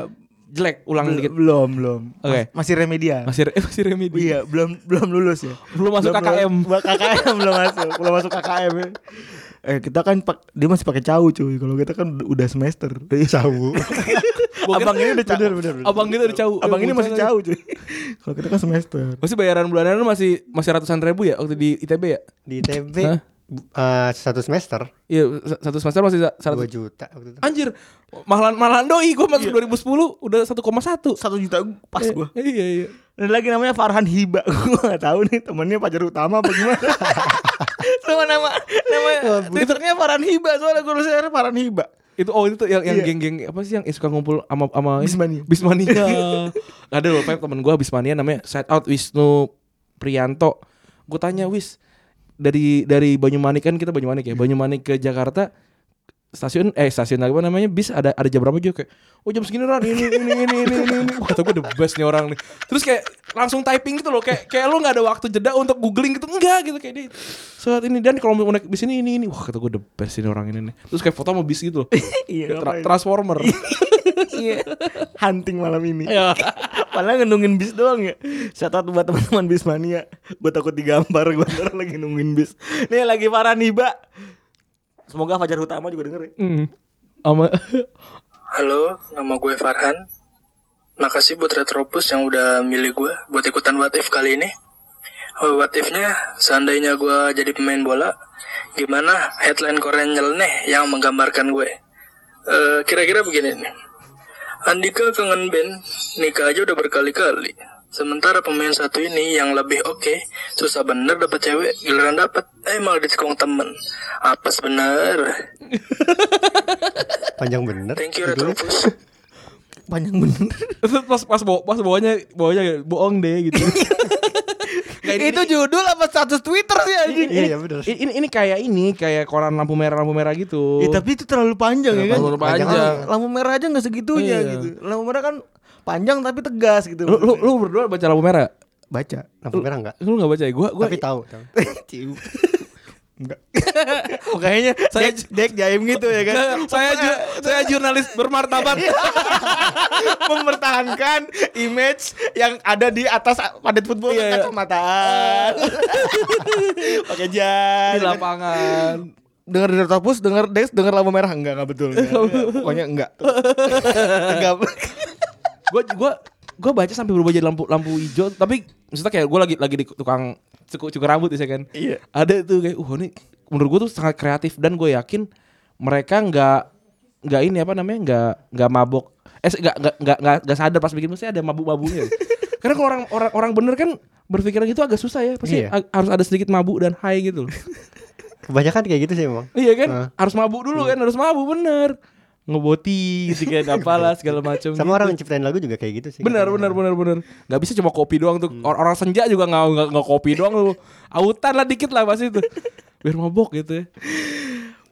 Speaker 2: jelek ulang
Speaker 6: Bel-
Speaker 2: dikit.
Speaker 6: Belum belum.
Speaker 2: Oke.
Speaker 6: Mas- masih remedial. Oh
Speaker 2: Masih re- masih remedi.
Speaker 6: Iya belum belum lulus ya.
Speaker 2: Belum masuk
Speaker 6: Belum-
Speaker 2: KKM.
Speaker 6: belum- KKM belum masuk. Belum masuk KKM. ya. Eh kita kan pak, dia masih pakai cau cuy. Kalau kita kan udah semester.
Speaker 3: Sawu.
Speaker 6: abang ini udah cau.
Speaker 2: Abang gitu udah jauh.
Speaker 6: Abang ini
Speaker 2: Bocah
Speaker 6: masih
Speaker 2: lagi.
Speaker 6: jauh cuy. Kalau kita kan semester.
Speaker 2: Masih bayaran bulanan lu masih masih ratusan ribu ya waktu di ITB ya?
Speaker 3: Di TB
Speaker 2: Hah?
Speaker 3: bu- eh, satu semester
Speaker 2: Iya, sa- satu semester masih sa-
Speaker 3: dua
Speaker 2: seratus.
Speaker 3: juta waktu itu.
Speaker 2: Anjir, mahalan mahalan doi gue masuk 2010 udah 1,1.
Speaker 6: Satu juta pas gua.
Speaker 2: Iya iya.
Speaker 6: Dan Eh, lagi namanya Farhan Hiba. Gua gak tahu nih temennya pacar utama apa gimana. Sama nama nama Twitternya Farhan Hiba. Soalnya gue nulisnya Farhan Hiba.
Speaker 2: Itu oh itu tuh yang yang
Speaker 6: Iya.
Speaker 2: geng-geng apa sih yang suka ngumpul sama sama ini?
Speaker 6: Bismania.
Speaker 2: Bismania. Ada loh Feb, temen gue Bismania namanya shout out Wisnu Prianto. Gue tanya Wis dari dari Banyumanik kan kita Banyumanik ya. Banyumanik ke Jakarta stasiun eh stasiun apa namanya bis ada ada jam berapa juga kayak oh jam segini ran ini ini ini ini ini ini wah kata gue the best nih orang nih terus kayak langsung typing gitu loh kayak kayak lu nggak ada waktu jeda untuk googling gitu enggak gitu kayak dia saat ini dan kalau mau naik bis ini ini ini wah kata gue the best ini orang ini nih terus kayak foto sama bis gitu loh
Speaker 6: Iya.
Speaker 2: Kayak tra-
Speaker 6: ngapain?
Speaker 2: transformer
Speaker 6: Iya. Hunting malam ini. Padahal ngenungin bis doang ya. Shout out buat teman-teman bismania. Gue takut digambar gue ntar lagi nungguin bis. Nih lagi Farhan Hiba. Semoga Fajar Utama juga denger ya.
Speaker 2: Hmm. sama
Speaker 8: Halo, nama gue Farhan. Makasih buat Retropus yang udah milih gue buat ikutan What If kali ini. Oh, what if-nya, seandainya gue jadi pemain bola, gimana headline koran nyeleneh yang menggambarkan gue? Eh, Kira-kira begini nih. Andika kangen band, nikah aja udah berkali-kali. Sementara pemain satu ini yang lebih oke, susah bener dapat cewek, giliran dapat, eh malah ditikung temen. Apes bener.
Speaker 3: Panjang bener.
Speaker 8: Thank you
Speaker 3: Dulu.
Speaker 8: Retropus.
Speaker 6: Panjang bener.
Speaker 2: terus pas pas bawa pas bawahnya bawahnya kayak, bohong deh gitu Nggak, ini-
Speaker 6: Itu judul apa status Twitter sih anjing?
Speaker 3: Iya iya, bener.
Speaker 2: ini, ini ini kayak ini kayak koran lampu merah lampu merah gitu
Speaker 6: Ya, tapi itu terlalu panjang ya kan?
Speaker 2: Terlalu panjang.
Speaker 6: Ah, Lampu merah aja nggak segitunya
Speaker 2: Iya.
Speaker 6: gitu. Lampu merah kan panjang tapi tegas gitu.
Speaker 2: lu, lu, lu berdua baca lampu merah
Speaker 6: baca.
Speaker 3: Lampu merah enggak?
Speaker 2: lu nggak baca ya gua gua
Speaker 3: Tapi tahu. tahu.
Speaker 6: Makanya saya dek, dek jaim gitu ya kan.
Speaker 2: Nggak, saya ju- saya jurnalis bermartabat
Speaker 6: Mempertahankan image yang ada di atas padat football kan,
Speaker 2: Iya, iya.
Speaker 6: kacamataan. Pakai jas.
Speaker 2: di lapangan
Speaker 6: Dengar dari topus, dengar Dex, dengar lampu merah enggak enggak betul. enggak. Pokoknya enggak. enggak.
Speaker 2: gua gua gua baca sampai berubah jadi lampu lampu hijau tapi maksudnya kayak gua lagi lagi di tukang cukur cukur rambut ya kan
Speaker 6: Iya.
Speaker 2: ada tuh kayak wah ini menurut gua tuh sangat kreatif dan gue yakin mereka nggak nggak ini apa namanya nggak nggak mabok eh nggak nggak nggak nggak nggak sadar pas bikin mesti ada mabuk mabunya karena kalau orang orang orang bener kan berpikiran gitu agak susah ya pasti
Speaker 3: Iya.
Speaker 2: a- harus ada sedikit mabuk dan high gitu loh
Speaker 3: Kebanyakan kayak gitu sih emang.
Speaker 2: Iya kan?
Speaker 3: Heeh.
Speaker 2: Harus mabuk dulu kan, harus mabuk bener. Ngeboti gitu kan apalah segala macam.
Speaker 3: Sama
Speaker 2: gitu.
Speaker 3: orang yang ciptain lagu juga kayak gitu sih.
Speaker 2: Bener bener bener bener. Gak bisa cuma kopi doang tuh. Orang, orang senja juga nggak nggak nggak kopi doang lu. Autan lah dikit lah pasti itu. biar mabok gitu ya.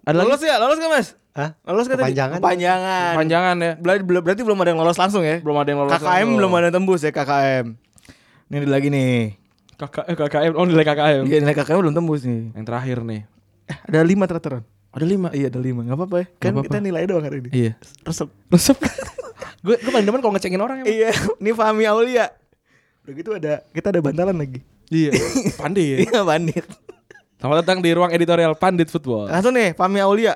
Speaker 2: Ada lagi
Speaker 6: Lolos ya? Lolos gak mas?
Speaker 3: Hah?
Speaker 6: Lolos gak tadi?
Speaker 3: Kepanjangan.
Speaker 6: Panjangan.
Speaker 2: panjangan ya.
Speaker 6: Berarti belum ada yang lolos langsung ya?
Speaker 2: Belum ada yang lolos.
Speaker 6: KKM belum ada yang tembus ya KKM. Ini ada lagi nih.
Speaker 2: KKM, eh, KKM, oh nilai KKM.
Speaker 6: Iya nilai KKM belum tembus nih.
Speaker 2: Yang terakhir nih.
Speaker 6: Eh, ada lima teraturan.
Speaker 2: Ada lima.
Speaker 6: Iya ada lima. Gak apa-apa ya. Kan
Speaker 2: apa-apa.
Speaker 6: kita nilai doang hari ini.
Speaker 2: Iya.
Speaker 6: Resep.
Speaker 2: Resep. gue gue paling demen kalau ngecengin orang emang.
Speaker 6: Iya. Ini Fahmi Aulia. Udah gitu ada kita ada bantalan lagi.
Speaker 2: Iya. Pandit.
Speaker 6: Iya bandit.
Speaker 2: Selamat datang di ruang editorial Pandit Football.
Speaker 6: Langsung nih Fahmi Aulia.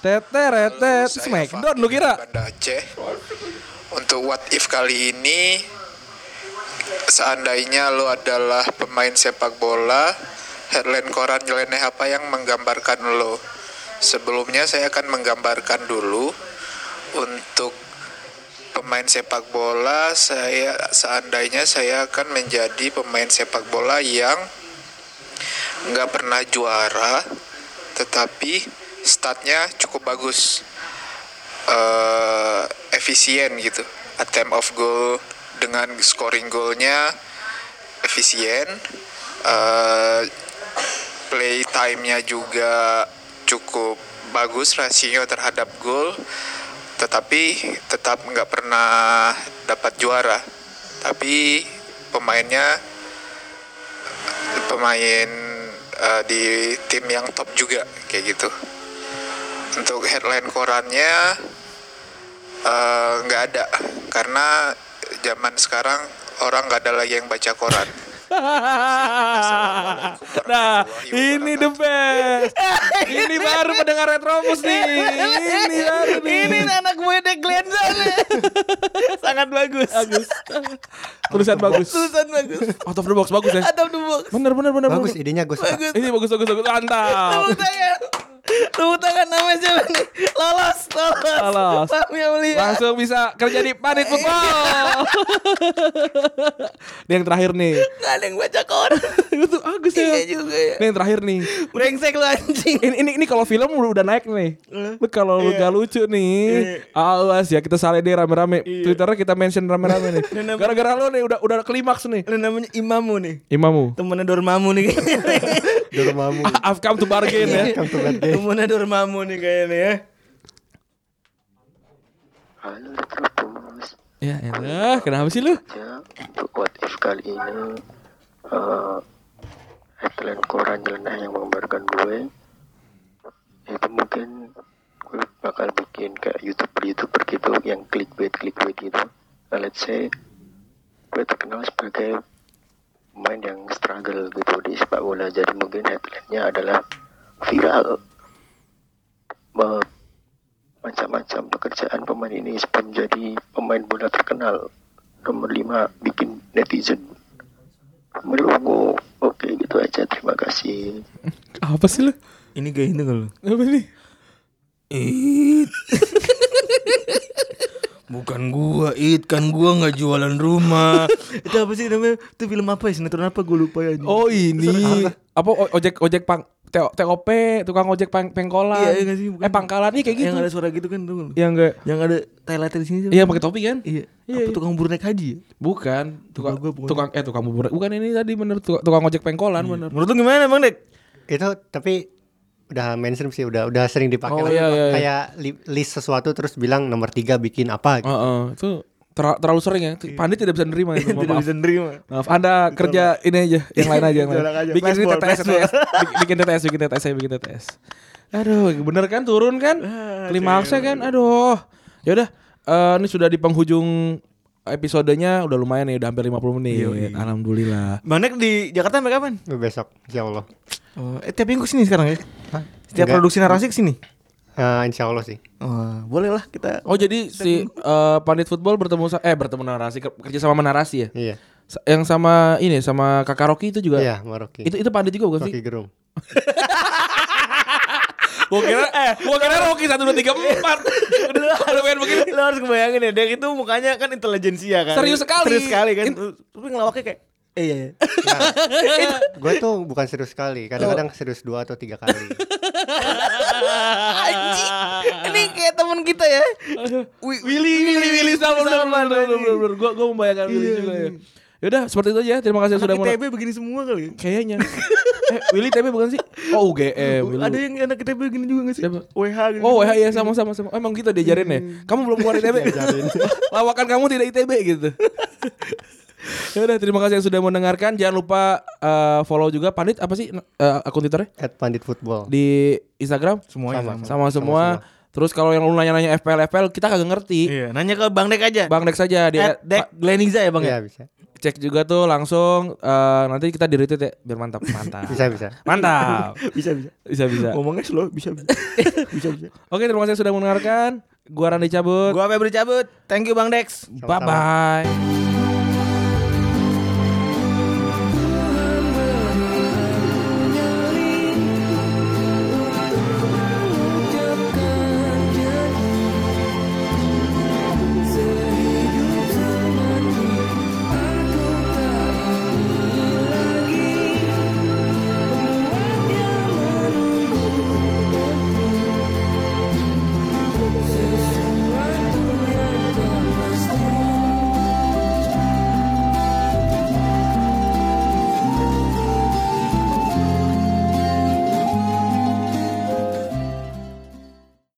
Speaker 2: Teteretet
Speaker 9: Saya
Speaker 2: Smackdown
Speaker 9: Fakih
Speaker 2: lu kira?
Speaker 9: dari Banda Aceh. Untuk what if kali ini seandainya lo adalah pemain sepak bola, headline koran nyeleneh apa yang menggambarkan lo? Sebelumnya saya akan menggambarkan dulu untuk pemain sepak bola saya seandainya saya akan menjadi pemain sepak bola yang nggak pernah juara tetapi statnya cukup bagus eh efisien gitu attempt of goal dengan scoring goalnya efisien eh play time-nya juga cukup bagus rasio terhadap gol tetapi tetap nggak pernah dapat juara tapi pemainnya pemain eh, di tim yang top juga kayak gitu. Untuk headline korannya eh, nggak ada karena zaman sekarang orang nggak ada lagi yang baca koran.
Speaker 2: nah, ini the best. ini baru pendengar Retrobus nih. Ini baru nih.
Speaker 6: Ini anak muda Glenza nih. Sangat bagus. Bagus.
Speaker 2: Tulisan bagus.
Speaker 6: Tulisan bagus.
Speaker 2: Out of the box bagus ya.
Speaker 6: Adam Dubok.
Speaker 2: Bener bener bener.
Speaker 3: Bagus
Speaker 2: bener.
Speaker 3: idenya gue suka.
Speaker 2: Ini bagus bagus bagus. Mantap.
Speaker 6: Tepuk tangan. Tepuk tangan namanya siapa nih? Lolos, lolos.
Speaker 2: Lolos.
Speaker 6: Fahmi Aulia.
Speaker 2: Langsung bisa kerja di Pandit Football. Ini yang terakhir nih.
Speaker 6: Gak ada yang baca koran.
Speaker 2: Itu bagus
Speaker 6: Iya
Speaker 2: ya.
Speaker 6: juga ya.
Speaker 2: Ini yang terakhir nih.
Speaker 6: Brengsek lu anjing.
Speaker 2: Ini ini, ini kalau film udah naik nih. Lu kalau lu
Speaker 6: Iya.
Speaker 2: gak lucu nih, awas ya kita saleh deh rame-rame.
Speaker 6: Iya.
Speaker 2: Twitternya kita mention rame-rame nih. Gara-gara lu nih udah udah klimaks nih.
Speaker 6: Ini namanya imamu nih.
Speaker 2: Imamu.
Speaker 6: Temennya Dormammu nih kayaknya.
Speaker 3: Dormammu.
Speaker 6: Iya.
Speaker 2: I've come to bargain ya.
Speaker 3: Welcome to bad day.
Speaker 6: Temennya Dormammu nih kayaknya ya.
Speaker 10: Halo Trubus,
Speaker 2: Ya elah, kenapa sih lu?
Speaker 10: ya untuk what if kali ini eh headline koran jelenah yang menggambarkan gue itu mungkin gue bakal bikin kayak youtuber youtuber gitu yang clickbait clickbait gitu Nah, let's say gue terkenal sebagai pemain yang struggle gitu di sepak bola jadi mungkin headline-nya adalah viral Me- macam-macam pekerjaan pemain ini sebelum jadi pemain bola terkenal nomor 5 bikin netizen melongo oke gitu aja terima kasih
Speaker 2: Apa sih lu?
Speaker 6: Ini kayak ini kalau.
Speaker 2: Apa nih?
Speaker 6: Bukan gua, It. Kan gua nggak jualan rumah. itu apa sih namanya? Itu film apa ya? Sinetron apa? Gue lupa ya.
Speaker 2: Oh ini apa o- ojek ojek pang T- TOP tukang ojek pang, pengkolan.
Speaker 6: Iya, iya nggak sih? Bukan.
Speaker 2: Eh pangkalan nih kayak gitu.
Speaker 6: Yang ada suara gitu kan. Tuh.
Speaker 2: Yang enggak
Speaker 6: Yang ada Thailand di sini. siapa?
Speaker 2: Iya pakai topi kan?
Speaker 6: Iya.
Speaker 2: Iya,
Speaker 6: Apa
Speaker 2: iya.
Speaker 6: tukang bubur naik haji ya?
Speaker 2: Bukan, tukang
Speaker 6: Lupa gua, Iya. bukan.
Speaker 2: tukang eh tukang bubur. Bukan ini tadi bener tukang, tukang ojek pengkolan bener.
Speaker 6: Menurut lu gimana Bang Dek?
Speaker 3: Itu tapi udah mainstream sih, udah udah sering dipakai lah.
Speaker 2: Oh, iya, iya, iya.
Speaker 3: kayak li- list sesuatu terus bilang nomor tiga bikin apa gitu.
Speaker 2: Heeh, itu ter- terlalu sering ya. Pandit tidak bisa nerima itu. mohon
Speaker 6: Iya. Tidak
Speaker 2: maaf.
Speaker 6: bisa nerima.
Speaker 2: Maaf, Anda kerja ini aja, yang lain aja, yang lain.
Speaker 6: Ditolak aja.
Speaker 2: Bikin ini
Speaker 6: Flashball,
Speaker 2: TTS,
Speaker 6: flashball.
Speaker 2: TTS. Bik- bikin TTS, bikin TTS, saya bikin TTS. Aduh, bener kan turun kan?
Speaker 6: Ah,
Speaker 2: Klimaksnya kan, aduh. Ya udah, eh, ini sudah di penghujung episodenya udah lumayan nih, udah hampir 50 menit. Alhamdulillah.
Speaker 6: Bang Dek di Jakarta sampai kapan?
Speaker 3: Besok, insya Allah.
Speaker 6: Oh, eh tiap minggu sini sekarang ya.
Speaker 3: Hah?
Speaker 6: Setiap
Speaker 3: Enggak.
Speaker 6: produksi narasi kesini.
Speaker 3: Eh, insya Allah sih.
Speaker 6: Wah, boleh lah kita.
Speaker 2: Oh, jadi si eh, Pandit Football bertemu sa- eh bertemu narasi ker- kerja sama narasi ya?
Speaker 3: Iya.
Speaker 2: Sa- Yang sama ini sama Kakak Rocky itu juga.
Speaker 3: Iya, Maroki.
Speaker 2: Itu itu Pandit juga bukan sih?
Speaker 3: Rocky Gerung.
Speaker 2: Gua kira eh gua kira Rocky 1 2 3 4. Udah udah pengen begini.
Speaker 6: Lo harus kebayangin ya, Dek itu mukanya kan intelijensia kan.
Speaker 2: Serius sekali.
Speaker 6: Serius sekali kan.
Speaker 2: In-
Speaker 6: Tapi ngelawaknya kayak Eh iya, iya.
Speaker 3: Gue tuh bukan serius sekali, kadang-kadang
Speaker 2: Oh.
Speaker 3: serius dua atau tiga kali.
Speaker 6: Anjing. Ini kayak temen kita ya. Willy
Speaker 2: Willy Willy Willy Salman benar benar benar benar gue gue membayangkan Willy juga ya. Ya Yaudah seperti itu aja. Terima kasih sudah
Speaker 5: Anak
Speaker 2: mau.
Speaker 5: ITB begini semua kali.
Speaker 2: Kayaknya. eh, Willy TB bukan sih? Oh UGM. Willy.
Speaker 5: Ada yang anak ITB begini juga gak sih?
Speaker 2: Siapa?
Speaker 5: WH gitu.
Speaker 2: Oh wah iya sama sama sama. Oh, emang gitu diajarin ya. Kamu belum keluar ITB. Lawakan kamu tidak ITB gitu. ya udah terima kasih yang sudah mendengarkan. Jangan lupa eh, follow juga Pandit apa sih eh, akun Twitternya
Speaker 3: At Pandit Football.
Speaker 2: di Instagram
Speaker 5: Semuanya
Speaker 3: Sama.
Speaker 5: sama.
Speaker 2: sama semua. Terus kalau yang lu nanya-nanya FPL FPL kita kagak ngerti.
Speaker 5: Iya, nanya ke Bang Dek aja.
Speaker 2: Bang Dex saja dia
Speaker 3: Eh,
Speaker 5: At Dek Gleniza ya Bang
Speaker 3: Iya
Speaker 5: ya?
Speaker 3: bisa.
Speaker 2: cek juga tuh langsung eh, nanti kita di retweet ya biar mantap mantap.
Speaker 3: Bisa bisa.
Speaker 2: Mantap.
Speaker 5: Bisa bisa.
Speaker 2: Bisa bisa.
Speaker 5: Ngomongnya slow, bisa bisa. bisa bisa.
Speaker 2: Oke, terima kasih sudah mendengarkan. Gua Randy cabut.
Speaker 5: Gua Febri cabut. Thank you Bang Dex.
Speaker 2: Bye bye.